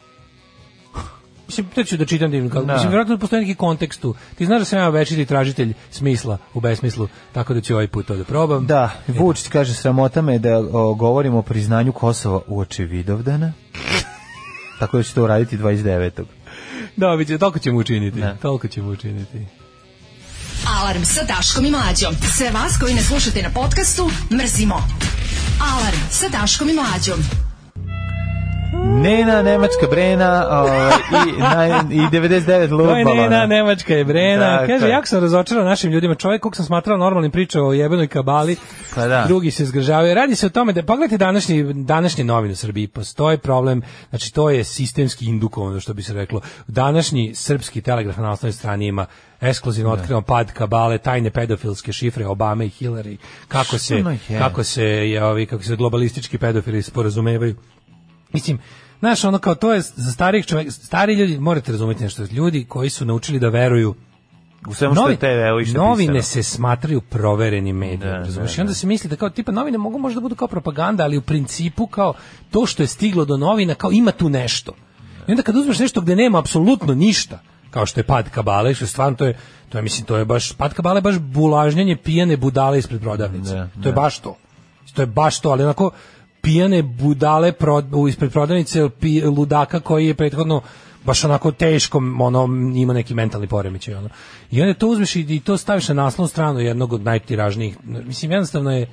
Speaker 6: Mislim, to ću da čitam divno. Kako.
Speaker 7: Da.
Speaker 6: Mislim, vjerojatno postoji neki kontekst tu. Ti znaš da sam ja večiti tražitelj smisla u besmislu, tako da ću ovaj put to da probam.
Speaker 7: Da, Vučić kaže sramota me da o, govorimo o priznanju Kosova u oči Vidovdana. Tako da će to uraditi 29.
Speaker 6: Da, vidite, toliko ćemo učiniti.
Speaker 7: Da.
Speaker 6: Toliko ćemo učiniti.
Speaker 5: Alarm sa Daškom i Mlađom. Sve vas koji ne slušate na podcastu, mrzimo. Alarm sa Daškom i Mlađom.
Speaker 7: Nena, Nemačka Brena ovaj, i, na, i 99
Speaker 6: To je
Speaker 7: Lubalona.
Speaker 6: Nena, Nemačka je Brena.
Speaker 7: Tako
Speaker 6: Kaže,
Speaker 7: je.
Speaker 6: jako sam razočaran našim ljudima. Čovjek kog sam smatrao normalnim pričao o jebenoj kabali,
Speaker 7: Pa da.
Speaker 6: drugi se zgražavaju. Radi se o tome da, pogledajte današnji, današnje novine u Srbiji, postoje problem, znači to je sistemski indukovano, što bi se reklo. Današnji srpski telegraf na osnovnoj strani ima ekskluzivno otkrivamo pad kabale, tajne pedofilske šifre Obame i Hillary, kako se,
Speaker 7: Stvarno je.
Speaker 6: kako se, je, ovi, kako se globalistički pedofili sporazumevaju. Mislim, znaš, ono kao to je za starih čovjek, stari ljudi, morate razumjeti nešto, ljudi koji su naučili da veruju
Speaker 7: U svemu što je TV, evo i što je
Speaker 6: novine se
Speaker 7: pisano.
Speaker 6: smatraju proverenim
Speaker 7: Da,
Speaker 6: medijima, razumiješ?
Speaker 7: da,
Speaker 6: I onda se misli da kao tipa novine mogu možda budu kao propaganda, ali u principu kao to što je stiglo do novina kao ima tu nešto. I onda kad uzmeš nešto gde nema apsolutno ništa, kao što je pad kabale, što je stvarno to je to je mislim to je baš pad kabale je baš bulažnjenje pijane budale ispred prodavnice.
Speaker 7: Da,
Speaker 6: to je baš to. To je baš to, ali onako pijane budale prod, u- ispred prodavnice pi- ludaka koji je prethodno baš onako teško ono ima neki mentalni poremećaj ono. I onda to uzmeš i, i to staviš na naslovnu stranu jednog od najtiražnijih. Mislim jednostavno je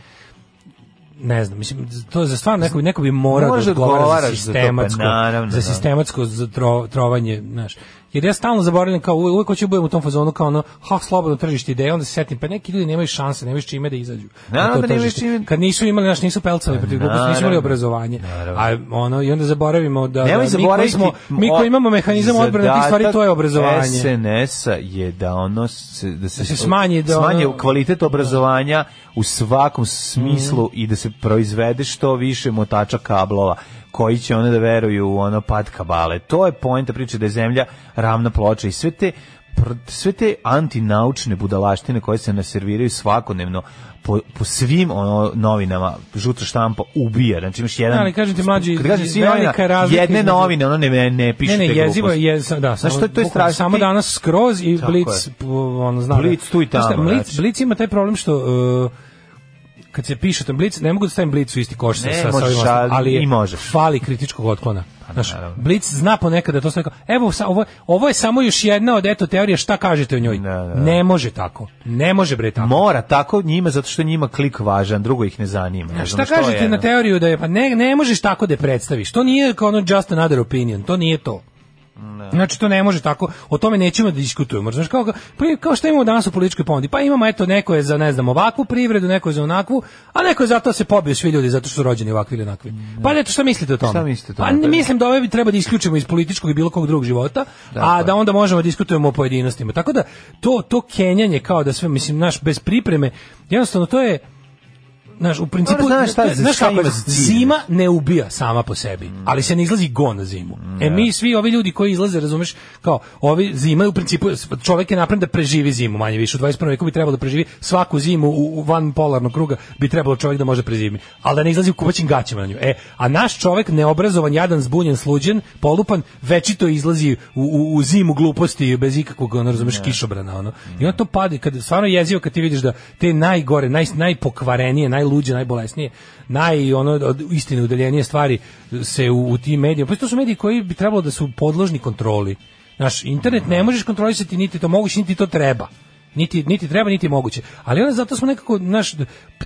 Speaker 6: ne znam, mislim, to je za stvarno neko, bi- neko bi morao
Speaker 7: Možeš
Speaker 6: da
Speaker 7: da
Speaker 6: odgovara za
Speaker 7: odgovaraš za to, pa
Speaker 6: sistematsko,
Speaker 7: naravno,
Speaker 6: za
Speaker 7: da.
Speaker 6: sistematsko za tro- trovanje, znaš. Jer ja stalno zaboravljam, kao uvek, uvek hoću da budem u tom fazonu, kao ono, ha, slobodno tržište ideje, onda se setim, pa neki ljudi nemaju šanse, nemaju s čime da izađu. na
Speaker 7: Naravno
Speaker 6: to
Speaker 7: da nemaju
Speaker 6: tržište.
Speaker 7: s čime-
Speaker 6: Kad nisu imali, znaš, nisu pelcali protiv gluposti, nisu imali
Speaker 7: Naravno.
Speaker 6: obrazovanje.
Speaker 7: Naravno.
Speaker 6: A ono, i onda zaboravimo da, da
Speaker 7: Nemoj
Speaker 6: mi koji,
Speaker 7: zaboraviti,
Speaker 6: smo, mi koji imamo mehanizam odbrane tih stvari, to je obrazovanje.
Speaker 7: E SNS-a je da ono se, da se,
Speaker 6: Da se smanji, da Mhm. ono-
Speaker 7: smanji kvalitet obrazovanja u svakom smislu i da se proizvede što više motača kablova koji će one da veruju u ono pad kabale. To je poenta priče da je zemlja ravna ploča i sve te pr- sve te antinaučne budalaštine koje se naserviraju svakodnevno po, po svim ono novinama žuta štampa ubija znači imaš jedan
Speaker 6: Ali kažem ti, mlađi,
Speaker 7: kad kažem svim
Speaker 6: velika
Speaker 7: novina,
Speaker 6: je razlika
Speaker 7: jedne
Speaker 6: između-
Speaker 7: novine ono ne ne, ne pišu
Speaker 6: Ne, ne,
Speaker 7: te
Speaker 6: jezivo je,
Speaker 7: gluposti.
Speaker 6: je, sam- da,
Speaker 7: Znaš
Speaker 6: samo,
Speaker 7: što je to je
Speaker 6: bukvalno
Speaker 7: strašno?
Speaker 6: Samo
Speaker 7: Ti-
Speaker 6: danas skroz i
Speaker 7: Tako
Speaker 6: Blic,
Speaker 7: je.
Speaker 6: p- ono, znam.
Speaker 7: Blic tu i
Speaker 6: Znaš šta,
Speaker 7: tamo,
Speaker 6: Blic,
Speaker 7: znači.
Speaker 6: Blic ima taj problem što... uh, kad se piše tam Blic, ne mogu da stavim Blic u isti koš sa,
Speaker 7: Ne,
Speaker 6: sa, sa
Speaker 7: možeš,
Speaker 6: ovim ostalim,
Speaker 7: ali
Speaker 6: ali je,
Speaker 7: i možeš. Pa
Speaker 6: fali kritičkog otklona. Znaš,
Speaker 7: naravno.
Speaker 6: Blic zna ponekad da to sve kao, evo, sa, ovo, ovo je samo još jedna od eto teorija, šta kažete o njoj?
Speaker 7: Da, da.
Speaker 6: Ne može tako. Ne može bre tako.
Speaker 7: mora tako njima zato što je njima klik važan drugo ih ne zanima ne
Speaker 6: A
Speaker 7: znam
Speaker 6: šta
Speaker 7: što
Speaker 6: kažete
Speaker 7: je,
Speaker 6: na
Speaker 7: ono.
Speaker 6: teoriju da je, pa ne, ne možeš tako da je predstaviš. To nije kao ono just another opinion, to nije to. Znači to ne može tako, o tome nećemo da diskutujemo. Znaš, kao, pa je- kao što imamo danas u političkoj ponudi, pa imamo eto neko je za ne znam ovakvu privredu, neko je za onakvu, a neko je zato se pobiju svi ljudi zato što su rođeni ovakvi ili onakvi. Pa eto šta mislite o tome?
Speaker 7: Šta mislite o
Speaker 6: Pa
Speaker 7: tome?
Speaker 6: ne- mislim da ove bi treba da isključimo iz političkog i bilo kog drugog života, a da onda možemo da diskutujemo o pojedinostima. Tako da to to kenjanje kao da sve mislim naš bez pripreme, jednostavno to je Znaš, u principu,
Speaker 7: Dobro, znaš šta,
Speaker 6: znaš,
Speaker 7: za šta
Speaker 6: kako je,
Speaker 7: ima za cilj? Mm.
Speaker 6: zima ne ubija sama po sebi, ali se ne izlazi go na zimu. E mi svi ovi ljudi koji izlaze, razumeš, kao, ovi zima je u principu, čovjek je napravljen da preživi zimu, manje više, u 21. veku bi trebalo da preživi svaku zimu u, u van polarnog kruga, bi trebalo čovjek da može preživi, ali da ne izlazi u kupaćim gaćima na nju. E, a naš čovjek, neobrazovan, jadan, zbunjen, sluđen, polupan, večito izlazi u, u, u zimu gluposti bez ikakvog, ono, razumeš, kišobrana, ono. I onda to pade, kad, stvarno je jezivo kad ti vidiš da te najgore, naj, najpokvarenije, najluđe, najbolesnije, naj, ono, od istine udaljenije stvari se u, u tim medijima, pa to su mediji koji bi trebalo da su podložni kontroli. Znaš, internet ne možeš kontrolisati, niti to moguće, niti to treba. Niti, niti treba, niti moguće. Ali onda zato smo nekako, znaš,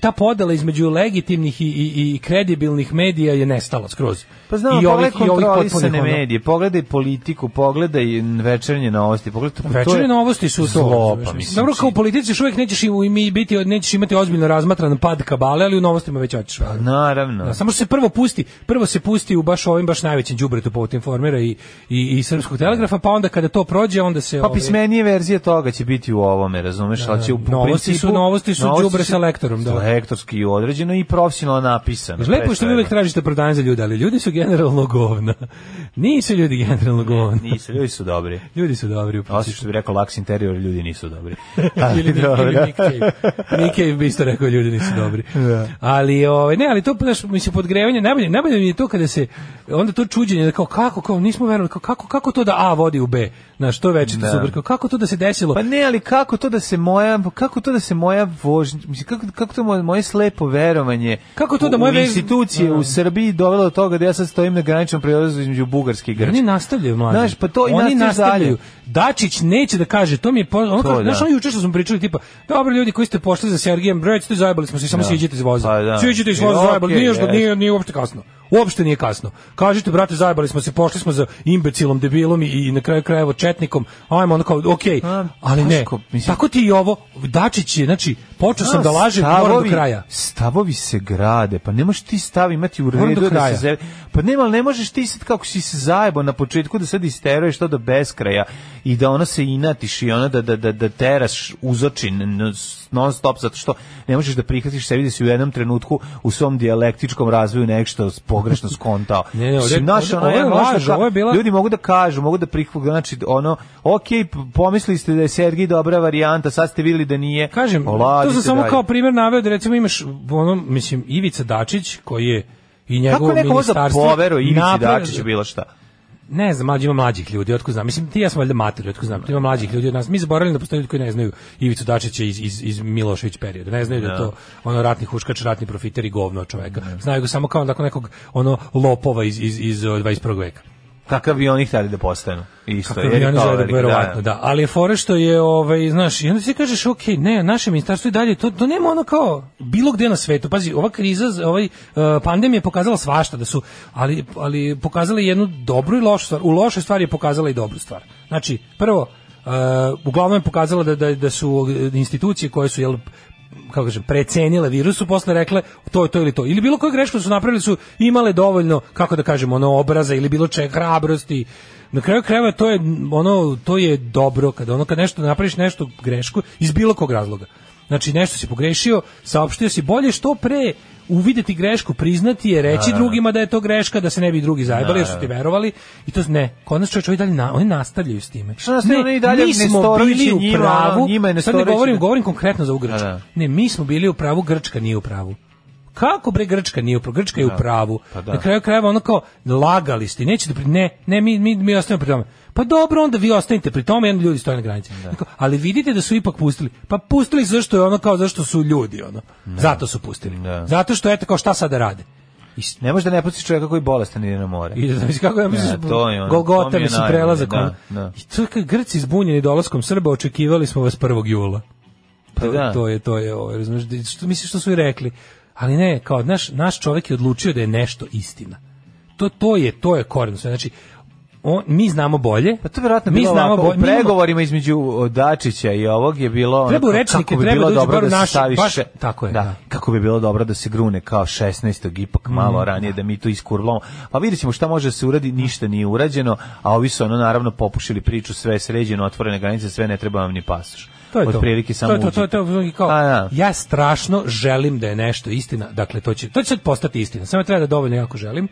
Speaker 6: ta podela između legitimnih i, i, i kredibilnih medija je nestala skroz.
Speaker 7: pa znam pogledaj kontrolisane
Speaker 6: potpunih, ono,
Speaker 7: medije pogledaj politiku pogledaj večernje novosti pogledaj pa to- to je
Speaker 6: Večernje novosti su to.
Speaker 7: zlo,
Speaker 6: razumeš,
Speaker 7: pa
Speaker 6: mislim.
Speaker 7: mislim
Speaker 6: Dobro, kao u politici još uvijek nećeš, i u- i mi biti, nećeš imati ozbiljno razmatran pad kabale, ali u novostima već hoćeš.
Speaker 7: Pa naravno
Speaker 6: Da, samo što se prvo pusti, prvo se pusti u baš ovim baš najvećem đubretu povod informira i, i, i srpskog telegrafa, pa onda kada to prođe, onda se...
Speaker 7: Pa
Speaker 6: ovaj,
Speaker 7: pismenije verzije toga će biti u ovome, razumeš? Da, će u u
Speaker 6: Novosti
Speaker 7: principu-
Speaker 6: su- novosti su đubre
Speaker 7: su
Speaker 6: sa lektorom, da.
Speaker 7: Lektorski i određeno i profesionalno napisano.
Speaker 6: Znaš, Lepo je što vi uvijek tražite prodanje za ljude, ali ljudi su generalno govna. Nisu ljudi generalno govna.
Speaker 7: Nisu, ljudi su dobri.
Speaker 6: Ljudi su dobri u
Speaker 7: Osim
Speaker 6: principu.
Speaker 7: što bi rekao laks interior, ljudi nisu dobri.
Speaker 6: ili, Nick-
Speaker 7: dobro.
Speaker 6: ili Nick Cave. Nick Cave bi isto rekao ljudi nisu dobri. Ali ovaj ne, ali to znaš, mislim podgrevanje najbolje najbolje mi je to kada se onda to čuđenje da kao kako kao nismo verovali kao, kako kako to da A vodi u B. Znaš, to je večito
Speaker 7: Da.
Speaker 6: super. Kao, kako to da se desilo?
Speaker 7: Pa ne, ali kako to da se moja kako to da se moja vožnja, mislim kako kako to moje, moje slepo verovanje
Speaker 6: Kako to da
Speaker 7: u-
Speaker 6: moje
Speaker 7: u
Speaker 6: ve-
Speaker 7: institucije u Srbiji dovelo do toga da ja sad stojim na graničnom prelazu između Bugarske i
Speaker 6: Oni
Speaker 7: Grčke.
Speaker 6: nastavljaju mlađe.
Speaker 7: Znaš, pa to i
Speaker 6: oni
Speaker 7: nastavljaju
Speaker 6: nastavljaju. Dačić neće da kaže, to mi je po, ono
Speaker 7: To
Speaker 6: kao,
Speaker 7: da.
Speaker 6: znaš, ono juče što smo pričali tipa, dobro ljudi koji ste pošli za Sergejem Breć, to zajebali smo se, samo siđite iz voza.
Speaker 7: Pa da.
Speaker 6: Siđite iz
Speaker 7: I
Speaker 6: voza,
Speaker 7: okej,
Speaker 6: zajebali, nije, još do-
Speaker 7: jest.
Speaker 6: nije, nije uopšte kasno. Uopšte nije kasno. Kažite, brate, zajebali smo se, pošli smo za imbecilom, debilom i, i na kraju krajeva četnikom. Ajmo, ono kao, okej,
Speaker 7: A,
Speaker 6: ali ne.
Speaker 7: Daško, mislim-
Speaker 6: Tako ti i ovo, Dačić je, znači, počeo sam da lažem, moram do
Speaker 7: Stavovi-
Speaker 6: kraja.
Speaker 7: Stavovi se grade, pa ne možeš ti stav imati u
Speaker 6: Moram do
Speaker 7: redu da
Speaker 6: kraja.
Speaker 7: se zaje- Pa nema, ali ne možeš ti sad kako si se zajebao na početku da sad isteruješ to do beskraja i da ona se inatiš i ona da, da, da, da teraš uzočin n- s- non stop zato što ne možeš da prihvatiš sebi da si u jednom trenutku u svom dijalektičkom razvoju nešto s- pogrešno skontao.
Speaker 6: Ne, ne, ovdje-
Speaker 7: Mislim, znaš,
Speaker 6: ovdje-
Speaker 7: ono,
Speaker 6: ovo je
Speaker 7: ja možda
Speaker 6: laž,
Speaker 7: ka-
Speaker 6: ovo je bila-
Speaker 7: ljudi mogu da kažu, mogu da prihvate, znači ono, ok, pomislili ste da je Sergij dobra varijanta, sad ste vidjeli da nije.
Speaker 6: Kažem,
Speaker 7: Oladi
Speaker 6: to sam
Speaker 7: se
Speaker 6: samo
Speaker 7: dalje.
Speaker 6: kao primjer naveo da recimo imaš ono, mislim, Ivica Dačić koji je i njegovo
Speaker 7: Kako neko može da
Speaker 6: ministarstvo
Speaker 7: poveruje Ivici
Speaker 6: napravio-
Speaker 7: Dačiću bilo šta?
Speaker 6: Ne znam, mlađi ima mlađih ljudi, otko znam. Mislim, ti i ja smo valjda matori, otko znam. Tu ima mlađih ljudi od nas. Mi zaboravljamo da postoje ljudi koji ne znaju Ivicu Dačića iz, iz, iz Milošević perioda. Ne znaju da je to ono ratni huškač, ratni profiter i govno od čoveka. Znaju ga samo kao onako nekog ono lopova iz, iz, iz o, 21. veka.
Speaker 7: Kakav bi oni hteli da postanu? Isto,
Speaker 6: Kako
Speaker 7: je
Speaker 6: bi oni
Speaker 7: kao
Speaker 6: žele da
Speaker 7: veliki,
Speaker 6: verovatno, da. Ali je fore što je, ovaj, znaš, i onda si kažeš, ok, ne, naše ministarstvo i dalje, to, to nema ono kao bilo gde na svetu. Pazi, ova kriza, z- ovaj, eh, pandemija je pokazala svašta da su, ali, ali je pokazala i jednu dobru i lošu stvar. U lošoj stvari je pokazala i dobru stvar. Znači, prvo, eh, uglavnom je pokazala da, da, da su institucije koje su, jel, kako kažem, precenile virus, su posle rekle to je to ili to. Ili bilo koju grešku su napravili su imale dovoljno, kako da kažem, ono obraza ili bilo čega hrabrosti. Na kraju krajeva to je ono to je dobro kada ono kad nešto napraviš nešto grešku iz bilo kog razloga. Znači nešto si pogrešio, saopštio si bolje što pre uvideti grešku, priznati je, reći drugima da je to greška, da se ne bi drugi zajebali jer su ti verovali i to ne. Kod nas čovječ, ovi dalje na, oni nastavljaju s time.
Speaker 7: Što nastavljaju? Oni i dalje
Speaker 6: mi smo
Speaker 7: Nestorović
Speaker 6: bili
Speaker 7: je
Speaker 6: u
Speaker 7: njima,
Speaker 6: pravu,
Speaker 7: ono, njima je
Speaker 6: sad ne
Speaker 7: Nestorović-
Speaker 6: govorim, govorim konkretno za ovu Grčku.
Speaker 7: Da, da.
Speaker 6: Ne, mi smo bili u pravu, Grčka nije u pravu. Kako bre Grčka nije u pravu? Grčka je u pravu.
Speaker 7: pa da.
Speaker 6: Na kraju krajeva ono kao lagali ste, nećete pri... ne, ne mi mi mi ostajemo pri tome. Pa dobro, onda vi ostanite pri tome, jedno ljudi stoje na granici. Kao, Ali vidite da su ipak pustili. Pa pustili su zašto je ono kao zašto su ljudi ono. Zato su pustili.
Speaker 7: Da.
Speaker 6: Zato što eto kao šta sada rade.
Speaker 7: Ne može da ne pustiš čovjeka koji bolestan ide na more.
Speaker 6: I da znaš kako ja mislim,
Speaker 7: Ne, to je ono, to
Speaker 6: Golgota
Speaker 7: mi je
Speaker 6: mi se
Speaker 7: najbolje,
Speaker 6: prelazak.
Speaker 7: da,
Speaker 6: ono.
Speaker 7: da.
Speaker 6: I to je kad Grci izbunjeni dolaskom Srba, očekivali smo vas 1. jula.
Speaker 7: Pa
Speaker 6: To,
Speaker 7: da.
Speaker 6: to je to je ovo, razumeš, da- što misliš što su i rekli. Ali ne, kao naš naš čovjek je odlučio da je nešto istina. To to je to je koren, znači on, mi znamo bolje.
Speaker 7: Pa to je verovatno
Speaker 6: mi
Speaker 7: bilo
Speaker 6: znamo
Speaker 7: ovako,
Speaker 6: bolje.
Speaker 7: u pregovorima između o, Dačića i ovog je bilo ono,
Speaker 6: Treba u
Speaker 7: kao,
Speaker 6: rečnike,
Speaker 7: kako bi
Speaker 6: treba
Speaker 7: bilo
Speaker 6: doći
Speaker 7: dobro
Speaker 6: bar u
Speaker 7: da se
Speaker 6: našu,
Speaker 7: stavi
Speaker 6: baš-
Speaker 7: še-
Speaker 6: tako je,
Speaker 7: da,
Speaker 6: da. Mm,
Speaker 7: kako bi bilo dobro da se grune kao 16. ipak malo ranije da mi to iskurlamo. Pa vidjet ćemo šta može da se uradi, ništa nije urađeno, a ovi su ono naravno popušili priču, sve je sređeno, otvorene granice, sve ne treba vam ni pasoš.
Speaker 6: to je to.
Speaker 7: Otprilike samo
Speaker 6: to, je to, to, je to, to je kao,
Speaker 7: A, da.
Speaker 6: ja strašno želim da je nešto istina, dakle to će to će sad postati istina. Samo treba da dovoljno jako želim.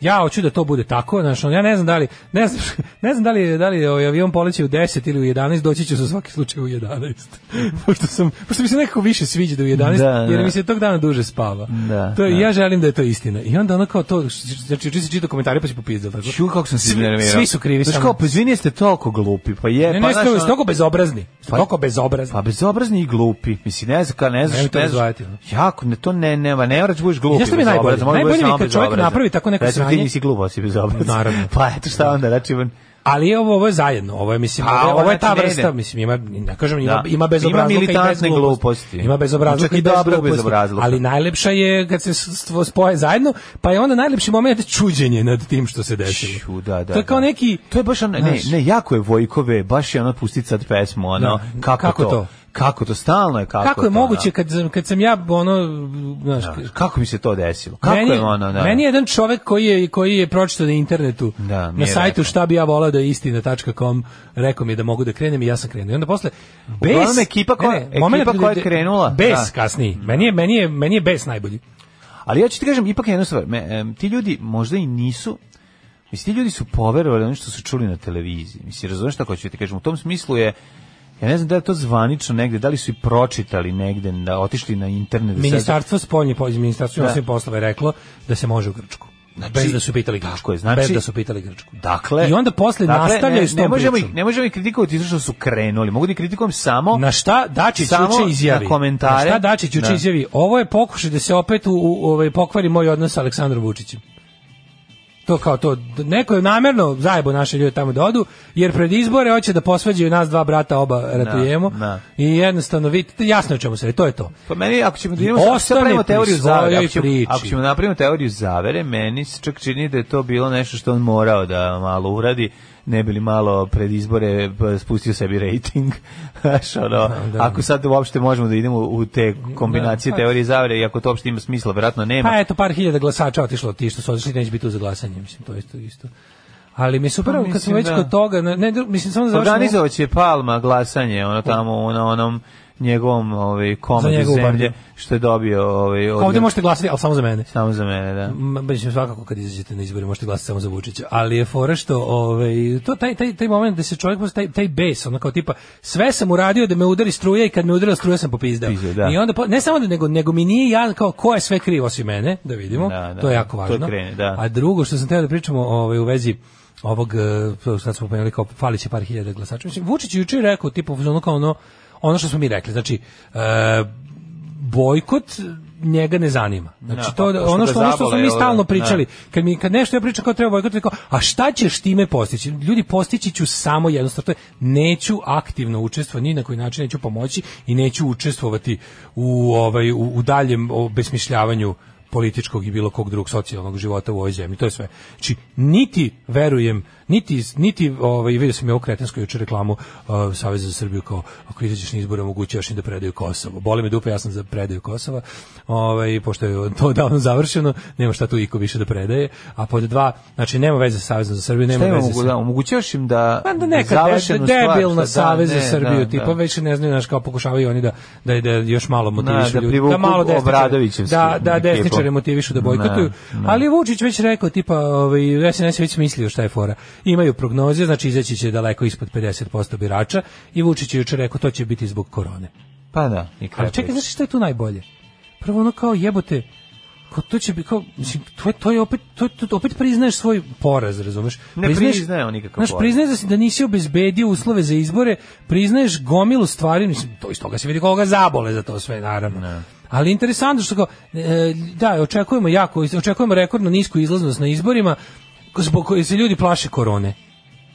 Speaker 6: Ja hoću da to bude tako, znači ja ne znam da li ne znam, ne znam da li da li ovaj avion poleće u 10 ili u 11, doći ću za svaki slučaj u 11. pošto sam pošto mi se nekako više sviđa da u 11,
Speaker 7: Da,
Speaker 6: jer
Speaker 7: da.
Speaker 6: mi se tog dana duže spava.
Speaker 7: Da,
Speaker 6: to je-
Speaker 7: da.
Speaker 6: ja želim da je to istina. I onda ono kao to znači juče se čita komentare pa se popizdao tako.
Speaker 7: Ču, kako sam se
Speaker 6: Svi-
Speaker 7: iznervirao.
Speaker 6: Svi su krivi
Speaker 7: Znaš
Speaker 6: samo.
Speaker 7: kao, pa izvini, jeste toliko glupi, pa je,
Speaker 6: Ne,
Speaker 7: pa
Speaker 6: ne,
Speaker 7: znaš,
Speaker 6: ste
Speaker 7: ono-
Speaker 6: toliko bezobrazni. Ste
Speaker 7: Pa-
Speaker 6: toliko bezobrazni.
Speaker 7: Pa bezobrazni i glupi. Mislim, ne znam, ka- ne znaš,
Speaker 6: Nemoj to
Speaker 7: ne znaš.
Speaker 6: zvati, no.
Speaker 7: Jako, ne, to ne, ne, ne, ne moraš da budeš glup.
Speaker 6: I znaš šta mi je najbolje? Najbolje mi je kad čovjek napravi tako neko
Speaker 7: Pa Ti
Speaker 6: sranje.
Speaker 7: nisi glup, ali si bezobrazan.
Speaker 6: Naravno.
Speaker 7: Pa eto šta onda, znači, on-
Speaker 6: Ali je ovo ovo je zajedno, ovo je mislim,
Speaker 7: Pa,
Speaker 6: ovo, je-
Speaker 7: ovo
Speaker 6: ovo je ta
Speaker 7: znači ne
Speaker 6: vrsta,
Speaker 7: ide.
Speaker 6: mislim ima ne kažem ima
Speaker 7: Da.
Speaker 6: ima bezobrazluka
Speaker 7: Ima militantne
Speaker 6: i bezgluposti.
Speaker 7: gluposti.
Speaker 6: Ima bezobrazluka
Speaker 7: Čak
Speaker 6: i
Speaker 7: i dobrog
Speaker 6: bezgluposti.
Speaker 7: bezobrazluka.
Speaker 6: Ali najlepša je kad se s- svo- spoje zajedno, pa je onda najlepši moment čuđenje nad tim što se desilo.
Speaker 7: Ću, da, da,
Speaker 6: To je kao
Speaker 7: da.
Speaker 6: neki
Speaker 7: To je baš ono, ne,
Speaker 6: Znaš.
Speaker 7: ne, jako je Vojkove, baš je ono pustit sad pesmu, ono,
Speaker 6: Da.
Speaker 7: kako,
Speaker 6: Kako
Speaker 7: to?
Speaker 6: to?
Speaker 7: Kako to, stalno je kako,
Speaker 6: kako je
Speaker 7: to,
Speaker 6: moguće kad sam- kad sam ja ono znaš,
Speaker 7: ono. Da. Kako mi se to desilo? Kako
Speaker 6: meni,
Speaker 7: je ono, da.
Speaker 6: meni je jedan čovek koji je, koji je pročitao na internetu,
Speaker 7: Da, mi
Speaker 6: na
Speaker 7: je
Speaker 6: sajtu
Speaker 7: rekao.
Speaker 6: šta bi ja volao da je istina.com, rekao mi je da mogu da krenem i ja sam krenuo. I onda posle, bes...
Speaker 7: Uglavnom, ekipa koja- ekipa
Speaker 6: momenat
Speaker 7: koja je
Speaker 6: gde-
Speaker 7: krenula,
Speaker 6: Bes
Speaker 7: da.
Speaker 6: kasniji. Meni je, meni, je, meni je bes najbolji.
Speaker 7: Ali ja ću ti kažem, ipak jednu stvar, me, em, ti ljudi možda i nisu Mislim, ti ljudi su poverovali ono što su čuli na televiziji. Mislim, razumeš šta hoću ti kažem? U tom smislu je, ja ne znam da li je to zvanično negde, da li su i pročitali negde, da otišli na internet. da sad-
Speaker 6: Ministarstvo spoljnje pođe, ministarstvo
Speaker 7: Da.
Speaker 6: da. poslova je reklo da se može u Grčku.
Speaker 7: Znači,
Speaker 6: bez da su pitali Grčku.
Speaker 7: tako je, znači-
Speaker 6: bez da su pitali Grčku.
Speaker 7: Dakle,
Speaker 6: I onda posle
Speaker 7: dakle,
Speaker 6: nastavljaju
Speaker 7: ne,
Speaker 6: s
Speaker 7: ne
Speaker 6: tom
Speaker 7: možemo
Speaker 6: pričom.
Speaker 7: ih, ne možemo ih kritikovati zato što su krenuli. Mogu da ih kritikujem samo
Speaker 6: Na šta Dačić
Speaker 7: Samo
Speaker 6: juče izjavi?
Speaker 7: na komentare.
Speaker 6: šta Dačić juče
Speaker 7: Da.
Speaker 6: izjavi? Ovo je pokušaj da se opet u, u- ovaj, pokvari moj odnos sa Aleksandrom Vučićem. To kao to, d- neko je namerno zajebo naše ljude tamo da odu, jer pred izbore hoće da posvađaju nas dva brata, oba ratujemo.
Speaker 7: da.
Speaker 6: I jednostavno, vidite, jasno je o čemu se radi, to je to.
Speaker 7: Pa meni, ako ćemo da idemo
Speaker 6: I
Speaker 7: ako sad pravimo
Speaker 6: ostane
Speaker 7: teoriju
Speaker 6: pri
Speaker 7: zavere,
Speaker 6: svojoj
Speaker 7: ako ćemo,
Speaker 6: priči.
Speaker 7: ako ćemo napravimo teoriju zavere, meni se čak čini da je to bilo nešto što on morao da malo uradi, ne bili malo pred izbore pa, spustio sebi rating. Znaš, ono,
Speaker 6: da.
Speaker 7: ako sad uopšte možemo da idemo u te kombinacije
Speaker 6: Da, pa-
Speaker 7: teorije zavere, i ako to uopšte ima smisla, vjerojatno nema.
Speaker 6: Pa eto, par hiljada glasača otišlo, ti što su otišli neće biti tu za glasanje, mislim, to je isto, isto. Ali mi je super,
Speaker 7: Pa,
Speaker 6: kad smo
Speaker 7: mislim,
Speaker 6: već
Speaker 7: da.
Speaker 6: kod toga, ne, ne, mislim, samo da završimo-
Speaker 7: Organizovat će Palma glasanje, ono tamo, na onom njegovom ovaj, komadu
Speaker 6: njegovu
Speaker 7: zemlje,
Speaker 6: partiju.
Speaker 7: što je dobio ovaj, od-
Speaker 6: Ovdje možete glasati, ali samo za mene.
Speaker 7: Samo za mene, da.
Speaker 6: Ma, Mislim, svakako kad izađete na izbore možete glasati samo za Vučića, ali je fora što ovaj, to, taj, taj, taj moment da se čovjek posle, taj, taj bes, ono kao tipa, sve sam uradio da me udari struja i kad me udarila struja sam popizdao.
Speaker 7: Pizdao, da.
Speaker 6: I onda, po- ne samo da, nego, nego mi nije jasno kao ko je sve kriv osim mene, da vidimo,
Speaker 7: Da, da.
Speaker 6: to je jako
Speaker 7: To
Speaker 6: važno.
Speaker 7: krene, da.
Speaker 6: A drugo što sam teo da pričamo ovaj, u vezi ovog, eh, to sad smo pomenuli kao fali će par hiljada glasača, mislim, Vučić je juče rekao, tipa, ono kao ono, ono što smo mi rekli, znači, eh, bojkot njega ne zanima. Znači
Speaker 7: Da,
Speaker 6: to
Speaker 7: pa
Speaker 6: da-
Speaker 7: pošto
Speaker 6: ono
Speaker 7: ga
Speaker 6: što ono što smo
Speaker 7: zabole,
Speaker 6: mi
Speaker 7: jel da?
Speaker 6: stalno
Speaker 7: Da.
Speaker 6: pričali, kad mi kad nešto ja pričam kao treba bojkot, kao a šta ćeš time postići? Ljudi postići ću samo jedno stvar, to je neću aktivno učestvovati ni na koji način neću pomoći i neću učestvovati u ovaj u, u daljem obesmišljavanju političkog i bilo kog drugog socijalnog života u ovoj zemlji. To je sve. Znači, niti verujem, niti, niti ovaj, vidio sam je ovu kretensku juče reklamu uh, Saveza za Srbiju kao, ako izađeš na izbore, omogućavaš im da predaju Kosovo. Boli me dupe, ja sam za predaju Kosova. Ovaj, pošto je to davno završeno, nema šta tu iko više da predaje. A pod dva, znači, nema veze sa Savezom za Srbiju, nema
Speaker 7: Šta im
Speaker 6: veze
Speaker 7: omogu-
Speaker 6: sa...
Speaker 7: da, omogućavaš im da,
Speaker 6: Pa da neka de,
Speaker 7: završenu stvar,
Speaker 6: debilna
Speaker 7: šta- da,
Speaker 6: savez za
Speaker 7: ne,
Speaker 6: Srbiju,
Speaker 7: da,
Speaker 6: tipa
Speaker 7: da.
Speaker 6: već ne znaju, znaš, kao pokušavaju oni da, da, da još malo motivišu
Speaker 7: da
Speaker 6: ljudi.
Speaker 7: privuku
Speaker 6: desničare-
Speaker 7: Obradovićevsku
Speaker 6: da, da,
Speaker 7: ekipu.
Speaker 6: desničare motivišu da bojkotuju.
Speaker 7: Ne, ne.
Speaker 6: Ali je Vučić već rekao, tipa, ovaj, SNS je već mislio šta je fora. Imaju prognoze, znači izaći će daleko ispod 50% birača i Vučić je juče rekao, to će biti zbog korone.
Speaker 7: Pa da, i
Speaker 6: Ali čekaj, znaš šta je tu najbolje? Prvo ono kao jebote, kao to će biti kao, mislim, to je, to je opet, to, to, opet priznaješ svoj poraz, razumeš?
Speaker 7: Ne priznaje on nikakav
Speaker 6: Znaš,
Speaker 7: poraz.
Speaker 6: priznaješ da, si, da nisi obezbedio uslove za izbore, priznaješ gomilu stvari, mislim, to iz toga se vidi koga zabole za to sve, naravno. Ali interesantno što kao, e, da, očekujemo jako, očekujemo rekordno nisku izlaznost na izborima, zbog koje se ljudi plaše korone.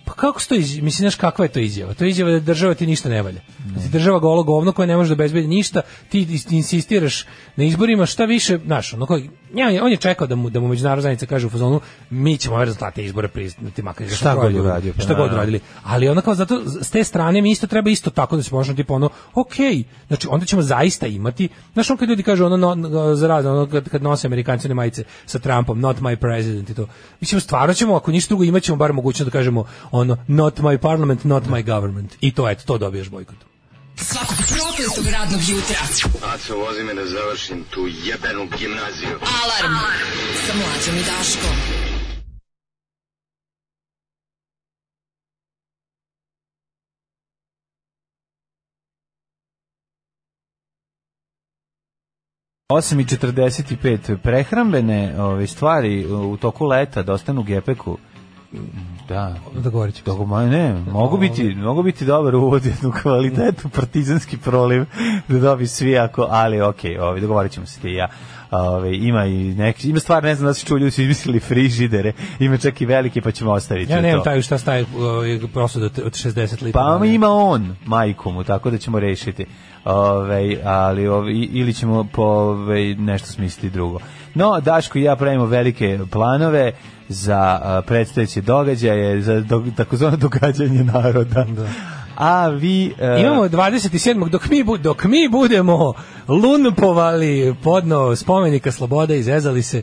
Speaker 6: Pa kako se to iz... mislim, znaš kakva je to izjava? To je izjava da država ti ništa ne valja. Da ti država golo govno koja ne može da obezbedi ništa, ti is- insistiraš na izborima, šta više, znaš, ono koji, ja, on je čekao da mu, da mu međunarodna zajednica kaže u fazonu, mi ćemo ove rezultate izbora priznati, makar
Speaker 7: Šta god
Speaker 6: prođe,
Speaker 7: uradio, pa
Speaker 6: šta god
Speaker 7: naravno.
Speaker 6: radili. Ali ono kao zato, s te strane mi isto treba isto tako da se možemo tipa ono, okej, znači onda ćemo zaista imati, znaš on kad ljudi kažu ono, no, no, za razne, ono kad, kad nose amerikanci one majice sa Trumpom, not my president i to. Mislim, stvarno ćemo, ako ništa drugo, imat ćemo bar mogućnost da kažemo ono, not my parliament, not my government. I to, eto, to dobijaš bojkot.
Speaker 5: Svakog prokletog radnog jutra.
Speaker 2: Aco, vozi me da završim tu jebenu gimnaziju.
Speaker 5: Alarm. Sa mlađom i Daškom.
Speaker 7: osam i 45 prehrambene ove stvari u toku leta da ostanu u gepeku. Da.
Speaker 6: Dogovorit ćemo se.
Speaker 7: Dogo, ma ne, mogu biti, mogu biti dobar uvod jednu kvalitetu, partizanski proliv da dobi svi ako, ali okej, ovaj dogovorit ćemo se ti i ja. Ove, ima i neki, ima stvar, ne znam da se čuo, ljudi su izmislili frižidere, ima čak i velike, pa ćemo ostaviti
Speaker 6: Ja
Speaker 7: to.
Speaker 6: nemam taj šta staje ovaj, prosuda od od 60 litara.
Speaker 7: Pa ima on majku mu, tako da ćemo rešiti. Ovaj, ali ovaj, i- ili ćemo po ovaj, nešto smisliti drugo. No, Daško i ja pravimo velike planove za a, predstojeće događaje, za do, takozvano događanje naroda. A vi... e,
Speaker 6: Imamo 27. dok mi, bu- dok mi budemo lunpovali podno spomenika slobode i zezali se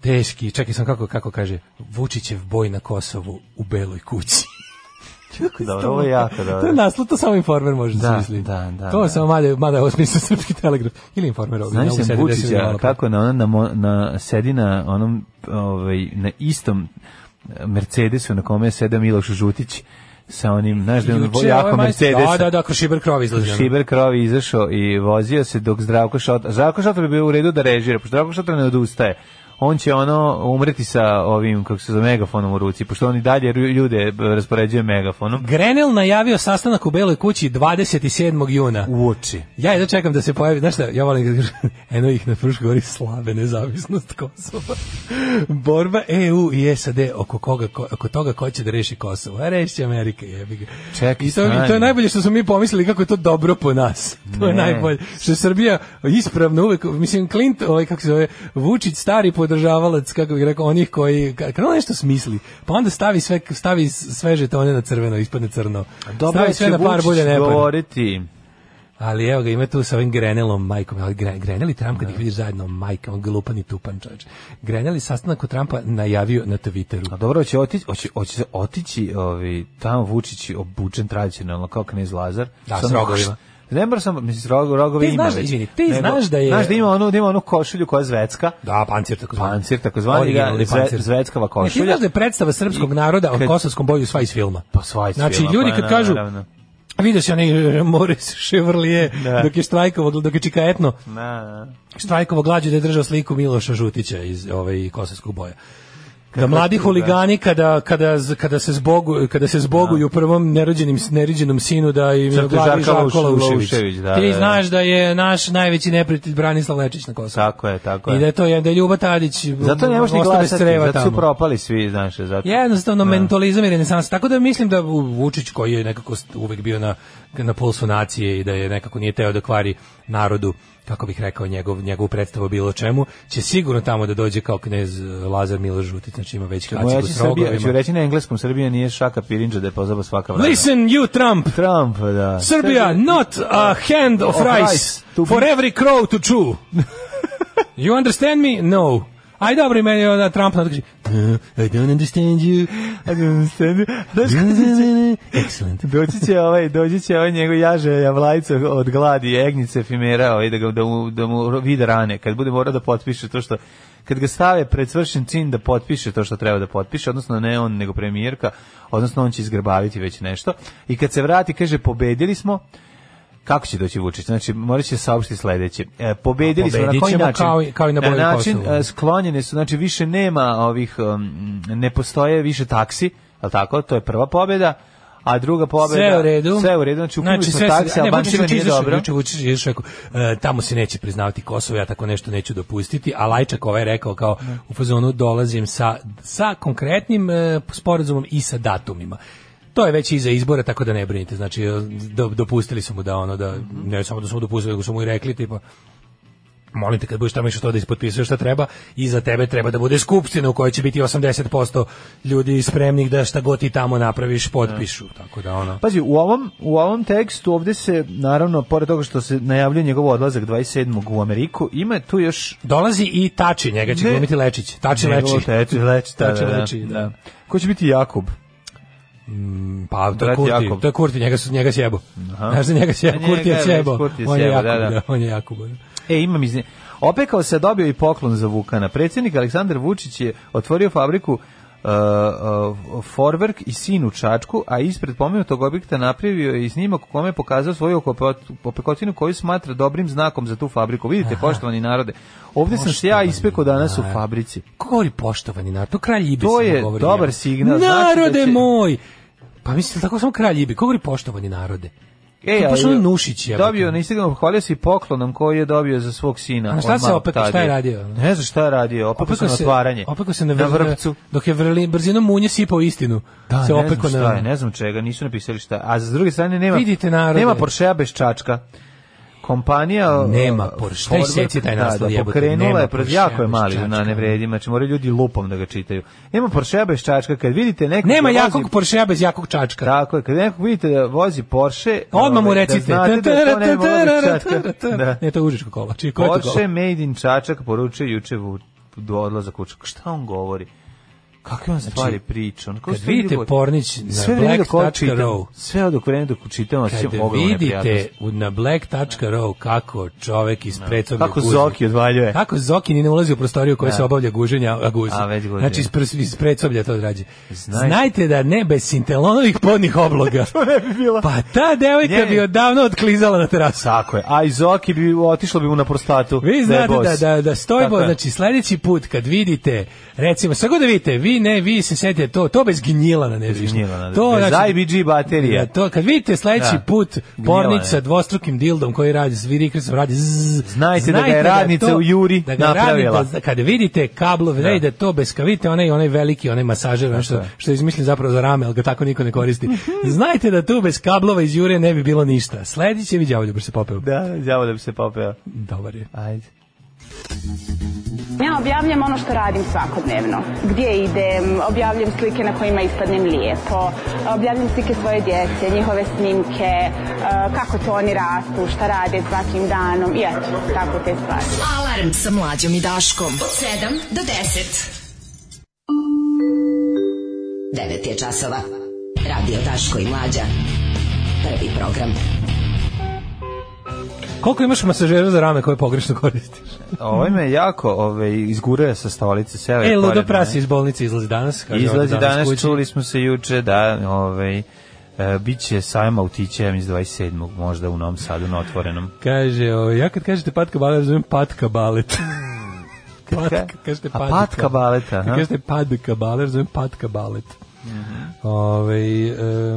Speaker 6: teški, čekaj sam kako, kako kaže, Vučićev boj na Kosovu u beloj kući.
Speaker 7: Jako dobro, ovo je jako
Speaker 6: to je
Speaker 7: dobro.
Speaker 6: naslov, to samo informer može da,
Speaker 7: Da,
Speaker 6: smisli.
Speaker 7: da, da,
Speaker 6: to
Speaker 7: da.
Speaker 6: samo mada, mada je ovo smisli srpski telegraf. Ili informer ovdje.
Speaker 7: Znaš sam Vučića
Speaker 6: pa.
Speaker 7: kako na, ona, na, mo- na, sedi na onom ovaj, na istom e, Mercedesu na kome je sedeo Miloš Žutić sa onim,
Speaker 6: pa.
Speaker 7: znaš da je on vo- jako Mercedes.
Speaker 6: ovaj Da, da, da, kroz šiber krov izlazi. ono.
Speaker 7: Šiber krovi izašao i vozio se dok Zdravko Šotar... Zdravko Šotar bi bio u redu da režira, pošto Zdravko Šotar ne odustaje. On će ono umreti sa ovim, kako se zove, megafonom u ruci, pošto on i dalje ru- ljude b- raspoređuje megafonom.
Speaker 6: Grenell najavio sastanak u Beloj kući 27. juna.
Speaker 7: U oči.
Speaker 6: Ja jedno čekam da se pojavi, znaš šta, ja volim kad kažu, eno ih na Fruškoj gori slabe nezavisnost Kosova. Borba EU i SAD oko, koga, ko- oko toga ko će da reši Kosovo. A reši Amerika, jebi ga.
Speaker 7: Čekaj,
Speaker 6: I to, i to je
Speaker 7: stani.
Speaker 6: najbolje što smo mi pomislili kako je to dobro po nas. To je
Speaker 7: Ne.
Speaker 6: najbolje. Što je Srbija ispravno uvek, mislim, Clint, ovaj, kako se zove, Vučić, stari podržavalac, kako bih rekao, onih koji, kad on nešto smisli, pa onda stavi sve, stavi sve žetone na crveno, ispadne crno. stavi sve
Speaker 7: će
Speaker 6: na par
Speaker 7: Vučić
Speaker 6: bolje ne par.
Speaker 7: govoriti.
Speaker 6: Ali evo ga, ima tu sa ovim Grenelom, majkom, ali Gre- Grenel i Trump kad ih vidiš zajedno, majka, on glupan i tupan čovječ. Grenel je sastanak u Trumpa najavio na
Speaker 7: A
Speaker 6: Twitteru.
Speaker 7: Pa dobro, hoće otići, hoće, hoće se otići ovi, tamo Vučić obučen tradicionalno kao knez Lazar.
Speaker 6: Da,
Speaker 7: Samo-
Speaker 6: s rogovima.
Speaker 7: Ne moram sam, mislim, s rogo- rogovi
Speaker 6: Ti
Speaker 7: ima
Speaker 6: znaš da-
Speaker 7: već.
Speaker 6: izvini, ti znaš da je-
Speaker 7: Znaš da ima onu, da ima onu košulju koja je zvecka.
Speaker 6: Da, pancir tako zvani.
Speaker 7: Pancir, takozvani, da,
Speaker 6: Originalni
Speaker 7: zve- zveckava
Speaker 6: Ne,
Speaker 7: košulja.
Speaker 6: ti znaš da je predstava srpskog
Speaker 7: I
Speaker 6: naroda o
Speaker 7: kad-
Speaker 6: kosovskom boju sva iz filma.
Speaker 7: Pa sva iz
Speaker 6: znači,
Speaker 7: filma,
Speaker 6: ljudi
Speaker 7: pa
Speaker 6: kad
Speaker 7: na-
Speaker 6: kažu,
Speaker 7: naravno.
Speaker 6: vidio se onaj Moris Ševrlije,
Speaker 7: Da.
Speaker 6: dok je štrajkovo, dok je čikajetno,
Speaker 7: Na, na.
Speaker 6: štrajkovo glađu da je držao sliku Miloša Žutića iz ovaj, kosovskog boja. da mladi huligani kada, kada, z- kada se zbogu, kada se zboguju prvom nerođenim nerođenom sinu da im je
Speaker 7: Crto
Speaker 6: glavi
Speaker 7: Žarka
Speaker 6: Žarko
Speaker 7: Lauš-
Speaker 6: Laušević.
Speaker 7: Laušević, da, da,
Speaker 6: Ti
Speaker 7: da.
Speaker 6: znaš da je naš najveći neprijatelj Branislav Lečić na Kosovu.
Speaker 7: Tako je, tako je.
Speaker 6: I da je to je da je Ljuba Tadić
Speaker 7: Zato ne možeš ni
Speaker 6: ostao bez
Speaker 7: glasati,
Speaker 6: creva
Speaker 7: zato su
Speaker 6: tamo.
Speaker 7: propali svi, znaš, zato.
Speaker 6: Jednostavno mentalizam i renesans. Tako da mislim da Vučić koji je nekako st- uvek bio na na pulsu nacije i da je nekako nije teo da kvari narodu kako bih rekao njegov njegovu predstavu o bilo čemu će sigurno tamo da dođe kao knez e, Lazar Miloš Žutić znači ima već
Speaker 7: Moja
Speaker 6: kacigu
Speaker 7: će
Speaker 6: s
Speaker 7: Srbija, ću
Speaker 6: rogovima
Speaker 7: reći na engleskom, Srbija nije šaka pirinđa da je pozaba svaka vrata.
Speaker 6: Listen you Trump
Speaker 7: Trump, da.
Speaker 6: Serbia not a hand of
Speaker 7: Oh. Of rice
Speaker 6: rice
Speaker 7: to
Speaker 6: for
Speaker 7: be-
Speaker 6: every crow to chew You understand me? No Aj dobro, i meni je onda Trump nadkaže I don't understand you
Speaker 7: I don't understand you. Znaš
Speaker 6: Excellent
Speaker 7: Doći će ovaj, doći će ovaj njegov jaže javlajca od gladi, egnjice efimera, ovaj, da, ga, da, mu, da mu vide rane, kad bude morao da potpiše to što kad ga stave pred svršen čin da potpiše to što treba da potpiše, odnosno ne on, nego premijerka, odnosno on će izgrbaviti već nešto. I kad se vrati, kaže, pobedili smo, Kako će doći Vučić? Znači, morat će saopštiti sledeće. E, pobedili smo na
Speaker 6: Pobedit
Speaker 7: koji
Speaker 6: ćemo
Speaker 7: način?
Speaker 6: kao i- kao i na Bojkotu.
Speaker 7: način e, sklonjene su, znači više nema ovih, um, ne postoje više taksi, je li tako? To je prva pobeda. A druga pobeda...
Speaker 6: Sve u redu.
Speaker 7: Sve u redu, znači ukinuli smo
Speaker 6: sve se-
Speaker 7: taksi,
Speaker 6: ne,
Speaker 7: Albancima
Speaker 6: Vučić je
Speaker 7: nije
Speaker 6: izašao,
Speaker 7: dobro.
Speaker 6: Juče Vučić je izašao i rekao, e, tamo se neće priznavati Kosovo, ja tako nešto neću dopustiti, a Lajčak ovaj je rekao kao u fazonu dolazim sa, sa konkretnim e, sporazumom i sa datumima. To je već iza izbora, tako da ne brinite. Znači, e, do- dopustili su mu da ono, da,
Speaker 7: Mhm.
Speaker 6: ne samo da su mu dopustili, nego su mu i rekli, tipa, molim te kad budeš tamo išao to da ispotpisuješ šta treba i za tebe treba da bude skupština u kojoj će biti 80% ljudi spremnih da šta god ti tamo napraviš potpišu tako da ono
Speaker 7: Pazi, u ovom, u ovom tekstu ovde se, naravno, pored toga što se najavljuje njegov odlazak 27. u Ameriku, ima tu još...
Speaker 6: Dolazi i Tači, njega će
Speaker 7: Ne.
Speaker 6: glumiti Lečić. Tači Znači, Leči.
Speaker 7: Teči, leči, da,
Speaker 6: Tači
Speaker 7: da,
Speaker 6: Leči,
Speaker 7: da.
Speaker 6: da.
Speaker 7: Ko će biti Jakub?
Speaker 6: Pa, to je
Speaker 7: Brat
Speaker 6: Kurti,
Speaker 7: Jakub.
Speaker 6: to je Kurti, njega, su, njega sjebo. Znaš da njega sjebo,
Speaker 7: A
Speaker 6: Kurti je
Speaker 7: Pa njega je
Speaker 6: sjebo.
Speaker 7: već Kurti je
Speaker 6: On je
Speaker 7: sjebo,
Speaker 6: Jakub,
Speaker 7: da, da.
Speaker 6: da, on je Jakub. da.
Speaker 7: E, imam iz... Opekao se dobio i poklon za Vukana. Predsjednik Aleksandar Vučić je otvorio fabriku uh, uh, Forwerk i sin u Čačku, a ispred pomenutog objekta napravio je i snimak u kome je pokazao svoju okopot- opekotinu koju smatra dobrim znakom za tu fabriku. Vidite, poštovani narode, ovdje sam se ja
Speaker 6: Poštovani
Speaker 7: ispekao danas u
Speaker 6: narode.
Speaker 7: fabrici.
Speaker 6: Ko govori poštovani narod? To kralj Ibi
Speaker 7: To
Speaker 6: samo
Speaker 7: je
Speaker 6: govori
Speaker 7: dobar
Speaker 6: njemu.
Speaker 7: signal, znači
Speaker 6: Narode
Speaker 7: da će-
Speaker 6: moj! Pa mislim, tako samo kralj Ibi. Ko govori poštovani narode?
Speaker 7: E,
Speaker 6: To je baš
Speaker 7: ali-
Speaker 6: ono Nušić, jebote.
Speaker 7: Dobio na Instagramu, hvalio se i poklonom koji je dobio za svog sina.
Speaker 6: A na šta
Speaker 7: od
Speaker 6: se
Speaker 7: malog
Speaker 6: opekao, šta je
Speaker 7: Tadija.
Speaker 6: radio?
Speaker 7: Ne znam šta je radio, opekao se na otvaranje.
Speaker 6: opekao se na,
Speaker 7: na
Speaker 6: vr-
Speaker 7: vrpcu.
Speaker 6: Dok je vrli, brzinom munje sipao istinu.
Speaker 7: Da,
Speaker 6: se
Speaker 7: Pa, ne
Speaker 6: opekao
Speaker 7: znam šta
Speaker 6: na-
Speaker 7: je, ne znam čega, nisu napisali šta. A s druge strane nema
Speaker 6: Vidite, narode.
Speaker 7: Nema Porschea bez čačka. Kompanija
Speaker 6: Nema
Speaker 7: uh,
Speaker 6: Porsche. Daj
Speaker 7: Forward,
Speaker 6: seci taj naslov,
Speaker 7: da, da,
Speaker 6: jebote,
Speaker 7: pokrenula
Speaker 6: nema
Speaker 7: je pred
Speaker 6: Porschea
Speaker 7: jako je
Speaker 6: bez
Speaker 7: mali na
Speaker 6: čačka.
Speaker 7: ne vredi, znači moraju ljudi lupom da ga čitaju. Nema Porschea bez čačka, kad vidite nekog
Speaker 6: Nema
Speaker 7: da vozi-
Speaker 6: jakog Porschea bez jakog čačka.
Speaker 7: Tako je, kad nekog vidite da vozi Porsche,
Speaker 6: Odmah mu
Speaker 7: ovaj,
Speaker 6: recite.
Speaker 7: Da znate da to ne mora bez čačka. Da.
Speaker 6: Ne, to je užičko kola. Čije, E, ko je to
Speaker 7: Porsche
Speaker 6: kola?
Speaker 7: Made in Čačak poručuje juče u- do odlaza kuća. Šta on govori? Kakve on stvari priča? On,
Speaker 6: Znači, Kad vidite Pornić na black.ro,
Speaker 7: sve od vreme dok čitam, sve
Speaker 6: kad
Speaker 7: ogromne
Speaker 6: vidite
Speaker 7: neprijatnosti.
Speaker 6: u- na black.ro kako čovek iz pretsobnog
Speaker 7: Kako Zoki odvaljuje.
Speaker 6: Kako Zoki ni ne ulazi u prostoriju u kojoj
Speaker 7: Da.
Speaker 6: se obavlja guženja, a guzi.
Speaker 7: A, već guzi.
Speaker 6: Znači, iz, prs- iz predsoblja to odrađe.
Speaker 7: Znaj-
Speaker 6: Znajte da ne bez sintelonovih podnih obloga. to ne bi
Speaker 7: bila.
Speaker 6: Pa ta devojka
Speaker 7: Nje-
Speaker 6: bi odavno otklizala na terasu.
Speaker 7: Tako je. A i Zoki bi otišlo bi mu na prostatu.
Speaker 6: Vi
Speaker 7: da je
Speaker 6: znate da,
Speaker 7: bos.
Speaker 6: da, da
Speaker 7: Tako
Speaker 6: stojbo,
Speaker 7: je.
Speaker 6: znači sledeći put kad vidite, recimo, sad god da vidite, vi ne, vi se setite to, to bez gnjilana ne
Speaker 7: Bez
Speaker 6: vidiš.
Speaker 7: gnjilana, da.
Speaker 6: To, znači-
Speaker 7: Bez IBG baterije.
Speaker 6: Da, to, kad vidite sledeći
Speaker 7: Da.
Speaker 6: put
Speaker 7: Gnjilana
Speaker 6: pornić sa
Speaker 7: je.
Speaker 6: dvostrukim dildom koji radi, sviri krsom, radi zzz,
Speaker 7: Znajte da ga je radnica u Juri
Speaker 6: da ga
Speaker 7: napravila.
Speaker 6: radnica- kad vidite kablove, da. da to bez kavite, onaj, onaj veliki, onaj masažer, ono što, što je izmišljen zapravo za rame, ali ga tako niko ne koristi.
Speaker 7: Mhm.
Speaker 6: Znajte da tu bez kablova iz Jure ne bi bilo ništa. Sledeći je vi đavolju brzo popeo.
Speaker 7: Da, đavo da bi se popeo.
Speaker 6: Dobar je.
Speaker 7: Ajde.
Speaker 10: Ja objavljam ono što radim svakodnevno. Gdje idem, objavljam slike na kojima ispadnem lijepo, objavljam slike svoje djece, njihove snimke, eh, kako to oni rastu, šta rade svakim danom i eto, tako te stvari.
Speaker 9: Alarm sa mlađom i Daškom. Od 7 do 10. 9 je časova. Radio Daško i Mlađa. Prvi program.
Speaker 6: Koliko imaš masažera za rame koje pogrešno koristiš?
Speaker 7: Ovo me jako ovaj, izguruje sa stolice. Seo je
Speaker 6: E, Ludo
Speaker 7: pored
Speaker 6: Prasi
Speaker 7: mene.
Speaker 6: iz bolnice izlazi danas. kaže,
Speaker 7: Izlazi
Speaker 6: ovde
Speaker 7: danas,
Speaker 6: kući.
Speaker 7: čuli smo se juče da ovaj, e, bit će sajma autića, ja mislim 27. možda u Novom Sadu na otvorenom.
Speaker 6: "Ovaj, Kaže, o, ja kad kažete patka balet, razumijem patka balet. Patka,
Speaker 7: Hmm. Ka-
Speaker 6: kažete
Speaker 7: a
Speaker 6: padka.
Speaker 7: patka baleta, aha. Mhm.
Speaker 6: Kažete padka baler, zovem patka balet. Ovaj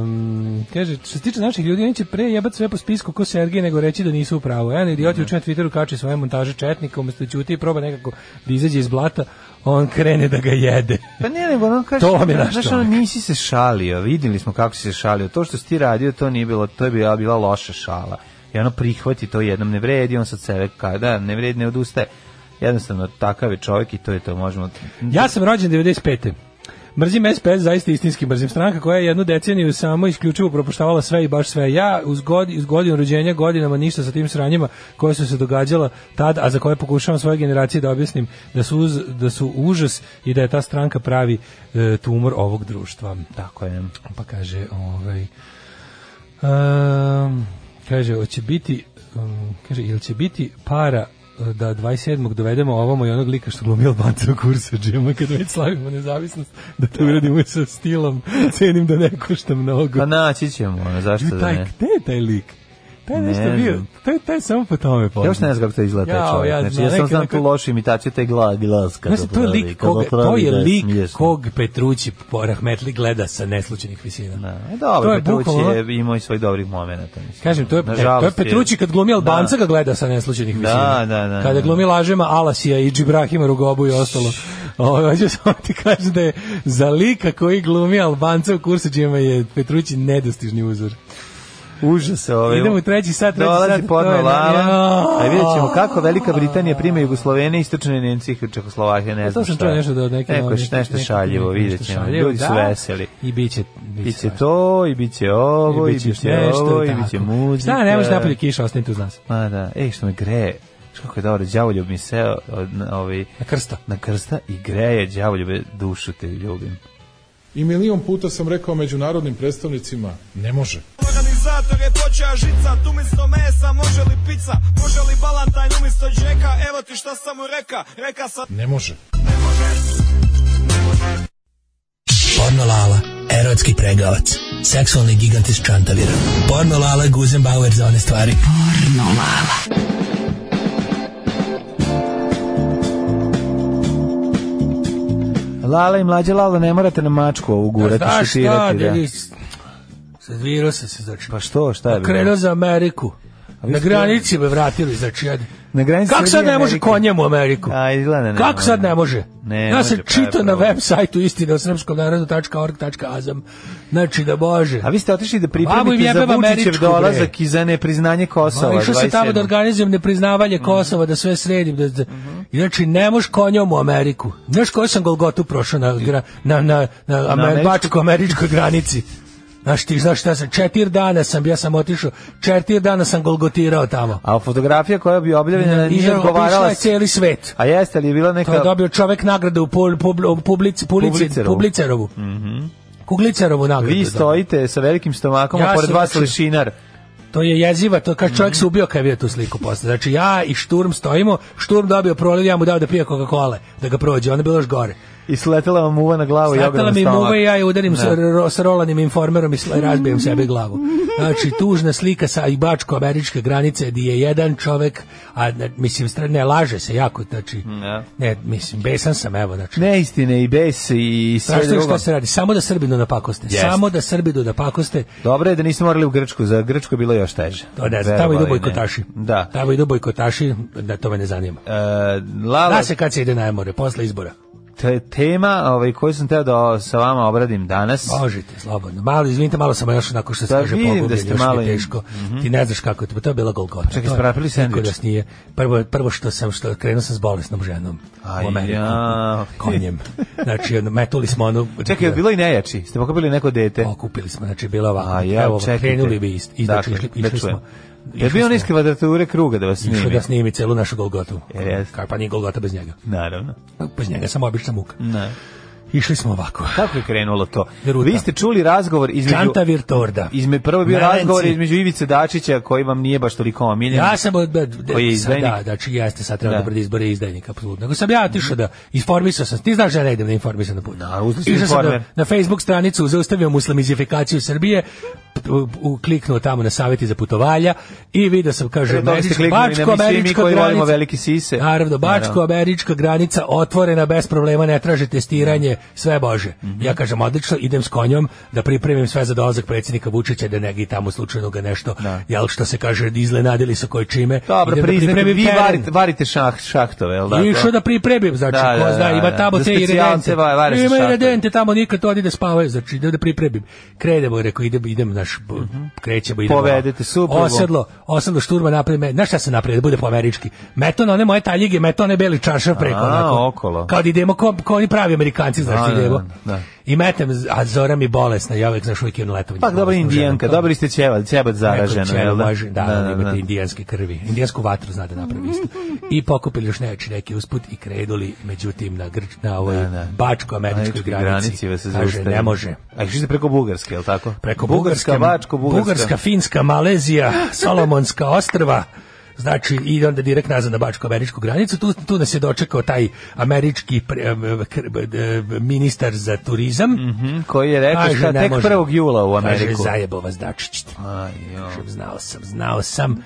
Speaker 6: em, kaže, što se tiče naših ljudi, oni će pre jebat sve po spisku ko Sergej nego reći da nisu u pravu. Jedan
Speaker 7: Mhm.
Speaker 6: idiot juče na Twitteru kači svoje montaže četnika, umesto da ćuti i proba nekako da izađe iz blata, on krene da ga jede.
Speaker 7: Pa ne, nego ono kaže,
Speaker 6: To vam je naš
Speaker 7: znaš, ono,
Speaker 6: čovjek.
Speaker 7: nisi se šalio, vidjeli smo kako si se šalio, to što si ti radio, to nije bilo, to je bila, bila loša šala. I ono prihvati to jednom, ne vredi, on sad sebe kada, ne vredi, ne odustaje. Jednostavno, takav je čovjek i to je to, možemo...
Speaker 6: Ja sam rođen 95. Mrzim SPS, zaista istinski mrzim stranka koja je jednu deceniju samo isključivo propuštavala sve i baš sve. Ja uz, god, uz godinu rođenja godinama ništa sa tim sranjima koje su se događala tad, a za koje pokušavam svoje generacije da objasnim da su, uz, da su užas i da je ta stranka pravi e, tumor ovog društva.
Speaker 7: Tako je.
Speaker 6: Pa kaže, ovaj, um, kaže, hoće biti, um, kaže, ili će biti para uh, da 27. dovedemo ovamo i onog lika što glumi Albanca u kursu džima kad već slavimo nezavisnost, da to uradimo sa stilom, cenim da ne košta mnogo.
Speaker 7: Pa naći ćemo, ono,
Speaker 6: Ju,
Speaker 7: zašto da
Speaker 6: taj,
Speaker 7: ne?
Speaker 6: gde je taj lik? Taj je
Speaker 7: Ne
Speaker 6: nešto
Speaker 7: znam.
Speaker 6: bio, taj, taj je samo po tome
Speaker 7: Ja još ne znam
Speaker 6: poznat.
Speaker 7: kako to izgleda taj
Speaker 6: Jao,
Speaker 7: čovjek.
Speaker 6: ja
Speaker 7: znači,
Speaker 6: znam,
Speaker 7: ja samo
Speaker 6: neki
Speaker 7: znam
Speaker 6: onako-
Speaker 7: tu lošu imitaciju taj glas, glas kada
Speaker 6: Znaš, to je
Speaker 7: pravi,
Speaker 6: lik,
Speaker 7: kada
Speaker 6: kog,
Speaker 7: pravi
Speaker 6: to je
Speaker 7: da
Speaker 6: lik
Speaker 7: smiješno.
Speaker 6: kog Petrući po Rahmetli gleda sa neslučenih visina.
Speaker 7: Da, e,
Speaker 6: To
Speaker 7: dobro,
Speaker 6: je
Speaker 7: Petruć
Speaker 6: bukvalno-
Speaker 7: je imao i svojih dobrih momenata. mislim. ono,
Speaker 6: Kažem, to je,
Speaker 7: Nažalost
Speaker 6: to je Petrući kad glumi Albanca
Speaker 7: Da.
Speaker 6: ga gleda sa neslučenih visina.
Speaker 7: da, da,
Speaker 6: Kada
Speaker 7: da.
Speaker 6: glumi Lažema, Alasija i Džibrahima Rugobu i ostalo. Ovo, hoću samo ti kažem da je za lika koji glumi Albanca u kursuđima je Petrući nedostižni uzor.
Speaker 7: Užas, ovaj.
Speaker 6: Idemo u treći sat, treći sat,
Speaker 7: Dolazi
Speaker 6: to je
Speaker 7: podno
Speaker 6: na-
Speaker 7: lala.
Speaker 6: Jao.
Speaker 7: A vidjet ćemo kako Velika Britanija prima Jugoslovene, istočne Nemci i Čehoslovakije, ne
Speaker 6: Ja,
Speaker 7: znam
Speaker 6: Pa to
Speaker 7: šta.
Speaker 6: sam čuo nešto da od neke...
Speaker 7: Neko
Speaker 6: novinarke,
Speaker 7: je nešto
Speaker 6: neke-
Speaker 7: šaljivo,
Speaker 6: neke
Speaker 7: vidjet
Speaker 6: nešto
Speaker 7: ćemo.
Speaker 6: šaljivo,
Speaker 7: Ljudi su
Speaker 6: da.
Speaker 7: veseli.
Speaker 6: I bit će...
Speaker 7: Bit će to, i bit će ovo, i bit
Speaker 6: još
Speaker 7: će ovo, i bit će
Speaker 6: tako.
Speaker 7: muzika.
Speaker 6: Šta, ne može napolje kiša, ostanite uz nas.
Speaker 7: Ma da, ej, što me greje. Što kako je dobro, đavoljub mi seo od, na, ovaj,
Speaker 6: Na krsta.
Speaker 7: na krsta i greje đavoljube, dušu te ljubim.
Speaker 11: I milion puta sam rekao međunarodnim predstavnicima, ne može.
Speaker 3: Organizator je počeo žicat, umjesto mesa može li pizza, može li balantajn umjesto džeka, evo ti šta sam mu reka, reka sam...
Speaker 11: Ne može.
Speaker 8: Pornolala, erotski pregavac, seksualni gigant iz Čantavira. Pornolala, Guzenbauer za one stvari.
Speaker 7: Lala i mlađa Lala, ne morate na mačku ovu gurati,
Speaker 6: Pa Znaš šta,
Speaker 7: šutirati. Da.
Speaker 6: deli, s- Sad virusa se znači.
Speaker 7: Pa što, šta je bilo?
Speaker 6: Krenuo za Ameriku.
Speaker 7: vi
Speaker 6: Na
Speaker 7: ste-
Speaker 6: granici me vratili, znači jedan.
Speaker 7: Na granici
Speaker 6: Kako sad
Speaker 7: Srbije i
Speaker 6: ne može
Speaker 7: Amerike?
Speaker 6: konjem u Ameriku?
Speaker 7: A, izgleda ne
Speaker 6: Kako
Speaker 7: može.
Speaker 6: sad ne može?
Speaker 7: Ne
Speaker 6: ja sam
Speaker 7: može, pa je
Speaker 6: čitao na
Speaker 7: problem.
Speaker 6: web sajtu istina o srpskom narodu.org.azam. Znači da može.
Speaker 7: A vi ste otišli da
Speaker 6: Babu im
Speaker 7: pripremite za
Speaker 6: jebem
Speaker 7: Vučićev
Speaker 6: američku, bre.
Speaker 7: dolazak i za nepriznanje Kosova.
Speaker 6: Ma, išao sam tamo da
Speaker 7: 27..
Speaker 6: organizujem
Speaker 7: Mhm.
Speaker 6: nepriznavanje Kosova, da sve sredim. Da, da, Znači, ne moš konjom u Ameriku. Znaš koju sam Golgotu prošao na, gra- na, na, na, na
Speaker 7: američku-
Speaker 6: američkoj granici? Znaš ti, znaš šta sam, četir dana sam, ja sam otišao, četir dana sam golgotirao tamo.
Speaker 7: A fotografija koja bi objavljena
Speaker 6: I
Speaker 7: nije
Speaker 6: obišla
Speaker 7: odgovarala...
Speaker 6: je cijeli svet.
Speaker 7: A jeste li je bila
Speaker 6: To je
Speaker 7: neka...
Speaker 6: dobio čovek nagradu u pul, pub, u publici, publici,
Speaker 7: Publicerovu.
Speaker 6: Publicerovu. Kuglicerovu nagradu.
Speaker 7: Mhm. Vi
Speaker 6: je dobio.
Speaker 7: stojite sa velikim stomakom,
Speaker 6: Ja
Speaker 7: a pored
Speaker 6: sam znači-
Speaker 7: vas
Speaker 6: učio.
Speaker 7: lešinar.
Speaker 6: To je jeziva, to kad čovjek se ubio kad je vidio tu sliku posle. Znači ja i Šturm stojimo, Šturm dobio proliv, ja mu dao da pije Coca-Cola, da ga prođe, onda je bilo još gore.
Speaker 7: I sletela vam muva na glavu i
Speaker 6: Slatala
Speaker 7: ogroman
Speaker 6: mi
Speaker 7: stomak.
Speaker 6: muva i ja je udarim sa,
Speaker 7: Da.
Speaker 6: ro- sa rolanim informerom i sla- razbijem sebi glavu. Znači, tužna slika sa ibačko-američke granice gdje je jedan čovjek, a ne, mislim, stra- ne laže se jako, znači,
Speaker 7: Da.
Speaker 6: ne, mislim, besan sam, evo, znači,
Speaker 7: Neistine i bes i sve
Speaker 6: Strašno je
Speaker 7: drugo.
Speaker 6: šta se radi, samo da Srbinu napakoste,
Speaker 7: Jeste.
Speaker 6: samo da Srbinu napakoste,
Speaker 7: Dobro je da niste morali u Grčku, za Grčku je bilo još teže.
Speaker 6: to ne znam, tamo idu
Speaker 7: Verovali ne.
Speaker 6: bojkotaši,
Speaker 7: Da.
Speaker 6: tamo idu bojkotaši, da to me ne zanima.
Speaker 7: E, Lala,
Speaker 6: Da se kad se ide na more, posle izbora.
Speaker 7: te- tema ovaj, koju sam teo da sa vama obradim danas.
Speaker 6: Možete, slobodno. Malo, izvinite, malo sam još onako što se
Speaker 7: Da,
Speaker 6: kaže
Speaker 7: vidim Pa da
Speaker 6: pogubljen,
Speaker 7: ste
Speaker 6: još
Speaker 7: malo
Speaker 6: malo
Speaker 7: i-
Speaker 6: teško. Ti ne znaš kako je to, to je bila golgota.
Speaker 7: Čekaj,
Speaker 6: To je-
Speaker 7: ste napravili
Speaker 6: niko
Speaker 7: sendvič?
Speaker 6: nas nije. Prvo, prvo što sam, što krenuo sam s bolesnom ženom
Speaker 7: Aj,
Speaker 6: u Ameriku.
Speaker 7: ja.
Speaker 6: Konjem. Znači, ono, metuli smo ono...
Speaker 7: Čekaj, je bilo i nejači? Ste pokupili neko dete?
Speaker 6: Okupili smo, znači, bila ovako.
Speaker 7: A ja,
Speaker 6: Evo,
Speaker 7: čekajte. Dakle,
Speaker 6: krenuli bi ist, i znači, išli,
Speaker 7: da
Speaker 6: išli
Speaker 7: čujem.
Speaker 6: smo.
Speaker 7: Je bio niske kvadrature kruga da vas
Speaker 6: Išli
Speaker 7: snimi?
Speaker 6: da snimi celu našu golgotu.
Speaker 7: Jel jeste?
Speaker 6: Ka- Pa nije golgota bez njega.
Speaker 7: Naravno. Mm.
Speaker 6: Bez njega samo obična muka.
Speaker 7: Ne.
Speaker 6: Išli smo ovako.
Speaker 7: Kako je krenulo to? Vi ste čuli razgovor između...
Speaker 6: Kanta Virtorda.
Speaker 7: Izme, prvo je bio
Speaker 6: Melenci.
Speaker 7: razgovor između Ivice Dačića, koji vam nije baš toliko omiljen.
Speaker 6: Ja sam od, od,
Speaker 7: koji je
Speaker 6: sad,
Speaker 7: izdajnik.
Speaker 6: da, da, či jeste sad treba
Speaker 7: Da. Mhm.
Speaker 6: da. pred izbore izdajnik, apsolutno. Nego sam ja otišao da informisao sam, ti znaš da ja ne idem da informisam na put. Da,
Speaker 7: si
Speaker 6: da,
Speaker 7: informer.
Speaker 6: na Facebook stranicu zaustavio muslimizifikaciju Srbije, p- u- u- kliknuo tamo na savjeti za putovalja i video sam, kaže,
Speaker 7: Pre toga ste kliknuli na mi svi, mi
Speaker 6: bačko-američka
Speaker 7: koji volimo
Speaker 6: granica.
Speaker 7: velike sise.
Speaker 6: Naravno,
Speaker 7: Naravno.
Speaker 6: bačko-američka granica otvorena, bez problema, ne traže testiranje, sve bože.
Speaker 7: Mhm.
Speaker 6: Ja kažem, odlično, idem s konjom da pripremim sve za dolazak predsjednika Vučića, da negi tamo slučajno ga nešto, jel što se kaže, iznenadili su koji čime.
Speaker 7: Dobro,
Speaker 6: Idem da
Speaker 7: priznajte,
Speaker 6: pripremim
Speaker 7: vi
Speaker 6: teren.
Speaker 7: varite, varite šah, šahtove, jel da?
Speaker 6: I
Speaker 7: to?
Speaker 6: išao da pripremim, znači,
Speaker 7: Da,
Speaker 6: ko
Speaker 7: da,
Speaker 6: zna,
Speaker 7: da,
Speaker 6: ima
Speaker 7: da.
Speaker 6: tamo
Speaker 7: Za
Speaker 6: te
Speaker 7: specijalce
Speaker 6: iredente.
Speaker 7: va- vare se
Speaker 6: Ima
Speaker 7: šahtove.
Speaker 6: iredente tamo, nikad oni da spavaju, znači, idem da pripremim. Krenemo, rekao, idem, idem, naš, krećemo, idemo.
Speaker 7: Povedete suprugu.
Speaker 6: Osedlo, osedlo šturma napravi, me, znaš šta se napravi, da bude po američki. Meto na one moje taljige, meto one beli čaršav preko.
Speaker 7: A,
Speaker 6: onako.
Speaker 7: okolo.
Speaker 6: Kao da idemo, ko, ko oni pravi amerikanci, znači,
Speaker 7: Da, da,
Speaker 6: idemo.
Speaker 7: da, da.
Speaker 6: I metem, a Zora mi bolesna, ja uvek, znaš, uvijek imam letovanje.
Speaker 7: Pa dobro,
Speaker 6: bolesnu ženu,
Speaker 7: indijanka,
Speaker 6: to-
Speaker 7: dobili ste ćeval, ćebat zaraženo,
Speaker 6: Neko
Speaker 7: jel
Speaker 6: ćelo
Speaker 7: da?
Speaker 6: može, da, da, imate indijanske krvi. Indijansku vatru zna da napravi isto. I pokupili još neči neki usput i krenuli, međutim, na, grč, na ovoj
Speaker 7: Da, da.
Speaker 6: bačko-američkoj
Speaker 7: Američkoj
Speaker 6: granici.
Speaker 7: vas se
Speaker 6: kaže,
Speaker 7: zaustavi.
Speaker 6: ne može.
Speaker 7: A išli ste preko Bugarske, jel tako?
Speaker 6: Preko
Speaker 7: Bugarska,
Speaker 6: Bugarske,
Speaker 7: Bačko, Bugarska.
Speaker 6: Bugarska, Finska, Malezija, Solomonska ostrva, Znači, i onda direkt nazad na bačko-američku granicu. Tu, tu nas je dočekao taj američki pre- em, kr- em, ministar za turizam.
Speaker 7: Mhm, koji je rekao
Speaker 6: Kaže,
Speaker 7: šta
Speaker 6: ne
Speaker 7: tek
Speaker 6: može.
Speaker 7: 1. jula u Ameriku.
Speaker 6: Kaže, zajebo vas Dačić.
Speaker 7: Aj, jo.
Speaker 6: Kažem, znao sam, znao sam.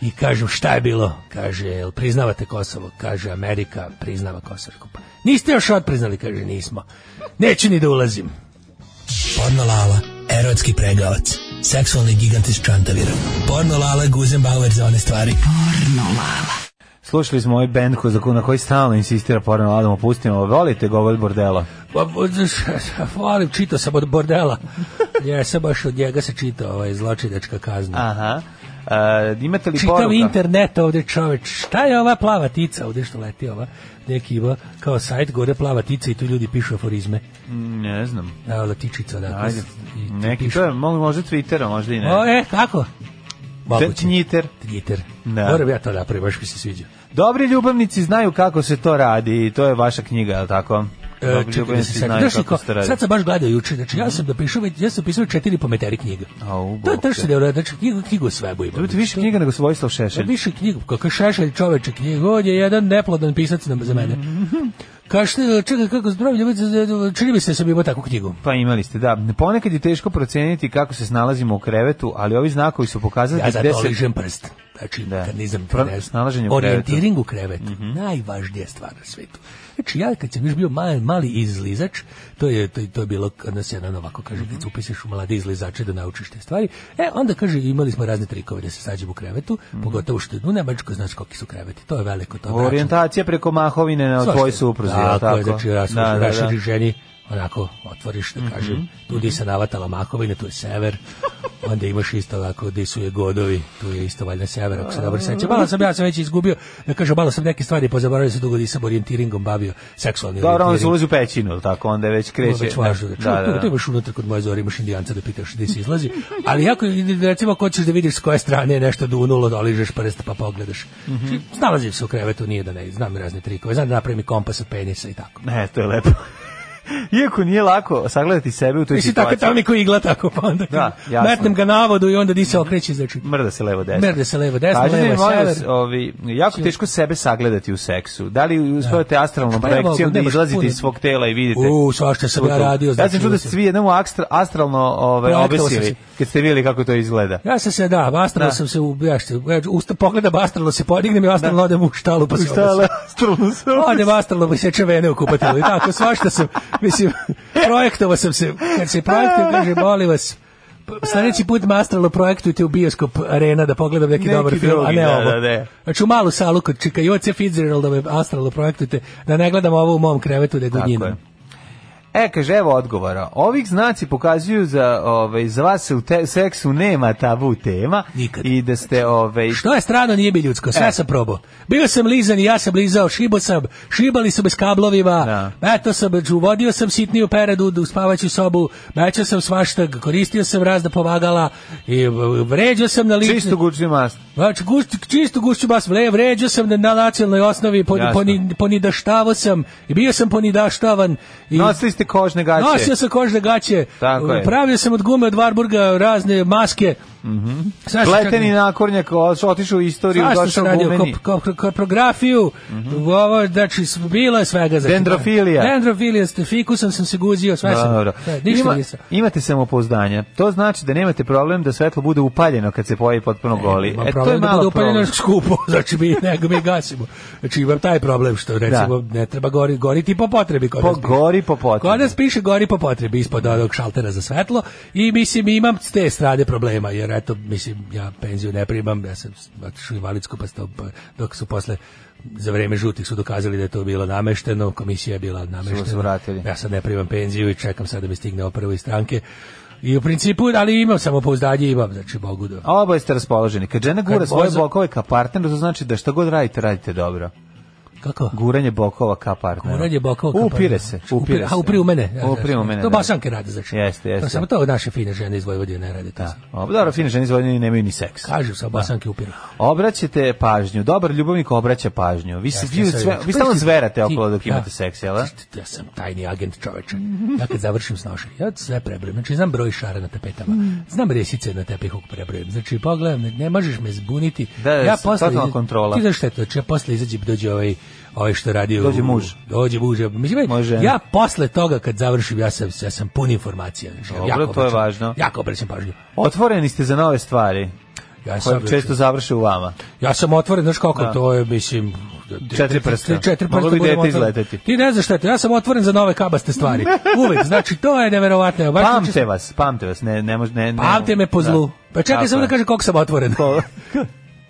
Speaker 6: I kažem, šta je bilo? Kaže, jel priznavate Kosovo? Kaže, Amerika priznava Kosovo. Rekao, Pa, niste još odpriznali? Kaže, nismo. Neću ni da ulazim. Porno Lala, erotski pregavac. Seksualni gigant iz Čantavira. Porno Lala, Guzenbauer za one stvari. Porno Lala.
Speaker 7: Slušali smo ovaj bend ko, za ko- na koji stalno insistira porno Ladom opustimo. Volite govor bordela?
Speaker 6: Pa, bo- volim, čitao sam od bordela. Ja sam baš od njega se čitao ovaj, zločinačka kazna.
Speaker 7: Aha. E, imate li
Speaker 6: Čitav
Speaker 7: poruka?
Speaker 6: internet ovde čoveč, šta je ova plava tica ovde što leti ova, neki ima kao sajt gore plava tica i tu ljudi pišu aforizme.
Speaker 7: Mm, Ne znam.
Speaker 6: Da, latičica, da.
Speaker 7: Ajde. Neki, to je, mo- možda Twittera, možda i ne.
Speaker 6: O, e, kako? Moguće.
Speaker 7: Twitter.
Speaker 6: Twitter.
Speaker 7: Da.
Speaker 6: Moram ja to napravim, baš mi se sviđa.
Speaker 7: Dobri ljubavnici znaju kako se to radi i to je vaša knjiga, je li tako?
Speaker 6: E,
Speaker 7: Dobri
Speaker 6: čekaj da se
Speaker 7: ljubavnici
Speaker 6: setim.
Speaker 7: znaju
Speaker 6: Znaš li
Speaker 7: kako
Speaker 6: ko-
Speaker 7: se to radi.
Speaker 6: sad sam baš gledao juče, znači ja sam dopisao, već- ja sam pisao četiri pometeri knjiga.
Speaker 7: Au,
Speaker 6: To je
Speaker 7: Bog
Speaker 6: nešto
Speaker 7: te.
Speaker 6: nevjerojatno, znači knjigu, knjigu o svebu ima.
Speaker 7: Dobite više knjiga nego s Vojislav Šešelj.
Speaker 6: Više Pa knjigu, kako je šešelj čoveče knjigu, on je jedan neplodan pisac nam za mene. Kažete, čekaj, kako zdrav ljubac, čini mi se da sam imao takvu knjigu.
Speaker 7: Pa imali ste, da. Ponekad je teško proceniti kako se snalazimo u krevetu, ali ovi znakovi su pokazali
Speaker 6: Ja za
Speaker 7: gde
Speaker 6: to
Speaker 7: se...
Speaker 6: ližem prst. Znači, kad nisam
Speaker 7: Pro-
Speaker 6: ne znam,
Speaker 7: snalaženje u Mhm.
Speaker 6: Orijentiring u krevetu. Najvažnija stvar na svetu. Znači, ja kad sam još bio mali, mali izlizač, to je, to, je- to je bilo, kad nas jedan ovako kaže,
Speaker 7: Mhm.
Speaker 6: kad se upiseš u mlade izlizače da naučiš te stvari, e, onda kaže, imali smo razne trikove da se sađemo u krevetu,
Speaker 7: Mhm.
Speaker 6: pogotovo što je u Nemačkoj, znaš koliki su kreveti, to je veliko, to je bračno.
Speaker 7: Orijentacija preko mahovine na
Speaker 6: Svašta.
Speaker 7: tvoj supruzi, je li
Speaker 6: tako? je,
Speaker 7: tako?
Speaker 6: znači ja sam
Speaker 7: Da, da, da. Mhm.
Speaker 6: raširi ženi, onako otvoriš, da kažem, tu gdje se navatala Mahovina, tu je sever, onda imaš isto ovako gdje su je godovi, tu je isto valjda sever, ako se dobro
Speaker 7: Mhm.
Speaker 6: sećam. Malo sam, ja sam već izgubio, da kažem, malo sam neke stvari pozaboravio se dugo nisam orijentiringom bavio, seksualni
Speaker 7: Dobro, on se
Speaker 6: orijentiring.
Speaker 7: ulazi u pećinu, je li tako? Onda je već
Speaker 6: Ovo je
Speaker 7: kreće.
Speaker 6: već važno. Da,
Speaker 7: da, da,
Speaker 6: Tu
Speaker 7: da.
Speaker 6: imaš unutar kod moje zore, imaš indijanca da pitaš gdje se izlazi. Ali jako, je, recimo, ako hoćeš da vidiš s koje strane je nešto dunulo, da ližeš prst pa pogledaš.
Speaker 7: Mhm.
Speaker 6: Znači, Snalazim se u krevetu, nije da ne, znam razne trikove, znam da napravim i kompas od penisa i tako.
Speaker 7: Ne, to je lepo. Iako nije lako sagledati sebe u toj
Speaker 6: Mislim, tako
Speaker 7: situaciji.
Speaker 6: tamo niko igla tako, pa onda
Speaker 7: Da, jasno.
Speaker 6: metnem ga na vodu i onda di se okreće, znači,
Speaker 7: Mrda se levo desno.
Speaker 6: merde se levo, desno,
Speaker 7: Kažete mi,
Speaker 6: levo,
Speaker 7: molim vas,
Speaker 6: sever.
Speaker 7: ovi, jako teško sebe sagledati u seksu. Da li uspavate astralnom
Speaker 6: Pa ja mogu,
Speaker 7: projekcijom da
Speaker 6: nemaš
Speaker 7: izlazite
Speaker 6: puno.
Speaker 7: iz svog tela i vidite?
Speaker 6: U, svašta sam ja
Speaker 7: Gotovo.
Speaker 6: radio.
Speaker 7: Ja
Speaker 6: znači,
Speaker 7: sam čuo da ste svi jednom astra- astralno ovaj,
Speaker 6: Projektovao sam
Speaker 7: obesili,
Speaker 6: se.
Speaker 7: kad ste vidjeli kako to izgleda.
Speaker 6: Ja sam se, da, astralno
Speaker 7: Da.
Speaker 6: sam se, u, ja što, ja usta pogledam astralno se podignem i astralno odem u štalu pa se
Speaker 7: Šta je
Speaker 6: obesim.
Speaker 7: astralno se
Speaker 6: Odem astralno pa seče vene u kupatilu i tako, svašta sam, mislim, projektovao sam se, kad se projektujem, kaže, molim vas, p- Sljedeći put me astralno projektujte u bioskop arena da pogledam neki,
Speaker 7: Neki
Speaker 6: dobar film, a
Speaker 7: drugi,
Speaker 6: ne
Speaker 7: da,
Speaker 6: ovo.
Speaker 7: da, da.
Speaker 6: Znači u malu salu kod čika Joce Fitzgerald da me astralno projektujte, da ne gledam ovo u mom krevetu da
Speaker 7: Tako
Speaker 6: gudnjinu.
Speaker 7: je. E, kaže, evo odgovora. Ovih znaci pokazuju za, ovaj, za vas se u te, seksu nema tabu tema.
Speaker 6: Nikad.
Speaker 7: I da ste, ovaj,
Speaker 6: Što je strano, nije bi ljudsko, sve
Speaker 7: E.
Speaker 6: sam probao. Bio sam lizan i ja sam lizao, šibo sam, šibali su me s kablovima,
Speaker 7: Da.
Speaker 6: eto sam, uvodio sam sitniju peredu u spavaću sobu, mećao sam svašta, koristio sam razna pomagala, i v- vređao sam na lični...
Speaker 7: čisto gučni mast.
Speaker 6: Znači, gušću, čistu gušću bas, vle, vređao sam na, na nacionalnoj osnovi, poni,
Speaker 7: Jasno.
Speaker 6: poni, ponidaštavao sam, i bio sam ponidaštavan. I
Speaker 7: Nosili ste nosite kožne gaće.
Speaker 6: Nosio sam kožne gaće.
Speaker 7: Tako je.
Speaker 6: Pravio sam od gume od Varburga razne maske.
Speaker 7: Mhm.
Speaker 6: Znaš
Speaker 7: Pleteni
Speaker 6: kako-
Speaker 7: nakornjak, otišao u istoriju,
Speaker 6: Svašta sam
Speaker 7: došao
Speaker 6: radio,
Speaker 7: gumeni. Mhm.
Speaker 6: kop- kop- korpografiju, ovo, znači, s- bilo je svega. Znači,
Speaker 7: Dendrofilija.
Speaker 6: Dendrofilija, ste, fikusom sam se guzio, sve sam.
Speaker 7: Dobro.
Speaker 6: sve, ništa
Speaker 7: Ima-
Speaker 6: nisam.
Speaker 7: imate samopouzdanje. To znači da nemate problem da svetlo bude upaljeno kad se pojavi potpuno goli.
Speaker 6: Ima
Speaker 7: e, to je
Speaker 6: problem da
Speaker 7: malo
Speaker 6: bude
Speaker 7: problem.
Speaker 6: upaljeno skupo, znači mi, nego mi gasimo. Znači imam taj problem što recimo ne treba gori, goriti po potrebi. Kod
Speaker 7: Po-
Speaker 6: nas piše.
Speaker 7: gori po potrebi.
Speaker 6: Kod nas piše gori po potrebi ispod onog šaltera za svetlo i mislim imam s te strane problema jer eto mislim ja penziju ne primam, ja sam otišao u invalidsku pa sto- pa dok su posle za vreme žutih su dokazali da je to bilo namešteno, komisija je bila nameštena.
Speaker 7: se vratili.
Speaker 6: Ja sad ne primam penziju i čekam sad da mi stigne opravo iz stranke. I u principu, ali imam samopouzdanje, imam, znači mogu da...
Speaker 7: A oboje ste raspoloženi. Kad žena gura
Speaker 6: Kad
Speaker 7: svoje
Speaker 6: voza-
Speaker 7: bokove ka partneru, to znači da šta god radite, radite dobro.
Speaker 6: Kako?
Speaker 7: Guranje bokova ka partneru.
Speaker 6: Guranje bokova ka
Speaker 7: Upire
Speaker 6: partneru.
Speaker 7: se, upire se.
Speaker 6: Znači, A upri u mene. Ja,
Speaker 7: Upri u
Speaker 6: znači,
Speaker 7: mene.
Speaker 6: to
Speaker 7: da.
Speaker 6: basanke rade, znači.
Speaker 7: Jeste,
Speaker 6: To
Speaker 7: jeste.
Speaker 6: samo to naše fine žene iz Vojvodine ne rade. To.
Speaker 7: O, dobro, fine žene iz Vojvodine nemaju ni seks.
Speaker 6: Kažem sa basanke upiru.
Speaker 7: Obraćate pažnju. Dobar ljubavnik obraća pažnju. Vi, se, vi, sve, vi stalno zverate okolo dok imate seks, jel? da?
Speaker 6: Ja sam tajni agent čoveče. Ja kad završim s nošem, ja sve prebrojim. Znači, znam broj šara na tapetama. Znam resice na tepihu prebrojim. Znači, pogledam, ne, ne možeš me zbuniti.
Speaker 7: Da, da,
Speaker 6: ja
Speaker 7: s- totalna kontrola.
Speaker 6: Ti znaš šta je to? Znači, ja posle izađem, dođe ovaj, ovaj što radi u-
Speaker 7: Dođe muž.
Speaker 6: Dođe muž. Mislim,
Speaker 7: Moja žena.
Speaker 6: ja posle toga kad završim, ja sam, ja sam pun informacija. Znači,
Speaker 7: Dobro,
Speaker 6: jako
Speaker 7: to je
Speaker 6: obraćam-
Speaker 7: važno.
Speaker 6: Jako obraćam pažnju.
Speaker 7: Otvoreni ste za nove stvari.
Speaker 6: Ja sam,
Speaker 7: koje često završe u vama.
Speaker 6: ja sam otvoren, znaš kako,
Speaker 7: Da.
Speaker 6: to je, mislim...
Speaker 7: Četiri prsta.
Speaker 6: Četiri prsta.
Speaker 7: Moglo bi
Speaker 6: budem
Speaker 7: dete
Speaker 6: otvoren.
Speaker 7: izleteti.
Speaker 6: Ti ne znaš šta je to, ja sam otvoren za nove kabaste stvari. Uvek, znači, to je neverovatno. Evo, baš
Speaker 7: Pamte
Speaker 6: juče-
Speaker 7: vas, pamte vas, ne, ne može, ne, ne.
Speaker 6: Pa Pamte me po zlu. Pa čekaj samo da kažem koliko sam otvoren.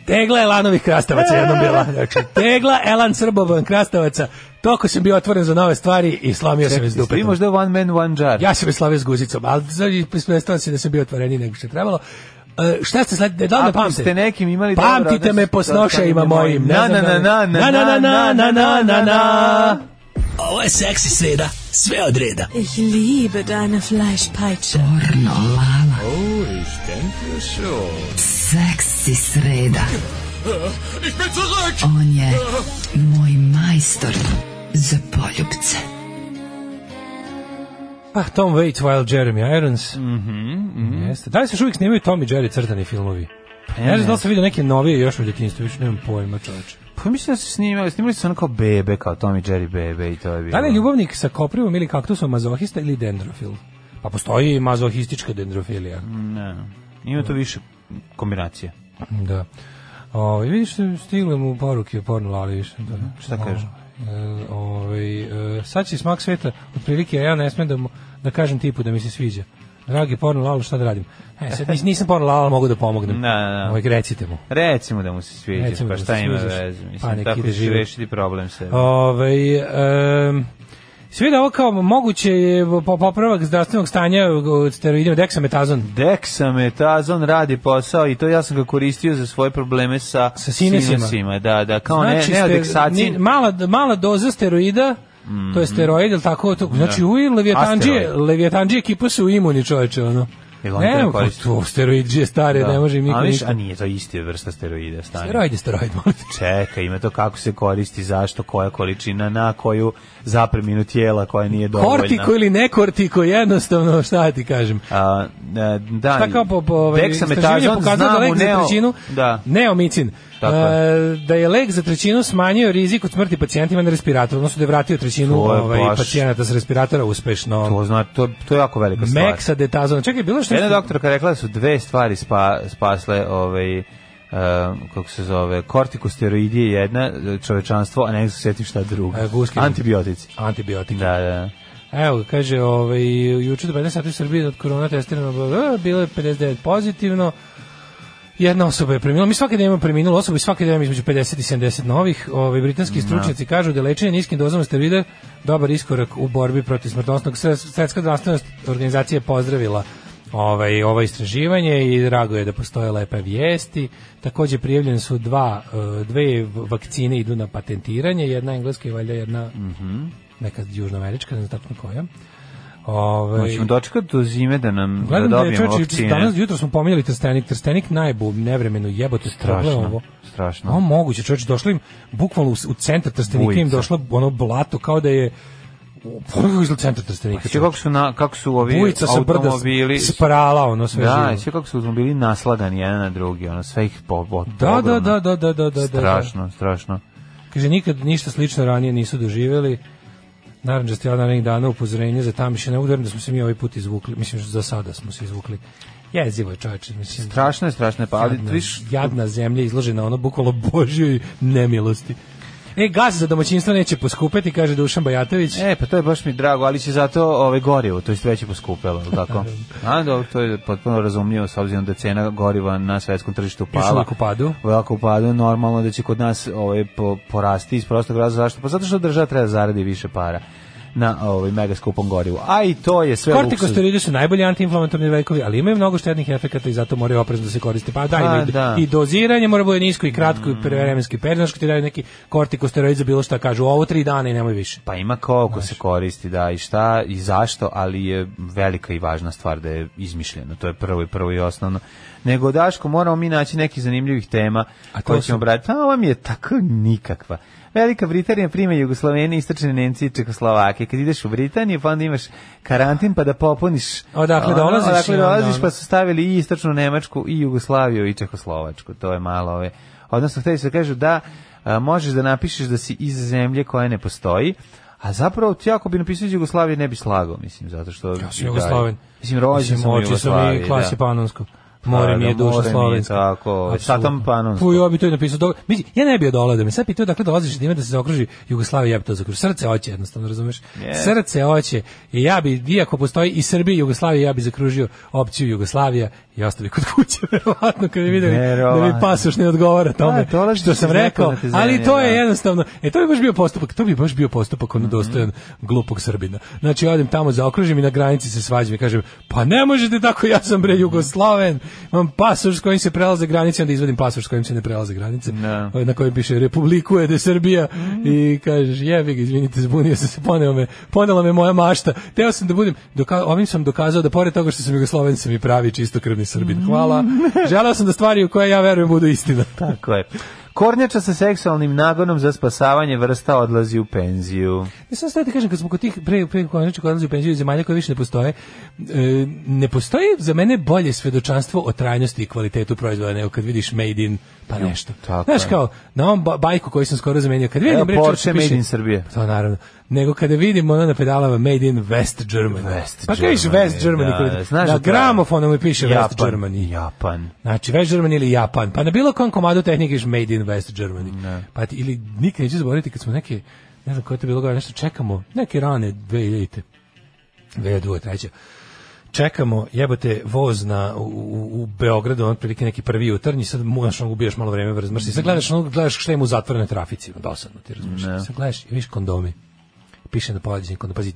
Speaker 6: Tegla Elanovih krastavaca jednom bila. Znači, tegla Elan Srbovan krastavaca. Toko sam bio otvoren za nove stvari i slomio sam iz dupe.
Speaker 7: Vi možda one man, one jar.
Speaker 6: Ja sam je slavio s guzicom, ali predstavljam se da sam bio otvoreniji nego što je trebalo. E, šta ste sledi, da li
Speaker 7: Ako
Speaker 6: pamte?
Speaker 7: ste nekim imali dobar
Speaker 6: Pamtite
Speaker 7: odnos,
Speaker 6: me po
Speaker 7: da ostanete
Speaker 6: snošajima mojim. ne
Speaker 7: Na,
Speaker 6: znam
Speaker 7: na,
Speaker 6: da li-
Speaker 7: na, na,
Speaker 6: na, na, na, na, na, na.
Speaker 12: Ovo je seksi sreda, sve od reda.
Speaker 13: Ich liebe deine Fleischpeitsche.
Speaker 12: Pornolala.
Speaker 13: Oh, ich denke schon.
Speaker 12: Seksi sreda.
Speaker 13: Ich bin zurück!
Speaker 12: On je moj majstor za poljubce.
Speaker 6: Ah, Tom Waits, Wild Jeremy Irons. Jeste. Da li se još uvijek snimaju Tom i Jerry crtani filmovi?
Speaker 7: Pa ja
Speaker 6: ne
Speaker 7: ne
Speaker 6: znam da li sam vidio neke novije još u djetinjstvu, više nemam pojma čoveče.
Speaker 7: Pa mislim da su snimali, snimali su ono kao bebe, kao Tom i Jerry bebe i to je bilo.
Speaker 6: Da li je ljubavnik sa koprivom ili kaktusom mazohista ili dendrofil? Pa postoji i mazohistička dendrofilija.
Speaker 7: Ne, ima tu više kombinacije.
Speaker 6: Da. O, i vidiš, stigle mu poruke o porno lali više. Da.
Speaker 7: Mhm. Šta kažu?
Speaker 6: E, ovaj, e, sad će smak sveta, otprilike, a ja ne smem da, mu- da kažem tipu da mi se sviđa. Dragi porno lalo, šta da radim? E, sad nis- nisam porno lalo, ali mogu da pomognem.
Speaker 7: Da, da, da.
Speaker 6: Ovaj, recite mu.
Speaker 7: Recimo da mu se sviđa,
Speaker 6: Recimo
Speaker 7: pa
Speaker 6: da mu
Speaker 7: šta
Speaker 6: se
Speaker 7: ima
Speaker 6: sviđaš.
Speaker 7: veze,
Speaker 6: Pa
Speaker 7: mislim,
Speaker 6: nek
Speaker 7: tako
Speaker 6: ide
Speaker 7: ćeš
Speaker 6: život.
Speaker 7: rešiti problem se.
Speaker 6: Ovaj em, sve da ovo kao moguće je po- popravak zdravstvenog stanja e, od steroidima deksametazon.
Speaker 7: Deksametazon radi posao i to ja sam ga koristio za svoje probleme sa, sa
Speaker 6: sinusima.
Speaker 7: Da, da, kao Pa ne, ne
Speaker 6: Znači, ste-
Speaker 7: adeksacin.
Speaker 6: ni- mala, mala doza steroida, to je steroid, ili tako, to, znači
Speaker 7: Mhm. Da.
Speaker 6: uj, levijatanđije,
Speaker 7: Asteroid.
Speaker 6: levijatanđije ekipa su imuni čoveče, ono.
Speaker 7: Jel oni to
Speaker 6: Ne,
Speaker 7: koriste?
Speaker 6: to steroidđije stare, ne može im niko
Speaker 7: a, viš,
Speaker 6: ništa.
Speaker 7: a nije to iste vrsta steroida stanje.
Speaker 6: Steroid je steroid, molim te.
Speaker 7: Čeka, ima to kako se koristi, zašto, koja količina, na koju zapreminu tijela koja nije dovoljna.
Speaker 6: Kortiko ili ne kortiko, jednostavno, šta ti kažem.
Speaker 7: A, e, da,
Speaker 6: Šta kao po, po ovaj, istraživanje
Speaker 7: deksametazon
Speaker 6: pokazalo da
Speaker 7: znamo
Speaker 6: lek za
Speaker 7: neo-
Speaker 6: trećinu,
Speaker 7: Da.
Speaker 6: neomicin,
Speaker 7: Tako
Speaker 6: e, da je lek za trećinu smanjio rizik od smrti pacijentima na respiratoru, odnosno da je vratio trećinu
Speaker 7: To je
Speaker 6: ovaj,
Speaker 7: baš-
Speaker 6: pacijenata sa respiratora uspešno.
Speaker 7: To zna, to, to je jako velika stvar.
Speaker 6: Meksadetazon. Čekaj, bilo što...
Speaker 7: Jedna doktorka rekla da su dve stvari spa, spasle ovaj e, kako se zove, kortikosteroidi je jedna, čovečanstvo, a ne znam se sjetim šta je druga.
Speaker 6: E, guske.
Speaker 7: Antibiotici.
Speaker 6: Antibiotici.
Speaker 7: Da, da.
Speaker 6: Evo, kaže, ovaj, juče do 15 sati u Srbiji od korona testirano, bla, bla, bla, bilo je 59 pozitivno, jedna osoba je preminula, mi svaki dan imamo preminulu osobu i svaki dan imamo između 50 i 70 novih, ovaj, britanski stručnjaci kažu da je lečenje niskim dozama steroida dobar iskorak u borbi protiv smrtnostnog, Sve- Svetska zdravstvena organizacija je pozdravila ovaj, ovo istraživanje i drago je da postoje lepe vijesti. Takođe prijavljene su dva, eh, dve vakcine idu na patentiranje, jedna engleska i valjda jedna neka južnoamerička, ne znam tačno koja. Ovaj,
Speaker 7: Hoćemo dočekati Znači, do zime da nam da
Speaker 6: Gledam da je
Speaker 7: dobijemo
Speaker 6: čovječ, jutros-
Speaker 7: vakcine.
Speaker 6: danas jutro smo pominjali Trstenik, Trstenik najbu nevremenu jebote strašno. Ovo.
Speaker 7: strašno.
Speaker 6: O, moguće, čovječ, došlo im bukvalno u, s- u centar Trstenika im
Speaker 7: Bujica.
Speaker 6: došlo ono blato kao da je Pogledaj kako izgleda centar Trstenika.
Speaker 7: Sve Znači, kako su, na, kako su ovi
Speaker 6: Bujica sa brda
Speaker 7: automobili...
Speaker 6: sprala, ono, sve
Speaker 7: Da,
Speaker 6: živo.
Speaker 7: sve kako su automobili nasladani jedan na drugi, ono, sve ih po, po,
Speaker 6: Da, da,
Speaker 7: ogromno.
Speaker 6: da, da, da, da, da.
Speaker 7: Strašno, strašno.
Speaker 6: Kaže, nikad ništa slično ranije nisu doživjeli. Naranđasti od narednih dana upozorenje za tamiše. Ne udarim da smo se mi ovaj put izvukli. Mislim, za sada smo se izvukli. Jezivo je čovječe. Mislim,
Speaker 7: Strašno je, strašno je, pa ali
Speaker 6: jadna,
Speaker 7: viš...
Speaker 6: jadna zemlja izložena ono bukvalo božjoj nemilosti. E, gas za domaćinstvo neće poskupeti, kaže Dušan Bajatović.
Speaker 7: E, pa to je baš mi drago, ali će zato ove gorivo, to je već je poskupelo, jel tako? A, dobro, to je potpuno razumljivo s obzirom da je cena goriva na svetskom tržištu
Speaker 6: Još
Speaker 7: pala.
Speaker 6: uvijek u padu.
Speaker 7: Veliko padu, normalno da će kod nas ovaj, po, porasti iz prostog razloga. Zašto? Pa zato što država treba da zaradi više para na ovaj, mega skupom gorivu. A i to je sve luksuz.
Speaker 6: Kortikosteroidi su najbolji antiinflamatorni lekovi, ali imaju mnogo štetnih efekata i zato moraju oprezno da se koriste. Pa da,
Speaker 7: Pa,
Speaker 6: imaju-
Speaker 7: da. Mm.
Speaker 6: i doziranje mora bude nisko i kratko i prevremenski period, znaš kad ti daju neki kortikosteroid za bilo šta kažu, ovo tri dana i nemoj više.
Speaker 7: Pa ima koliko se koristi, da, i šta, i zašto, ali je velika i važna stvar da je izmišljeno, to je prvo i prvo i osnovno. Nego, Daško, moramo mi naći neki zanimljivih tema
Speaker 6: to
Speaker 7: koje
Speaker 6: su-
Speaker 7: ćemo obraditi. A ova mi je tako nikakva. Velika Britanija prima Jugoslavene, istočne Nemci i Čekoslovake. Kad ideš u Britaniju, pa onda imaš karantin, pa da popuniš...
Speaker 6: Odakle
Speaker 7: Ono,
Speaker 6: dolaziš i
Speaker 7: Odakle
Speaker 6: onda
Speaker 7: dolaziš,
Speaker 6: ono.
Speaker 7: pa su stavili i istočnu Nemačku, i Jugoslaviju, i Čekoslovačku. To je malo ove... Odnosno, hteli su da kažu da a, možeš da napišeš da si iz zemlje koja ne postoji, a zapravo ti ako bi napisao iz Jugoslavije ne bi slagao, mislim, zato što...
Speaker 6: Ja sam Jugoslaven.
Speaker 7: Mislim, rođen sam u
Speaker 6: oči su mi
Speaker 7: Jugoslaviji,
Speaker 6: klasi
Speaker 7: da.
Speaker 6: panonsko. More
Speaker 7: Pa,
Speaker 6: mi je
Speaker 7: da,
Speaker 6: duša
Speaker 7: more mi je
Speaker 6: slovenska.
Speaker 7: tako, ovaj,
Speaker 6: Apsolutno.
Speaker 7: satam panonsko.
Speaker 6: Puj, ja bi to i napisao. Dobro, vidi, ja ne bi odolao da me sad pitao dakle dolaziš da ima da se zaokruži Jugoslavija, ja bi to zaokružio. Srce hoće jednostavno, razumeš?
Speaker 7: Yes.
Speaker 6: Srce hoće. I ja bi, iako postoji i Srbija i Jugoslavija, ja bi zakružio opciju Jugoslavija i ostao bi kod kuće, verovatno, kad bi vidio da mi
Speaker 7: Verovatno.
Speaker 6: pasoš ne odgovara tome
Speaker 7: Da, dolaziš
Speaker 6: što sam
Speaker 7: iz
Speaker 6: rekao,
Speaker 7: nepoznate
Speaker 6: ali
Speaker 7: zemlje,
Speaker 6: to je
Speaker 7: da. Mhm.
Speaker 6: jednostavno, e, to bi baš bio postupak, to bi baš bio postupak ono dostojan glupog Srbina. Znači, odem tamo, zaokružim i na granici se svađam i kažem, pa ne možete tako, ja sam bre Jugoslaven, imam pasoš s kojim se prelaze granice, onda izvadim pasoš s kojim se ne prelaze granice,
Speaker 7: Da. Mhm.
Speaker 6: na kojem piše Republikuje de Srbija i kažeš, jebi ga, izvinite, zbunio sam se, poneo me, ponela me moja mašta, teo sam da budem, doka- ovim sam dokazao da pored toga što sam Jugosloven, sam i pravi čistokrvni Srbin. Hvala.
Speaker 7: Mhm.
Speaker 6: Želeo sam da stvari u koje ja verujem budu istina.
Speaker 7: Tako je. Kornjača sa seksualnim nagonom za spasavanje vrsta odlazi u penziju.
Speaker 6: Ne sam stavio Ja, ti kažem, kad smo kod tih pre, pre konačno odlazi u penziju iz zemalja koje više ne postoje, e, ne postoji za mene bolje svedočanstvo o trajnosti i kvalitetu proizvoda nego kad vidiš made in pa nešto.
Speaker 7: Ja, tako
Speaker 6: Znaš
Speaker 7: je.
Speaker 6: kao, na ovom ba- bajku koju sam skoro zamenio, kad vidim
Speaker 7: Evo
Speaker 6: bre,
Speaker 7: Porsche
Speaker 6: čovječe, piše-
Speaker 7: Made in Srbije.
Speaker 6: To naravno. Nego kada vidim ono na pedalama made in West Germany.
Speaker 7: West
Speaker 6: pa kažeš
Speaker 7: Germany,
Speaker 6: West Germany.
Speaker 7: da,
Speaker 6: kod-
Speaker 7: da, znaš
Speaker 6: na
Speaker 7: da to je-
Speaker 6: gramofonu mi piše West
Speaker 7: Japan,
Speaker 6: Germany.
Speaker 7: Japan.
Speaker 6: Znači, West Germany ili Japan. Pa na bilo kom komadu tehnike je made in West Germany. Pa ti, ili nikad neću zaboraviti kad smo neke, ne znam koje to je bilo godine, nešto čekamo, neke rane 2000-te, 2002 3 Čekamo, jebote, voz na, u, u- u Beogradu, on otprilike neki prvi jutarnji, sad mu, znaš, ono, ubijaš malo vreme, razmrsi. Sad gledaš, ono, gledaš šta ima u zatvorene trafici, ono, dosadno ti razumiješ. Sad gledaš i vidiš kondomi. Piše na polađenje kondoma, pazi,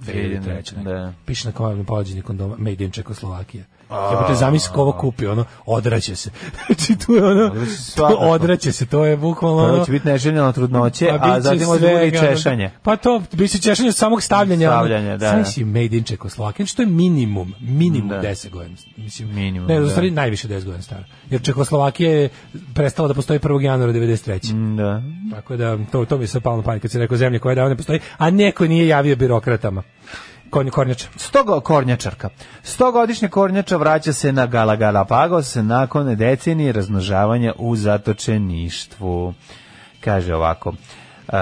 Speaker 6: 2003. neka.
Speaker 7: Da.
Speaker 6: Piše na kojem pođenje kondoma Made in Čekoslovakija. Jebote, zamisli ko ovo kupi, ono, odraće se. Znači, tu je ono,
Speaker 7: Odraće se
Speaker 6: to
Speaker 7: svakako.
Speaker 6: odraće se, to je bukvalno ono...
Speaker 7: Prvo će biti neželjeno trudnoće,
Speaker 6: bit
Speaker 7: a
Speaker 6: će
Speaker 7: zatim odvoli
Speaker 6: svega, ono.
Speaker 7: češanje.
Speaker 6: Pa to, bit će češanje od samog stavljanja. ono.
Speaker 7: Stavljanja, da,
Speaker 6: Znaš
Speaker 7: da.
Speaker 6: si Made in Čekoslovakija, što je minimum, minimum
Speaker 7: Da.
Speaker 6: 10 godina. Mislim,
Speaker 7: Minimum,
Speaker 6: ne, u
Speaker 7: da.
Speaker 6: stvari najviše 10 godina stara. Jer Čekoslovakija je prestala da postoji 1. januara 93.
Speaker 7: Da.
Speaker 6: Tako da to to mi se palo na pamet kad si rekao zemlje koja davno ne postoji, a neko nije javio birokratama. Kon Kornjača.
Speaker 7: Stoga kornjačarka. Stogodišnja kornjača vraća se na Gala Galapagos nakon decenije razmnožavanja u zatočeništvu. Kaže ovako. e,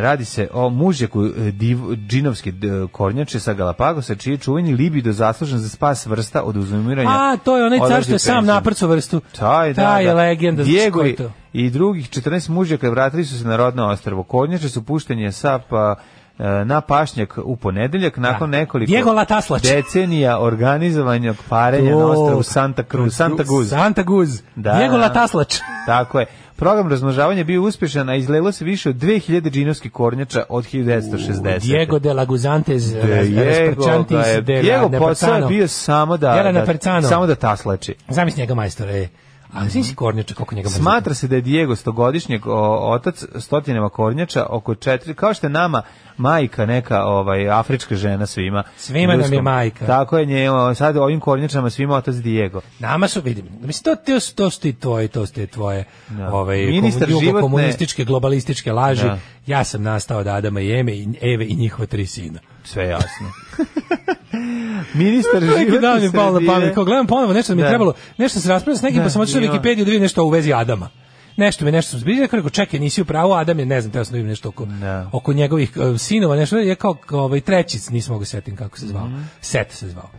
Speaker 7: radi se o mužjaku e, div, džinovske d- kornjače sa Galapagosa, čiji je čuveni libido zaslužen za spas vrsta od uzumiranja.
Speaker 6: A, to je onaj car
Speaker 7: Odlazi
Speaker 6: što je
Speaker 7: u
Speaker 6: sam
Speaker 7: penziju.
Speaker 6: naprcu vrstu.
Speaker 7: Taj, da,
Speaker 6: Taj je
Speaker 7: da.
Speaker 6: legenda. znaš
Speaker 7: Diego
Speaker 6: ko je
Speaker 7: i-
Speaker 6: to.
Speaker 7: i drugih 14 mužjaka vratili su se na rodno ostrvo. Kornjače su puštenje sa pa, e, na pašnjak u ponedeljak nakon nekoliko
Speaker 6: Diego Lataslač.
Speaker 7: decenija organizovanog parenja na
Speaker 6: To.
Speaker 7: ostrvu Santa Cruz, Santa Guz.
Speaker 6: Santa Guz.
Speaker 7: Da.
Speaker 6: Diego Lataslač.
Speaker 7: Tako je. Program razmnožavanja bio uspješan, a izlelo se više od 2000 džinovskih kornjača od 1960.
Speaker 6: Diego de la Guzantes. eh,
Speaker 7: Diego, ga je, Diego posao je bio samo da,
Speaker 6: Dela
Speaker 7: da,
Speaker 6: Nepercano.
Speaker 7: samo da taslači.
Speaker 6: Zamisli njega majstore. e. A znaš si Kornjača, koliko njega mrzim?
Speaker 7: Smatra se da je Diego stogodišnjeg o, otac stotinama kornjača, oko četiri, kao što je nama majka neka ovaj, afrička žena svima.
Speaker 6: Svima nam je
Speaker 7: Ljudskom.
Speaker 6: majka.
Speaker 7: Tako je nje, o, sad ovim kornjačama svima otac Diego.
Speaker 6: Nama su, vidim, mislim, to, to, to su ti tvoje, to su ti tvoje ovaj,
Speaker 7: Ministar
Speaker 6: komu-
Speaker 7: životne-
Speaker 6: komunističke, globalističke laži.
Speaker 7: Da.
Speaker 6: Ja sam nastao od Adama i Eme, i Eve i njihova tri sina.
Speaker 7: Sve jasno. Ministar
Speaker 6: Neki
Speaker 7: životne
Speaker 6: dan mi je palo na
Speaker 7: sredine.
Speaker 6: pamet, kao gledam ponovo nešto da mi je
Speaker 7: Da.
Speaker 6: trebalo, nešto se raspravlja s nekim,
Speaker 7: Da,
Speaker 6: pa sam otišao na
Speaker 7: ima.
Speaker 6: Wikipediju da vidim nešto u vezi Adama. Nešto mi nešto sam zbilja, rekao, čekaj, nisi u pravu, Adam je, ne znam, teo sam da vidim nešto oko, oko njegovih e, sinova, nešto, je kao ovaj, trećic, nisam mogu setim kako se zvao,
Speaker 7: Mhm.
Speaker 6: set se zvao.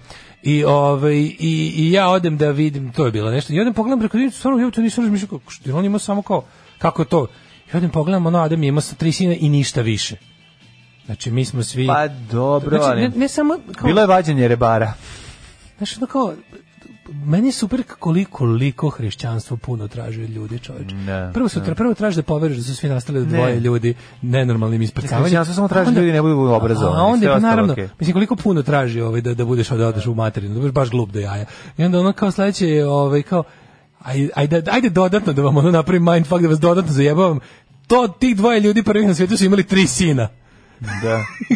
Speaker 6: I, ovaj, i, i ja odem da vidim, to je bilo nešto, i odem pogledam preko zidnicu, stvarno, ja to nisam razmišljao, kako, što je on imao samo kao, kako je to, i odem pogledam, ono, Adam je imao sa tri sina i ništa više. Znači, mi smo svi...
Speaker 7: Pa dobro,
Speaker 6: znači,
Speaker 7: ali-
Speaker 6: ne, ne samo... Kao,
Speaker 7: Bilo je vađenje rebara.
Speaker 6: Znaš, ono kao, meni je super koliko, koliko hrišćanstvo puno traži od ljudi, čoveč.
Speaker 7: Ne,
Speaker 6: prvo sutra,
Speaker 7: ne.
Speaker 6: prvo traži da poveruješ da su svi nastali od
Speaker 7: Ne.
Speaker 6: dvoje ljudi nenormalnim isprcavanjem.
Speaker 7: Hrišćanstvo samo traži da
Speaker 6: Onda-
Speaker 7: ljudi ne budu obrazovani,
Speaker 6: A onda,
Speaker 7: sve
Speaker 6: je,
Speaker 7: ostalo
Speaker 6: naravno,
Speaker 7: okej.
Speaker 6: mislim, koliko puno traži ovaj, da, da budeš da odeš u materinu, da budeš baš glup do jaja. I onda ono kao sledeće je, ovaj, kao, aj- ajde, ajde dodatno da vam ono napravim mindfuck, da vas dodatno zajebavam. To, tih dvoje ljudi prvih na svijetu su imali tri sina.
Speaker 7: Da,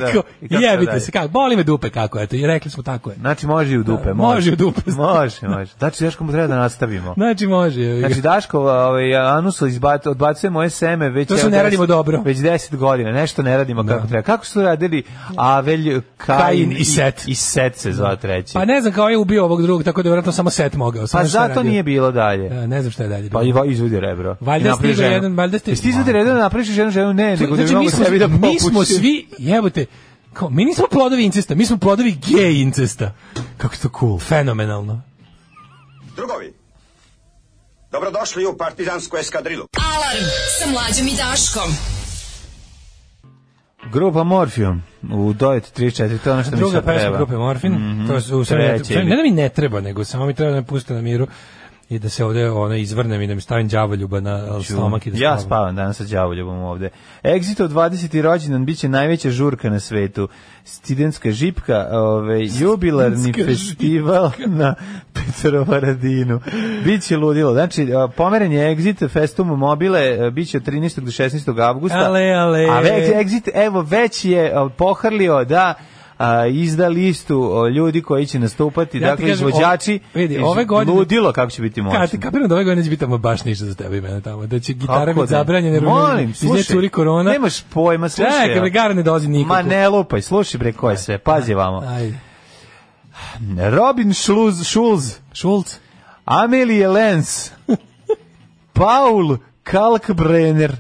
Speaker 7: da.
Speaker 6: Kao,
Speaker 7: I kako
Speaker 6: Jebite
Speaker 7: dalje?
Speaker 6: se, kako, boli me dupe kako, eto, i rekli smo tako je.
Speaker 7: Znači može i u dupe,
Speaker 6: Da,
Speaker 7: može.
Speaker 6: može i u dupe.
Speaker 7: Može, može. Znači Daško mu treba da nastavimo.
Speaker 6: Znači može.
Speaker 7: Znači Daško ovaj, anus izbat, odbacuje moje seme već...
Speaker 6: To su
Speaker 7: evo,
Speaker 6: ne
Speaker 7: deset-
Speaker 6: radimo dobro.
Speaker 7: Već 10 godina, nešto ne radimo kako treba. Kako su radili Avelj, Kain,
Speaker 6: Kain i Set.
Speaker 7: I, Set se zvao treći.
Speaker 6: Pa ne znam kao je ubio ovog drugog, tako da je vjerojatno samo set mogao.
Speaker 7: Pa
Speaker 6: samo šta je
Speaker 7: zato
Speaker 6: radio.
Speaker 7: nije bilo dalje.
Speaker 6: E, Ne znam šta je dalje.
Speaker 7: Pa i va- izvodi rebro.
Speaker 6: Valjda
Speaker 7: I
Speaker 6: je
Speaker 7: napravi
Speaker 6: stigao
Speaker 7: ženu.
Speaker 6: jedan- valjda je stigao-
Speaker 7: Jesi ti izvodi rebro, napraviš ženu, ženu, ne, nego da bi
Speaker 6: znači, mi,
Speaker 7: mogu
Speaker 6: smo,
Speaker 7: sebi da
Speaker 6: mi smo
Speaker 7: popušim.
Speaker 6: svi, jebote, kao, mi nismo plodovi incesta, mi smo plodovi gej incesta. Kako je to cool. Fenomenalno.
Speaker 14: Drugovi, dobrodošli u partizansku eskadrilu.
Speaker 5: Alarm sa mlađom i Daškom.
Speaker 7: Grupa Morfium u Dojet 34, to je ono što mi
Speaker 6: Druga
Speaker 7: sad treba.
Speaker 6: pesma grupe Morfin,
Speaker 7: Mhm.
Speaker 6: to su, sve ne,
Speaker 7: Treći
Speaker 6: sve-
Speaker 7: ili-
Speaker 6: ne da mi ne treba, nego samo mi treba da me puste na miru i da se ovde ona izvrnem i da mi stavim đavoljuba na
Speaker 7: Ću.
Speaker 6: stomak i da
Speaker 7: ja
Speaker 6: spavam.
Speaker 7: spavam danas sa đavoljubom ovde. Exito 20. rođendan biće najveća žurka na svetu. Studentska žipka, ovaj jubilarni
Speaker 6: Studentska
Speaker 7: festival na Petrovaradinu. Biće ludilo. Znači a, pomeren je Exit Festum mobile a, biće od 13. do 16. avgusta.
Speaker 6: Ale, ale.
Speaker 7: A već Exit evo već je a, pohrlio da a, izda listu o, ljudi koji će nastupati,
Speaker 6: Ja ti
Speaker 7: dakle
Speaker 6: kažem,
Speaker 7: izvođači.
Speaker 6: o- vidi,
Speaker 7: iz-
Speaker 6: ove godine-
Speaker 7: ludilo kako će biti moćno.
Speaker 6: Kad ti kapiram da ove godine neće biti tamo baš ništa za tebe i mene tamo, da će gitara
Speaker 7: Kako
Speaker 6: biti
Speaker 7: ne?
Speaker 6: zabranjena, jer
Speaker 7: Molim,
Speaker 6: iz nje
Speaker 7: slušaj,
Speaker 6: curi korona.
Speaker 7: nemaš pojma, slušaj,
Speaker 6: Čekaj,
Speaker 7: ja.
Speaker 6: bre, gara ne dolazi nikako.
Speaker 7: Ma ne lupaj, slušaj bre koje sve, pazi vamo.
Speaker 6: Ajde.
Speaker 7: Robin Schulz, Schulz,
Speaker 6: Schulz,
Speaker 7: Amelie Lenz, Paul Kalkbrenner,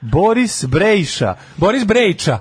Speaker 7: Boris Brejša,
Speaker 6: Boris Brejča.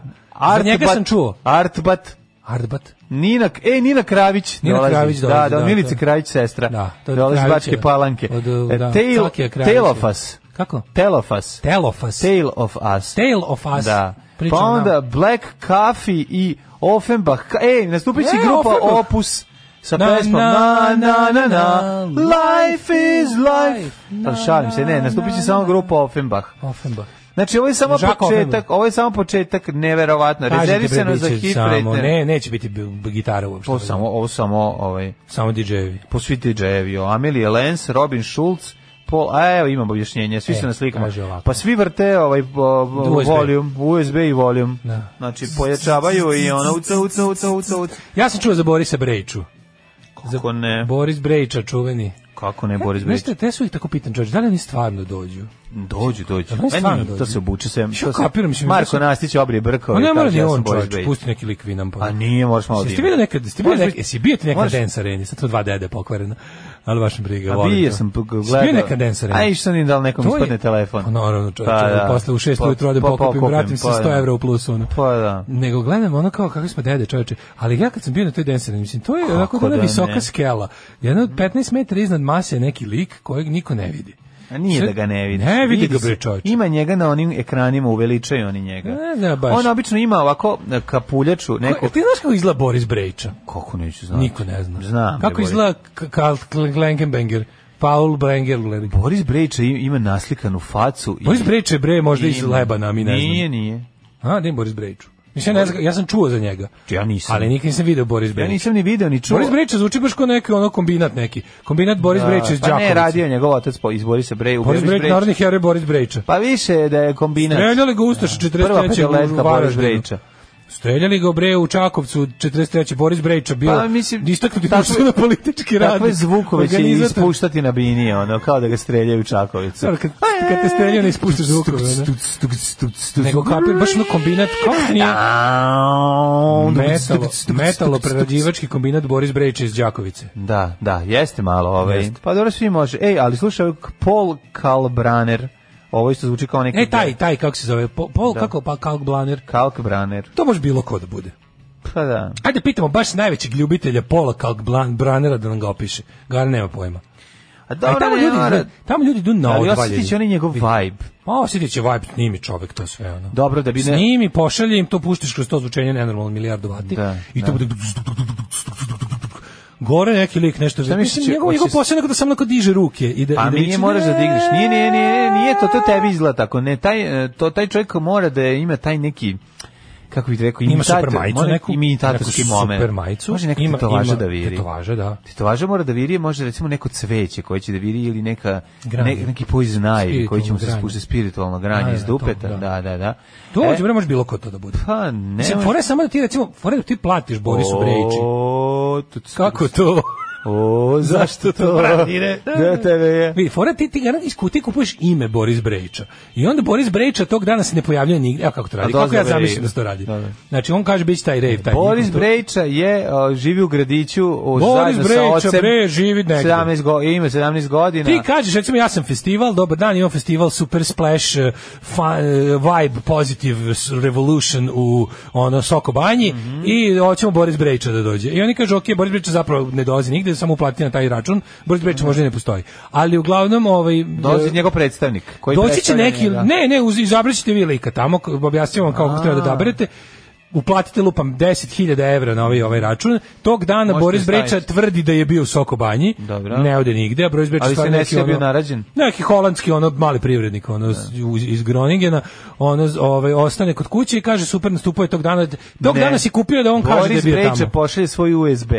Speaker 6: Za njega sam čuo.
Speaker 7: Artbat,
Speaker 6: Artbat.
Speaker 7: Nina, e, Nina Kravić
Speaker 6: Nina
Speaker 7: dolazi.
Speaker 6: Kravić dolazi,
Speaker 7: Da, da,
Speaker 6: da,
Speaker 7: Milica
Speaker 6: to-
Speaker 7: Kravić sestra. Da,
Speaker 6: to je
Speaker 7: dolazi iz
Speaker 6: Kravića.
Speaker 7: Bačke Palanke.
Speaker 6: Od, uh,
Speaker 7: E,
Speaker 6: da,
Speaker 7: Tail,
Speaker 6: Cakija Kravića.
Speaker 7: Telofas.
Speaker 6: Kako?
Speaker 7: Telofas.
Speaker 6: Telofas.
Speaker 7: Tail of Us.
Speaker 6: Tale of Us.
Speaker 7: Da.
Speaker 6: Priča
Speaker 7: pa
Speaker 6: nam.
Speaker 7: onda Black Coffee i Offenbach. Ka- Ej, nastupit će
Speaker 6: E,
Speaker 7: grupa
Speaker 6: Offenbach.
Speaker 7: Opus sa
Speaker 6: Na,
Speaker 7: pesmom
Speaker 6: na, na, na, na,
Speaker 7: Life is life.
Speaker 6: na,
Speaker 7: Da, šalim se, ne, nastupit će samo grupa Offenbach.
Speaker 6: Offenbach.
Speaker 7: Znači, ovo je samo
Speaker 6: Jacques Offenbach.
Speaker 7: početak, ovo je samo početak, neverovatno,
Speaker 6: Kažete, bre,
Speaker 7: rezervisano
Speaker 6: bit
Speaker 7: za
Speaker 6: će
Speaker 7: hit
Speaker 6: samo,
Speaker 7: rate.
Speaker 6: ne, neće biti b- b- gitara uopšte.
Speaker 7: Ovo samo, ovo samo, ovaj...
Speaker 6: Samo DJ-evi.
Speaker 7: Po svi DJ-evi, o, Amelie Lenz, Robin Schulz, Paul, a evo imam objašnjenje, svi
Speaker 6: E,
Speaker 7: su na slikama.
Speaker 6: kaže ovako.
Speaker 7: Pa svi vrte ovaj o,
Speaker 6: USB.
Speaker 7: voljum, USB i voljum.
Speaker 6: Da.
Speaker 7: Znači, pojačavaju i ono, uca, uca, uca, uca, uca.
Speaker 6: Ja sam čuo za Borisa Brejču.
Speaker 7: Kako ne,
Speaker 6: Boris Brejča, čuveni.
Speaker 7: kako ne, Boris
Speaker 6: Znaš
Speaker 7: Brejč.
Speaker 6: šta, te su ih tako pitan, čovječ, da li oni stvarno dođu?
Speaker 7: Dođi, dođi.
Speaker 6: Ali stvarno
Speaker 7: Meni,
Speaker 6: dođi.
Speaker 7: to se obuče sve. to se-
Speaker 6: kapiram, mislim,
Speaker 7: Marko
Speaker 6: da se-
Speaker 7: Nastić obrije brkove.
Speaker 6: Ma ne
Speaker 7: i
Speaker 6: mora
Speaker 7: kaže,
Speaker 6: ni
Speaker 7: ja sam
Speaker 6: on,
Speaker 7: Boris
Speaker 6: čovječ,
Speaker 7: Brejč.
Speaker 6: pusti neki lik vi nam pa.
Speaker 7: A nije, moraš malo
Speaker 6: Jeste
Speaker 7: da ima.
Speaker 6: bili nekad, jeste bili
Speaker 7: Možeš
Speaker 6: nekad, jesi bio ti nekad
Speaker 7: možeš-
Speaker 6: dance areni, sad to dva dede pokvarena. Ali baš me briga,
Speaker 7: A
Speaker 6: volim
Speaker 7: Pa bio
Speaker 6: to.
Speaker 7: sam p-
Speaker 6: Jesi
Speaker 7: gledao.
Speaker 6: bio nekad dance areni?
Speaker 7: A išao ni da li nekom
Speaker 6: To je-
Speaker 7: ispadne telefon.
Speaker 6: Pa naravno, čovječe, posle u šest
Speaker 7: Pa-
Speaker 6: ujutro odem
Speaker 7: pa
Speaker 6: pokupim, vratim se
Speaker 7: pa
Speaker 6: 100
Speaker 7: da.
Speaker 6: evra u plusu. Ono.
Speaker 7: Pa da.
Speaker 6: Nego gledam ono kao kakvi smo dede, čovječe. Ali ja kad sam bio na toj denseri, mislim, to je onako da,
Speaker 7: da
Speaker 6: visoka
Speaker 7: ne?
Speaker 6: skela. Jedna od 15 metara iznad mase je neki lik kojeg niko ne vidi.
Speaker 7: A nije
Speaker 6: Sve-
Speaker 7: da ga ne vidiš.
Speaker 6: Ne vidi ga
Speaker 7: se.
Speaker 6: bre čovječe.
Speaker 7: Ima njega na onim ekranima, uveličaju oni njega.
Speaker 6: Ne znam baš.
Speaker 7: On obično ima ovako e, kapuljaču,
Speaker 6: Ko-
Speaker 7: neku...
Speaker 6: Ti znaš kako izgleda Boris Brejča?
Speaker 7: Kako neću znati?
Speaker 6: Niko ne zna.
Speaker 7: Znam. bre,
Speaker 6: Kako
Speaker 7: Boris.
Speaker 6: izgleda K- Karl Klenkenbenger? Paul Brenger. Boris
Speaker 7: Boris Brejča im- ima naslikanu facu. i-
Speaker 6: Boris Brejče bre možda iz
Speaker 7: Ima.
Speaker 6: Lebana, mi ne znam.
Speaker 7: Nije, nije.
Speaker 6: A, ne Boris Brejču. Mislim, ne znam, ja sam čuo za njega.
Speaker 7: Ja nisam.
Speaker 6: Ali nikad nisam video Boris Brejča.
Speaker 7: Ja nisam ni video, ni čuo.
Speaker 6: Boris Brejča zvuči baš kao neki ono kombinat neki. Kombinat Boris
Speaker 7: Da,
Speaker 6: Brejča iz
Speaker 7: Pa ne,
Speaker 6: Đakovice.
Speaker 7: radio je njegov otac po- iz Borisa Brej. u
Speaker 6: Boris
Speaker 7: Boris
Speaker 6: Brejča,
Speaker 7: Brejč.
Speaker 6: narodni heroj Boris Brejča.
Speaker 7: Pa više da je kombinat.
Speaker 6: Streljali ga Ustaša 43.
Speaker 7: Prva
Speaker 6: u
Speaker 7: pečeletka Boris
Speaker 6: Varaždinu.
Speaker 7: Brejča.
Speaker 6: Streljali ga bre u Čakovcu 43. Boris Brejča bio
Speaker 7: Pa, mislim,
Speaker 6: istaknuti
Speaker 7: takve-
Speaker 6: društveno politički radnik.
Speaker 7: Takve zvukove će
Speaker 6: Organizator-
Speaker 7: ispuštati na bini, ono, kao da ga streljaju u čakovicu.
Speaker 6: Dobro, kad, kad te streljaju ne ispuštaš zvukove. ne? Nego kapir, baš ono kombinat, kako ti nije? Metalo, metalo prerađivački kombinat Boris Brejča iz Đakovice.
Speaker 7: Da, da, jeste malo ovaj.
Speaker 6: Jeste.
Speaker 7: Pa dobro, svi može. Ej, ali slušaj, ovog Paul Kalbraner, ovo isto zvuči kao neki...
Speaker 6: E, taj, taj, kako se zove? Po- Pol,
Speaker 7: Da.
Speaker 6: kako, pa Kalkblaner?
Speaker 7: Kalkbraner.
Speaker 6: To može bilo ko da bude.
Speaker 7: Pa da.
Speaker 6: Ajde pitamo baš najvećeg ljubitelja Pola Kalkblanera da nam ga opiše. Gar nema pojma.
Speaker 7: A dobro,
Speaker 6: Aj, tamo,
Speaker 7: ne
Speaker 6: ljudi,
Speaker 7: mora-
Speaker 6: idu- tamo ljudi idu na
Speaker 7: Ali
Speaker 6: odvalje.
Speaker 7: osjetit će oni njegov vibe.
Speaker 6: Ma osjetit će vibe, snimi čovek to sve. Ono.
Speaker 7: Dobro, da bi ne-
Speaker 6: Snimi, pošalje im, to puštiš kroz to zvučenje nenormalno milijardu vati.
Speaker 7: Da,
Speaker 6: I to
Speaker 7: da.
Speaker 6: bude... Gore neki lik nešto...
Speaker 7: Šta
Speaker 6: Mislim,
Speaker 7: misliš,
Speaker 6: njegov, njegov
Speaker 7: hoćeš-
Speaker 6: posao je onako da samo onako diže ruke. I da,
Speaker 7: Pa
Speaker 6: i da
Speaker 7: mi nije
Speaker 6: viče,
Speaker 7: moraš da
Speaker 6: "Ne,
Speaker 7: digneš. Nije, nije, nije, nije to, to tebi izgleda tako. Ne, taj, e, to, taj čovjek mora da ima taj neki kako bih rekao,
Speaker 6: Ima super
Speaker 7: imitator-
Speaker 6: majicu
Speaker 7: mora-
Speaker 6: neku,
Speaker 7: imitatorski
Speaker 6: neku
Speaker 7: moment.
Speaker 6: super majicu,
Speaker 7: Može neka
Speaker 6: ima-
Speaker 7: tetovaža
Speaker 6: ima
Speaker 7: da viri.
Speaker 6: tetovaža, da.
Speaker 7: Tetovaža mora da viri, može recimo neko cveće koje će da viri ili neka,
Speaker 6: Granje.
Speaker 7: ne, neki poison ivy koji će mu
Speaker 6: Spiritualno
Speaker 7: se
Speaker 6: granje.
Speaker 7: spušta spiritualno granje
Speaker 6: Da,
Speaker 7: iz
Speaker 6: da, to,
Speaker 7: dupeta.
Speaker 6: da.
Speaker 7: Da, da, da.
Speaker 6: To
Speaker 7: E,
Speaker 6: hoće, bre, može bilo ko to da bude.
Speaker 7: Pa ne.
Speaker 6: Mislim, fora je samo da ti, recimo, fora je da ti platiš Borisu Brejići.
Speaker 7: O, tu-
Speaker 6: Kako to?
Speaker 7: O, zašto to?
Speaker 6: Bratine?
Speaker 7: Da tebe je.
Speaker 6: Vidi, fora je ti, ti ga iz kutije kupuješ ime Boris Brejića. I onda Boris Brejića tog dana se ne pojavljuje nigde. Evo kako to radi.
Speaker 7: A
Speaker 6: Kako ja
Speaker 7: dozna rave.
Speaker 6: zamišljam da se to radi.
Speaker 7: Da, da.
Speaker 6: Znači, on kaže, biće taj rave, taj
Speaker 7: Boris
Speaker 6: to-
Speaker 7: Brejča je o, živi u gradiću o,
Speaker 6: Boris
Speaker 7: zajedno sa
Speaker 6: Brejića,
Speaker 7: ocem.
Speaker 6: bre, živi negde.
Speaker 7: 17 go, ima 17 godina.
Speaker 6: Ti kažeš, recimo, ja sam festival, dobar dan, imam festival Super Splash, eh, fa- eh, Vibe, Positive s- Revolution u ono, Soko banji
Speaker 7: Mhm.
Speaker 6: i hoćemo Boris Brejča da dođe. I oni kažu, ok, Boris Brejča zapravo ne dolazi nigde, samo uplati na taj račun, Boris Brejča možda i ne postoji. Ali uglavnom, ovaj,
Speaker 7: Mhm. Dolazi
Speaker 6: eh,
Speaker 7: njegov predstavnik. Koji
Speaker 6: doći će
Speaker 7: predstavlja
Speaker 6: neki,
Speaker 7: njega.
Speaker 6: ne, ne, uz- izabrat ćete vi lika tamo, k- objasnimo vam kako treba da daberete, uplatite lupam 10.000 evra na ovaj, ovaj račun, tog dana
Speaker 7: Možete
Speaker 6: Boris Breča
Speaker 7: staviti.
Speaker 6: tvrdi da je bio u Soko banji,
Speaker 7: Dobro.
Speaker 6: ne ode nigde, a Boris Breča
Speaker 7: Ali se
Speaker 6: stvarno
Speaker 7: ne
Speaker 6: neki,
Speaker 7: sjebio
Speaker 6: ono-
Speaker 7: narađen.
Speaker 6: Neki holandski ono mali privrednik ono iz, iz Groningena, ono z- ovaj ostane kod kuće i kaže super nastupuje tog dana. Tog
Speaker 7: Ne.
Speaker 6: dana si kupio da on kaže da je
Speaker 7: Boris
Speaker 6: bio
Speaker 7: Brejča
Speaker 6: tamo.
Speaker 7: pošalje svoj USB.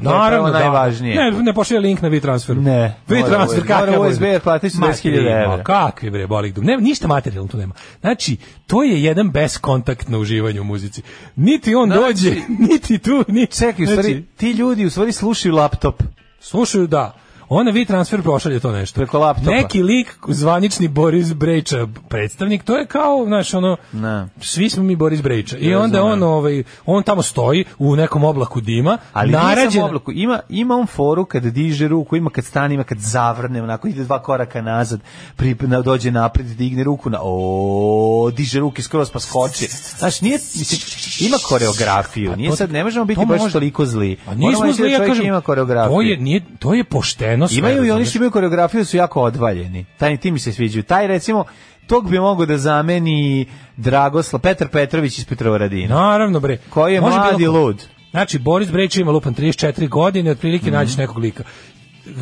Speaker 6: Naravno,
Speaker 7: Pa to je prvo
Speaker 6: da.
Speaker 7: najvažnije.
Speaker 6: Ne, ne pošalje link na WeTransfer.
Speaker 7: Ne,
Speaker 6: WeTransfer,
Speaker 7: mora
Speaker 6: kakav
Speaker 7: USB, jer platiš 40.000
Speaker 6: Ma,
Speaker 7: evra.
Speaker 6: ma, Kakvi bre, boli dum. Ne, ništa materijalno tu nema. Znači, to je jedan beskontaktno uživanje u muzici. Niti on
Speaker 7: Znači-
Speaker 6: dođe, niti tu, niti...
Speaker 7: Čekaj, u
Speaker 6: Znači,
Speaker 7: stvari, ti ljudi u stvari slušaju laptop.
Speaker 6: Slušaju, da. Ona vi transfer prošalje to nešto.
Speaker 7: Preko laptopa.
Speaker 6: Neki lik, zvanični Boris Brejča predstavnik, to je kao, znaš, ono,
Speaker 7: Ne.
Speaker 6: svi smo mi Boris Brejča. I
Speaker 7: Ja
Speaker 6: onda
Speaker 7: znam.
Speaker 6: on, ovaj, on tamo stoji u nekom oblaku dima,
Speaker 7: Ali nije
Speaker 6: narađen,
Speaker 7: samo oblaku. Ima, ima on foru kad diže ruku, ima kad stane, ima kad zavrne, onako ide dva koraka nazad, pri, na, dođe napred, digne ruku na o, diže ruke skroz pa skoči. Znaš, nije, mislim, ima koreografiju. Nije
Speaker 6: Pa to-
Speaker 7: sad, ne možemo biti
Speaker 6: to
Speaker 7: baš
Speaker 6: može.
Speaker 7: toliko zli.
Speaker 6: A
Speaker 7: Moramo
Speaker 6: Pa nismo
Speaker 7: reći da
Speaker 6: zli, ja
Speaker 7: čovjek
Speaker 6: kažem,
Speaker 7: ima koreografiju.
Speaker 6: to je, nije, to je pošteno sve.
Speaker 7: Imaju i oni
Speaker 6: razumeš?
Speaker 7: što imaju koreografiju su jako odvaljeni. Taj ti mi se sviđaju. Taj recimo tog bi mogao da zameni Dragosla Petar Petrović iz Petrovaradina.
Speaker 6: Naravno, bre.
Speaker 7: Koji je
Speaker 6: Može bilo
Speaker 7: mladi
Speaker 6: ko.
Speaker 7: lud.
Speaker 6: Znači, Boris Brejč ima lupan 34 godine, otprilike
Speaker 7: Mhm.
Speaker 6: nađeš nekog lika.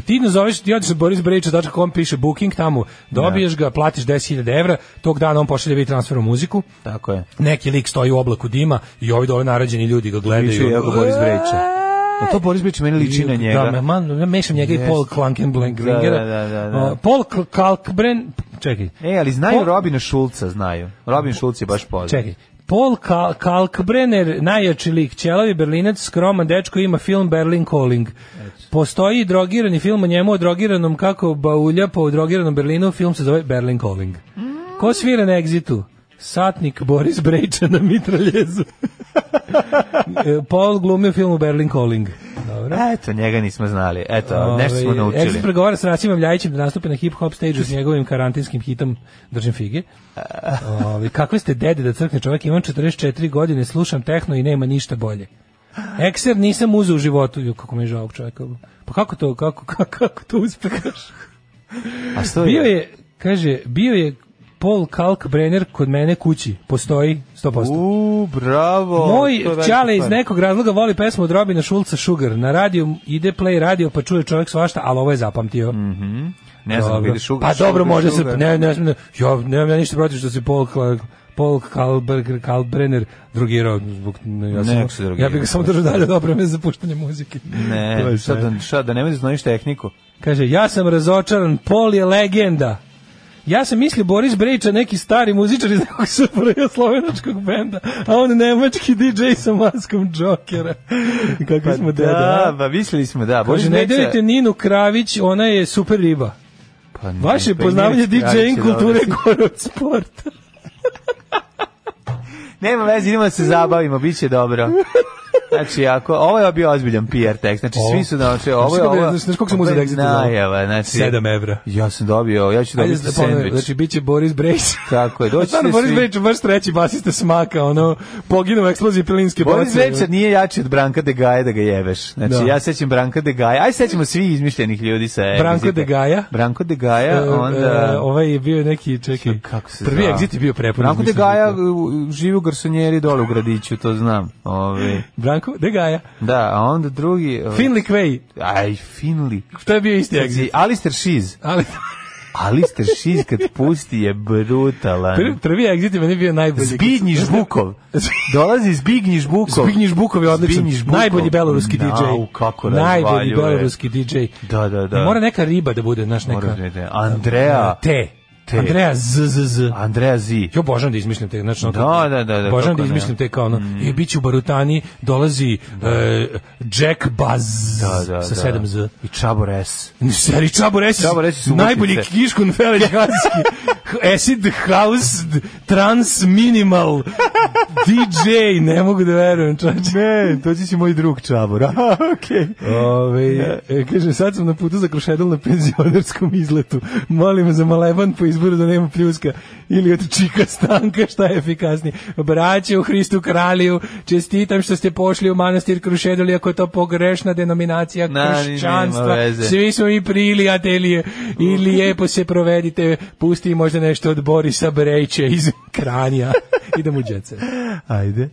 Speaker 6: Ti nazoveš, ti odeš na Boris Brejča.com, piše booking tamo, dobiješ ga, platiš 10.000 evra, tog dana on pošalje vi transfer u muziku,
Speaker 7: Tako je.
Speaker 6: neki lik stoji u oblaku dima i ovi dole narađeni ljudi ga
Speaker 7: Biću
Speaker 6: gledaju. E,
Speaker 7: jako Boris Breća. A to Boris Breća meni liči na njega.
Speaker 6: Da, ma- man, ja mešam njega i
Speaker 7: Jeste.
Speaker 6: Paul Klankenblengringera.
Speaker 7: Da, da, da, da, da.
Speaker 6: O, Paul Kl- Kalkbren, čekaj,
Speaker 7: E, ali znaju
Speaker 6: O-
Speaker 7: Robina Šulca, znaju. Robin Šulc je baš poznat.
Speaker 6: Čekaj. Paul Kal Kalkbrenner, najjači lik, ćelavi berlinac, skroman dečko, ima film Berlin Calling. Postoji drogirani film o njemu, o drogiranom kako baulja po drogiranom Berlinu, film se zove Berlin Calling. Ko svira na egzitu? Satnik Boris Brejča na mitraljezu. E, Paul glumi u filmu Berlin Calling. Dobro.
Speaker 7: Eto, njega nismo znali. Eto, nešto smo
Speaker 6: Ovaj, Exit
Speaker 7: naučili.
Speaker 6: pregovara sa Rasimom Ljajićem da nastupi na hip-hop stage s njegovim karantinskim hitom Držim fige. Ovaj, kakve ste dede da crkne čovjek, imam 44 godine, slušam tehno i nema ništa bolje. Ekser nisam uzeo u životu, Ju, kako mi je žao ovog čovjeka. Pa kako to, kako, kako, kako to uspehaš?
Speaker 7: A što
Speaker 6: Bio je, kaže, bio je Paul Kalkbrenner kod mene kući. Postoji 100%.
Speaker 7: U, bravo.
Speaker 6: Moj
Speaker 7: to je velika
Speaker 6: čale iz
Speaker 7: stvar.
Speaker 6: nekog razloga voli pesmu od Robina Šulca Sugar. Na radiju ide play radio pa čuje čovjek svašta, ali ovo je zapamtio.
Speaker 7: Mhm. Ne znam,
Speaker 6: Dobro.
Speaker 7: vidi šuga.
Speaker 6: Pa dobro,
Speaker 7: šuga,
Speaker 6: može se...
Speaker 7: šuga.
Speaker 6: Ne, ne, ne, ja nemam ja ništa protiv što se Paul Kla- Paul Kalberg, Kalbrenner drogirao zbog... Ne, ja, sam-
Speaker 7: Nek se drogirao.
Speaker 6: ja bih ga samo držao dalje dobro vreme za puštanje muzike. To
Speaker 7: Ne,
Speaker 6: je
Speaker 7: šta
Speaker 6: sve.
Speaker 7: da, šta da ne možeš znaš tehniku.
Speaker 6: Kaže, ja sam razočaran, Paul je legenda. Ja sam mislio Boris Brejča, neki stari muzičar iz nekog super slovenačkog benda, a on nemački DJ sa maskom Jokera. Kako
Speaker 7: Pa
Speaker 6: smo deda,
Speaker 7: da,
Speaker 6: a?
Speaker 7: pa mislili smo da.
Speaker 6: Kaže,
Speaker 7: Boris
Speaker 6: ne
Speaker 7: Beća-
Speaker 6: dirajte Ninu Kravić, ona je super riba.
Speaker 7: Pa ne,
Speaker 6: Vaše
Speaker 7: pa
Speaker 6: poznavanje
Speaker 7: Ninu Kravić je
Speaker 6: DJ-in
Speaker 7: dobro.
Speaker 6: kulture gore od sporta.
Speaker 7: Nema veze, idemo da se zabavimo, bit će dobro. Znači, ako, ovo je bio ozbiljan PR tekst, znači
Speaker 6: Ovo.
Speaker 7: svi su naučili, ovo je
Speaker 6: Znaš kako
Speaker 7: ovo...
Speaker 6: bi- znaš koliko sam
Speaker 7: ovo je
Speaker 6: uzeo Dexita za ovo?
Speaker 7: Najava, znači...
Speaker 6: Sedam evra.
Speaker 7: Ja sam dobio, ja ću
Speaker 6: Ajde,
Speaker 7: dobiti
Speaker 6: da ponovim,
Speaker 7: sandvič.
Speaker 6: Znači, bit će Boris Brejč.
Speaker 7: Tako je, doći
Speaker 6: Stvarno,
Speaker 7: će
Speaker 6: Boris
Speaker 7: svi-
Speaker 6: Brejč, baš treći basista smaka, ono, poginuo u eksploziji pilinske
Speaker 7: Boris
Speaker 6: boce.
Speaker 7: Večer nije jači od Branka de Gaja da ga jebeš. Znači,
Speaker 6: Da.
Speaker 7: ja sećam Branka de Gaja. Aj, sećamo svi izmišljenih ljudi sa...
Speaker 6: Branko
Speaker 7: Exita.
Speaker 6: de Gaja.
Speaker 7: Branko de Gaja,
Speaker 6: E,
Speaker 7: onda...
Speaker 6: e, ovaj je bio neki, čekaj, kako
Speaker 7: se
Speaker 6: prvi
Speaker 7: zva.
Speaker 6: exit je bio prepun.
Speaker 7: Branko de
Speaker 6: izmišljenih
Speaker 7: Gaja u- živi u garsonjeri dole u gradiću, to znam. Ove.
Speaker 6: Branko de Gaja.
Speaker 7: Da, a onda drugi... ovaj- ove-
Speaker 6: Finley Quay.
Speaker 7: Aj, Finley.
Speaker 6: Šta je bio isti
Speaker 7: Pazi,
Speaker 6: exit?
Speaker 7: Alistair Shiz.
Speaker 6: Ali,
Speaker 7: Alistair Shiz kad pusti je
Speaker 6: prvi,
Speaker 7: brutalan.
Speaker 6: prvi exit je meni bio najbolji.
Speaker 7: Zbignji Žbukov. Dolazi Zbignji Žbukov.
Speaker 6: Zbignji Žbukov je odličan.
Speaker 7: Zbignji Žbukov.
Speaker 6: Najbolji beloruski DJ.
Speaker 7: Nau, kako
Speaker 6: Najbolji
Speaker 7: razvaljuje.
Speaker 6: beloruski DJ.
Speaker 7: Da, da, da.
Speaker 6: Mora neka riba da bude, znaš, neka...
Speaker 7: Mora da ide. Andrea.
Speaker 6: Te.
Speaker 7: Te.
Speaker 6: Andreja Z, Z, Z.
Speaker 7: Andrea Z.
Speaker 6: Jo, božan da izmišljam te, znači, ono,
Speaker 7: Da, da, da, da,
Speaker 6: božan
Speaker 7: kako
Speaker 6: da
Speaker 7: ne.
Speaker 6: izmišljam te kao ono, i bit ću u Barutani, dolazi e, Jack Buzz
Speaker 7: Da, da,
Speaker 6: sa
Speaker 7: da.
Speaker 6: 7 Z.
Speaker 7: I Čabor S.
Speaker 6: Seri Čabor Esis,
Speaker 7: Čabor Esis Subotice.
Speaker 6: najbolji kiškun Feleć Hanski, Acid House, d- Trans Minimal, DJ, ne mogu da verujem, čače.
Speaker 7: Ne, to će moj drug Čabor. Okej.
Speaker 6: Ove, e, kaže, sad sam na putu za krušedel na penzionerskom izletu. Molim za maleban po izboru da nema pljuska ili od čika stanka, šta je efikasnije. Braće u Hristu kralju, čestitam što ste pošli u manastir krušedel, iako je to pogrešna denominacija
Speaker 7: Na, ni- nema
Speaker 6: kršćanstva.
Speaker 7: veze.
Speaker 6: Svi smo mi prilijatelji i lijepo se provedite, pusti možda nešto od Borisa Brejče iz Kranja. Idemo u džetce.
Speaker 7: Ajde.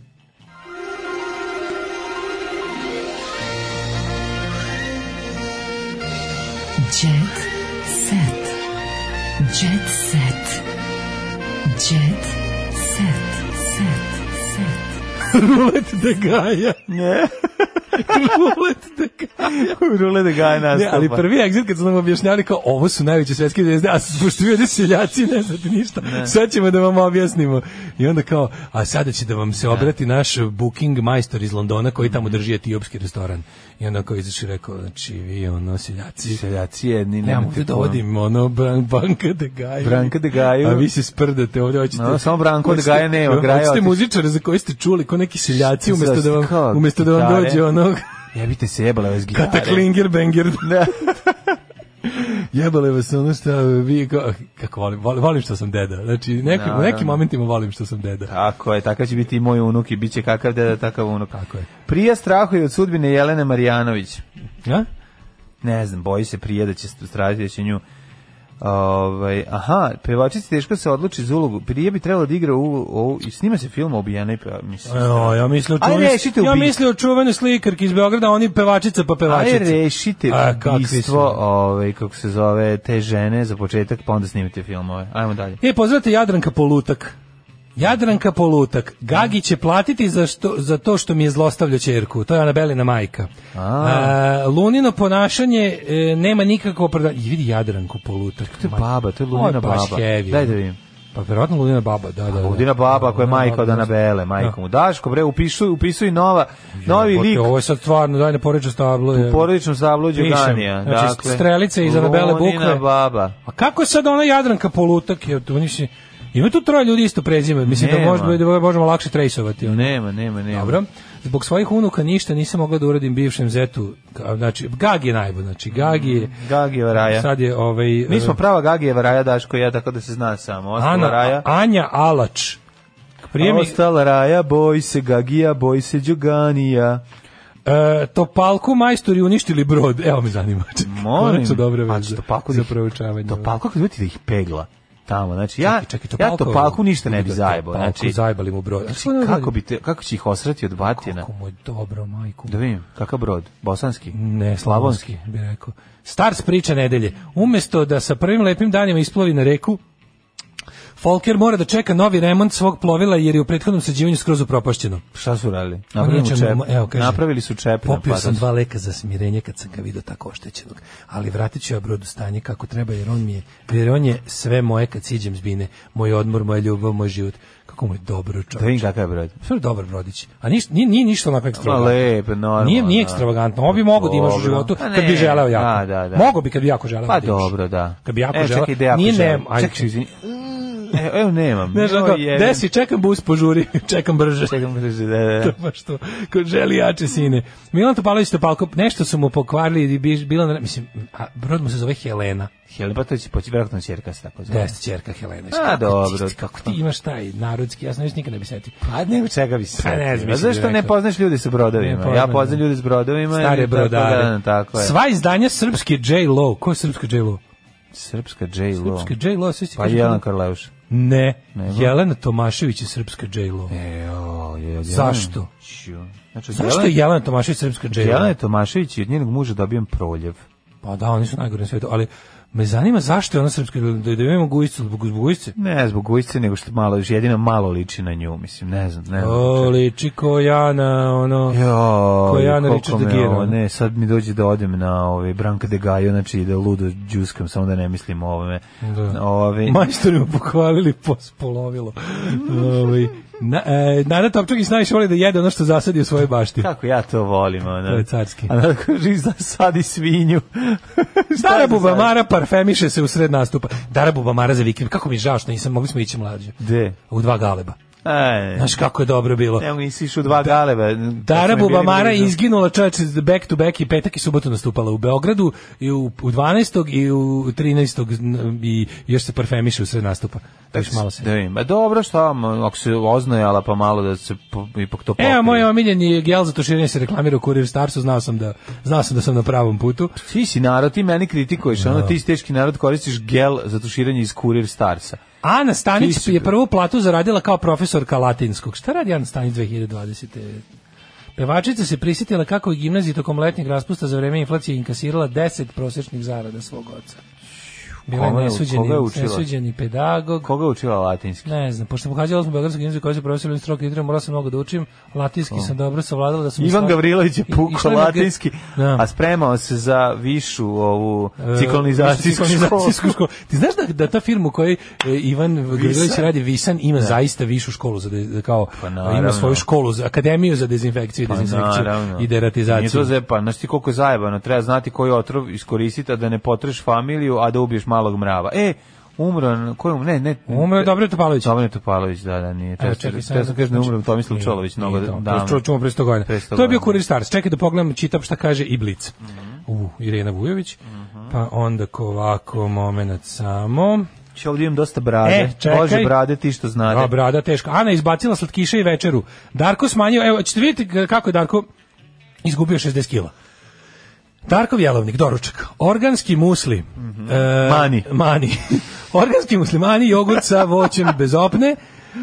Speaker 12: Jet set. Jet set. Jet set. Set. Set.
Speaker 6: Rulet de Gaja.
Speaker 7: Ne.
Speaker 6: Rulet de Gaja.
Speaker 7: Rule da Gaja
Speaker 6: Ne,
Speaker 7: nastupa.
Speaker 6: ali prvi exit kad su nam objašnjali kao ovo su najveće svetske zvezde, a pošto vi ovde seljaci ne znate ništa, sad ćemo da vam objasnimo. I onda kao, a sada će da vam se obrati naš booking majstor iz Londona koji tamo drži etiopski restoran. I onda kao izašao i rekao, znači vi ono seljaci,
Speaker 7: Seljaci jedni,
Speaker 6: ja mu
Speaker 7: nemojte pojma.
Speaker 6: dovodim ono Bran, Branka de Gaju.
Speaker 7: Branka de Gaju.
Speaker 6: A vi se sprdate ovde, hoćete...
Speaker 7: No, samo Branko de
Speaker 6: hoćete-
Speaker 7: Gaja nema, Graja
Speaker 6: Hoćete
Speaker 7: otišla.
Speaker 6: muzičare za koji ste čuli ko neki seljaci umesto da
Speaker 7: Kao
Speaker 6: vam, umesto da vam
Speaker 7: gitare.
Speaker 6: dođe ono, onog...
Speaker 7: Jebite se jebala vas gitare.
Speaker 6: Kataklingir Bengir. Da. Jebale vas ono što vi, ko- kako volim, volim, volim što sam deda. Znači, neki,
Speaker 7: Da,
Speaker 6: u nekim
Speaker 7: da.
Speaker 6: momentima volim što sam deda.
Speaker 7: Tako je, takav će biti i moj unuk i bit će kakav deda, takav unuk. Tako je. Prija strahuje od sudbine Jelene Marjanović.
Speaker 6: Ja?
Speaker 7: Ne znam, boji se prije da će stražiti da će nju Ovaj, aha, pevačica teško se odluči za ulogu. Prije bi trebalo da igra u, u, i snima se film o Bijanoj peva, mislim.
Speaker 6: O, ja mislim
Speaker 7: Aj,
Speaker 6: o čuvenoj,
Speaker 7: rešite
Speaker 6: ja
Speaker 7: ubistvo.
Speaker 6: mislim o čuvenoj slikarki iz Beograda, oni pevačica pa pevačica.
Speaker 7: Aj rešite
Speaker 6: A, kakvi su.
Speaker 7: ubistvo, ovaj, kako se zove, te žene za početak, pa onda snimite filmove. Ajmo dalje.
Speaker 6: E, pozdravite Jadranka Polutak. Jadranka Polutak. Gagi će platiti za, što, za to što mi je zlostavljao čerku. To je Anabelina majka.
Speaker 7: A.
Speaker 6: E, Lunino ponašanje e, nema nikakvo opravdanje. I vidi Jadranku Polutak.
Speaker 7: To je baba, to je
Speaker 6: Ovo
Speaker 7: Lunina
Speaker 6: baš
Speaker 7: baba.
Speaker 6: heavy.
Speaker 7: Daj da vidim.
Speaker 6: Pa verovatno Ludina baba, da, da. da.
Speaker 7: Ludina baba koja je
Speaker 6: Ludina
Speaker 7: majka od
Speaker 6: baba,
Speaker 7: Anabele, majka mu. Daško, bre, upisuj, upisuj nova, novi
Speaker 6: Bote,
Speaker 7: lik
Speaker 6: Ovo je sad stvarno, daj ne poređu stablo.
Speaker 7: u
Speaker 6: je.
Speaker 7: porodičnom stablu
Speaker 6: Pišem.
Speaker 7: Đoganija.
Speaker 6: Znači,
Speaker 7: dakle,
Speaker 6: strelice iz Anabele
Speaker 7: Lunina
Speaker 6: Bukve.
Speaker 7: baba.
Speaker 6: A kako sad ona Jadranka Polutak? Je, oni se, ima tu troje ljudi isto prezime. Mislim da
Speaker 7: Nema.
Speaker 6: možda da možemo lakše trejsovati. ono.
Speaker 7: Nema, nema, nema.
Speaker 6: Dobro. Zbog svojih unuka ništa nisam mogla da uradim bivšem zetu. Ka- Znači, Gagi je najbolj. Znači, Gagi je...
Speaker 7: Gagijeva Mm. raja.
Speaker 6: Sad je ovaj...
Speaker 7: Mi smo prava Gagijeva raja, Daško i ja, tako da se zna samo. Ostala
Speaker 6: Ana,
Speaker 7: raja.
Speaker 6: Anja Alač. Prije mi,
Speaker 7: Ostala raja, boj se Gagija, boj se Đoganija.
Speaker 6: e, Topalku majstori uništili brod. Evo me zanima. Čekaj,
Speaker 7: Molim.
Speaker 6: Konačno dobre
Speaker 7: A,
Speaker 6: veze
Speaker 7: Topalku
Speaker 6: za
Speaker 7: ih-
Speaker 6: proučavanje.
Speaker 7: Topalko kad vidite da ih pegla. tamo. Znači ja
Speaker 6: čekaj,
Speaker 7: čekaj, ja Topalku ništa ne bi zajebao.
Speaker 6: Topalku
Speaker 7: Znači
Speaker 6: zajebali mu brod. A što
Speaker 7: Znači,
Speaker 6: ono
Speaker 7: kako
Speaker 6: radi?
Speaker 7: bi te, kako će ih osrati od batina? Kako
Speaker 6: mu je dobro, majku.
Speaker 7: Da vidim, kakav brod? Bosanski?
Speaker 6: Ne, slavonski, bi rekao. Stars priča nedelje. Umesto da sa prvim lepim danima isplovi na reku, Folker mora da čeka novi remont svog plovila jer je u prethodnom sađivanju skroz upropašćeno.
Speaker 7: Šta su radili? Napravili,
Speaker 6: Reče
Speaker 7: mu čep,
Speaker 6: mu, evo, kaže,
Speaker 7: napravili su pa čep. na
Speaker 6: Popio sam
Speaker 7: patos.
Speaker 6: dva leka za smirenje kad sam ga vidio tako oštećenog, ali vratit ću ja brodu stanje kako treba jer on mi je, jer on je sve moje kad siđem s bine, moj odmor, moja ljubav, moj život. Kako mu je dobro čovječe.
Speaker 7: Da vidim kakav je brod.
Speaker 6: Sve dobar brodić. A niš, nije, nije ništa onako ekstravagantno.
Speaker 7: lep, normalno,
Speaker 6: Nije, nije
Speaker 7: da.
Speaker 6: ekstravagantno. Ovo bi mogo da imaš u
Speaker 7: Dobro.
Speaker 6: životu
Speaker 7: Pa
Speaker 6: kad bi
Speaker 7: ne,
Speaker 6: želeo jako.
Speaker 7: da, da, da.
Speaker 6: Mogo bi kad bi jako želeo.
Speaker 7: Pa
Speaker 6: da imaš.
Speaker 7: dobro, da.
Speaker 6: Kad bi jako
Speaker 7: E,
Speaker 6: želeo.
Speaker 7: čekaj, da ja
Speaker 6: nije
Speaker 7: poželim.
Speaker 6: nem, ajde.
Speaker 7: Čekaj, izvini. E, Evo, nemam.
Speaker 6: Ne znam
Speaker 7: Evo,
Speaker 6: kako,
Speaker 7: jebem.
Speaker 6: desi, čekam bus, požuri, čekam brže.
Speaker 7: Čekam brže, da, da.
Speaker 6: To baš to, ko želi jače sine. Milan Topalović Topalko, nešto su mu pokvarili, i bi- bila, na- mislim, a brod mu se zove Helena.
Speaker 7: Helena, pa to će poći vjerojatno ćerka se tako zove.
Speaker 6: Jeste ćerka Helena.
Speaker 7: A, dobro.
Speaker 6: Kako ti imaš taj narodski, ja sam još nikad ne bi setio.
Speaker 7: Pa nego čega bi se
Speaker 6: Pa ne znam, mislim
Speaker 7: setio?
Speaker 6: da
Speaker 7: zašto
Speaker 6: je
Speaker 7: ne
Speaker 6: rekao.
Speaker 7: poznaš ljude sa
Speaker 6: Ne
Speaker 7: brodovima?
Speaker 6: poznam,
Speaker 7: ja
Speaker 6: da.
Speaker 7: poznam ljude s brodovima. i
Speaker 6: Stare
Speaker 7: tako da,
Speaker 6: brodare.
Speaker 7: Tako je.
Speaker 6: Sva izdanja srpske J-Lo. Ko je srpska J-Lo?
Speaker 7: Srpska J-Lo.
Speaker 6: Srpska J-Lo, sve si
Speaker 7: Pa
Speaker 6: kažu-
Speaker 7: Jelena Karleuša.
Speaker 6: Ne,
Speaker 7: Nego?
Speaker 6: Jelena Tomašević je srpska J-Lo.
Speaker 7: Jo, jo, Jelena.
Speaker 6: Zašto?
Speaker 7: Ću. Znači,
Speaker 6: Zašto je Jelena Tomašević srpska J-Lo?
Speaker 7: Jelena Tomašević i od njenog muža dobijem proljev.
Speaker 6: Pa da, oni su najgori na svijetu, ali me zanima zašto je ona srpska J-Lo, da, da imamo gujicu zbog zbog gujice.
Speaker 7: Ne, zbog ujce, nego što malo, jedino malo liči na nju, mislim, ne znam, ne znam.
Speaker 6: O, liči ko Jana, ono...
Speaker 7: Jo,
Speaker 6: Ko Jana
Speaker 7: koliko
Speaker 6: Richarda
Speaker 7: me
Speaker 6: Gere,
Speaker 7: ovo-
Speaker 6: ono.
Speaker 7: Ne, sad mi dođe da odem na ovaj Branka de Gajo, znači da ludo džuskam, samo da ne mislim o ovome.
Speaker 6: Da.
Speaker 7: Ove,
Speaker 6: Majstori mu pokvalili pospolovilo. Ovaj, na, e, Nada Topčagić najviše voli da jede ono što zasadi u svojoj bašti.
Speaker 7: Kako ja to volim, ono.
Speaker 6: To je carski.
Speaker 7: A onda kaže, zasadi svinju.
Speaker 6: Darabu Bamara parfemiše se u sred nastupa. Darabu Bamara za vikend. Kako mi je žao što nisam, mogli smo ići mlađe.
Speaker 7: De.
Speaker 6: U dva galeba.
Speaker 7: Ej,
Speaker 6: Znaš kako je dobro bilo.
Speaker 7: Evo nisi išao u dva galebe.
Speaker 6: Darabu Bamara izginula čovječe back to back i petak i subotu nastupala u Beogradu i u, u 12. i u 13. i još se parfemiše u sred nastupa. Još malo se.
Speaker 7: Da vidim. Ma dobro, šta, ma, ako se oznojala pa malo da se po, ipak to pokrije.
Speaker 6: Evo E, moj omiljeni gel za tuširanje se reklamira u Kurir Starsu, znao sam da znao sam da sam na pravom putu.
Speaker 7: Ti si narod, ti meni kritikuješ, ono ti si teški narod, koristiš gel za tuširanje iz Kurir Starsa.
Speaker 6: Ana
Speaker 7: Ti
Speaker 6: Stanić
Speaker 7: si-
Speaker 6: je prvu platu zaradila kao profesorka latinskog. Šta radi Ana Stanić 2020. Pevačica se prisjetila kako je gimnaziji tokom letnjeg raspusta za vreme inflacije inkasirala 10 prosječnih zarada svog oca. Bila je
Speaker 7: Kome- koga je
Speaker 6: nesuđeni,
Speaker 7: učila?
Speaker 6: nesuđeni pedagog.
Speaker 7: Koga je učila latinski?
Speaker 6: Ne znam, pošto pohađala sam Beogradsku gimnaziju koja se profesor Lim Strok igra, morala sam mnogo da učim, latinski sam dobro savladala da sam...
Speaker 7: Ivan Gavrilović je pukao
Speaker 6: Išla mi ga-
Speaker 7: latinski,
Speaker 6: Da.
Speaker 7: a spremao se za višu ovu
Speaker 6: E,
Speaker 7: ciklonizacijsku školu.
Speaker 6: ciklonizacijsku školu. Ti znaš da, da ta firma u kojoj e, Ivan Gavrilović radi Visan ima zaista višu školu za de, za kao
Speaker 7: Pa
Speaker 6: e,
Speaker 7: naravno. Pa
Speaker 6: ima svoju školu za akademiju za dezinfekciju, i dezinsekciju
Speaker 7: naravno.
Speaker 6: i
Speaker 7: Nije to
Speaker 6: deratizaciju.
Speaker 7: zepa, znaš ti koliko je zajebano, treba znati koji otrov iskoristiti, a da ne potreš familiju, a da ubiješ malog mrava. E, umro, ko je umro? Ne, ne.
Speaker 6: Umro je Dobro Topalović.
Speaker 7: Dobre Topalović, da, da, nije. Te,
Speaker 6: Evo,
Speaker 7: te,
Speaker 6: čekaj,
Speaker 7: te,
Speaker 6: sad- znači,
Speaker 7: sam kažem da je umro Tomislav Čolović, mnogo
Speaker 6: Nije to.
Speaker 7: da.
Speaker 6: Ču- čuo pre 100 godina.
Speaker 7: 500
Speaker 6: To je bio
Speaker 7: godina. Mhm.
Speaker 6: Kurir Stars. Čekaj da pogledam, čitam šta kaže i Blic. U, Irena Vujović. Pa onda ko ovako, moment samo.
Speaker 7: Če ovdje imam dosta brade.
Speaker 6: E, čekaj.
Speaker 7: Bože brade, ti što znade.
Speaker 6: A, brada teško. Ana izbacila slatkiše i večeru. Darko smanjio, evo, ćete vidjeti kako je Darko izgubio 60 kila. Darkov jelovnik, doručak, organski musli, e,
Speaker 7: Mhm. Mani.
Speaker 6: mani. organski muslimani, jogurt sa voćem bez opne,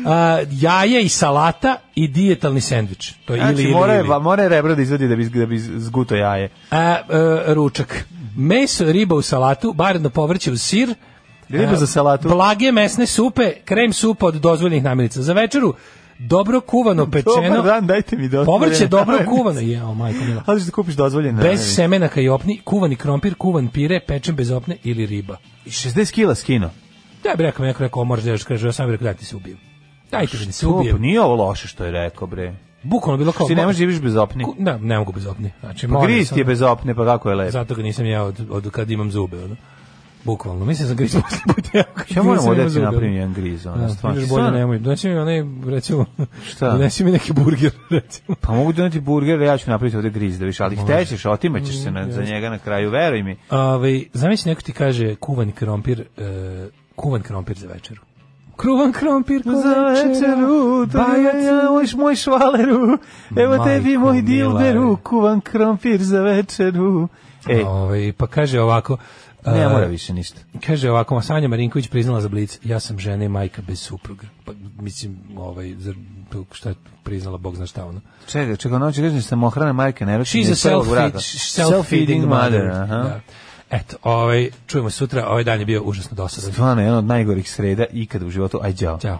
Speaker 6: a, jaje i salata i dijetalni sendvič. To je
Speaker 7: Znači,
Speaker 6: ili, ili,
Speaker 7: mora, je,
Speaker 6: ili.
Speaker 7: va- mora je rebro da izvadi da bi, da bi zguto jaje.
Speaker 6: A, e, ručak, meso, riba u salatu, baredno povrće uz sir,
Speaker 7: Riba
Speaker 6: e,
Speaker 7: za salatu.
Speaker 6: blage mesne supe, krem supa od dozvoljenih namirnica. Za večeru dobro kuvano pečeno,
Speaker 7: Dobar dan, dajte mi dosta.
Speaker 6: povrće dobro
Speaker 7: vremena.
Speaker 6: kuvano, jeo majko mila.
Speaker 7: Ali što kupiš dozvoljene.
Speaker 6: Bez semenaka i opni, kuvani krompir, kuvan pire, pečen bez opne ili riba.
Speaker 7: 60 kila skino.
Speaker 6: Ja bih rekao, neko rekao, "O, moraš da ješ, kaže, ja sam bih rekao, daj ti se ubijem. Dajte mi da se
Speaker 7: To, pa
Speaker 6: ubijem.
Speaker 7: nije ovo loše što je rekao, bre.
Speaker 6: Bukvalno bilo kao...
Speaker 7: Ti ne možeš živiš bez opni.
Speaker 6: Ku- Ne, ne mogu bez opni. Znači,
Speaker 7: Pa
Speaker 6: molim
Speaker 7: griz
Speaker 6: samo-
Speaker 7: ti je bez opne, pa kako je lepo.
Speaker 6: Zato ga nisam ja od, od kad imam zube, ono. Bukvalno, mislim da sam griz posle
Speaker 7: Ja moram ovdje ti napravim jedan griz, ono,
Speaker 6: Da,
Speaker 7: stvarno.
Speaker 6: ideš bolje
Speaker 7: Stvarno.
Speaker 6: nemoj. Doneći mi onaj, recimo,
Speaker 7: Šta?
Speaker 6: donesi mi neki burger, recimo.
Speaker 7: Pa mogu doneti burger, a ja ću napraviti ovdje griz, da viš, ali
Speaker 6: Može.
Speaker 7: htećeš, otimaćeš se na,
Speaker 6: Mm,
Speaker 7: za
Speaker 6: jasno.
Speaker 7: njega na kraju, veruj mi.
Speaker 6: Ove, Ovaj, zamisli neko ti kaže kuvan krompir, e, kuvan krompir za večeru. Kruvan krompir ko
Speaker 7: Za večeru, to je ja, moj, moj švaleru, evo
Speaker 6: Majko
Speaker 7: tebi moj
Speaker 6: mila,
Speaker 7: dilberu,
Speaker 6: ej.
Speaker 7: kuvan krompir za večeru. Ej,
Speaker 6: Ovaj, pa kaže ovako,
Speaker 7: Ne mora više ništa.
Speaker 6: Kaže ovako, Sanja Marinković priznala za Blic, ja sam žena i majka bez supruga. Pa, mislim, ovaj, zar- šta je priznala, Bog zna šta ono.
Speaker 7: Čekaj, čekaj, ono će reći da sam ohrana majke, ne reći.
Speaker 6: She's a self self-feeding mother. Da. Eto, ovaj, čujemo se sutra, ovaj dan je bio užasno dosadan.
Speaker 7: Stvarno, jedan od najgorih sreda ikad u životu. Aj, đao.
Speaker 6: Ćao.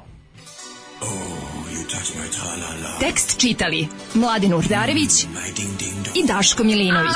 Speaker 5: Tekst čitali Mladin Urdarević i Daško Milinović.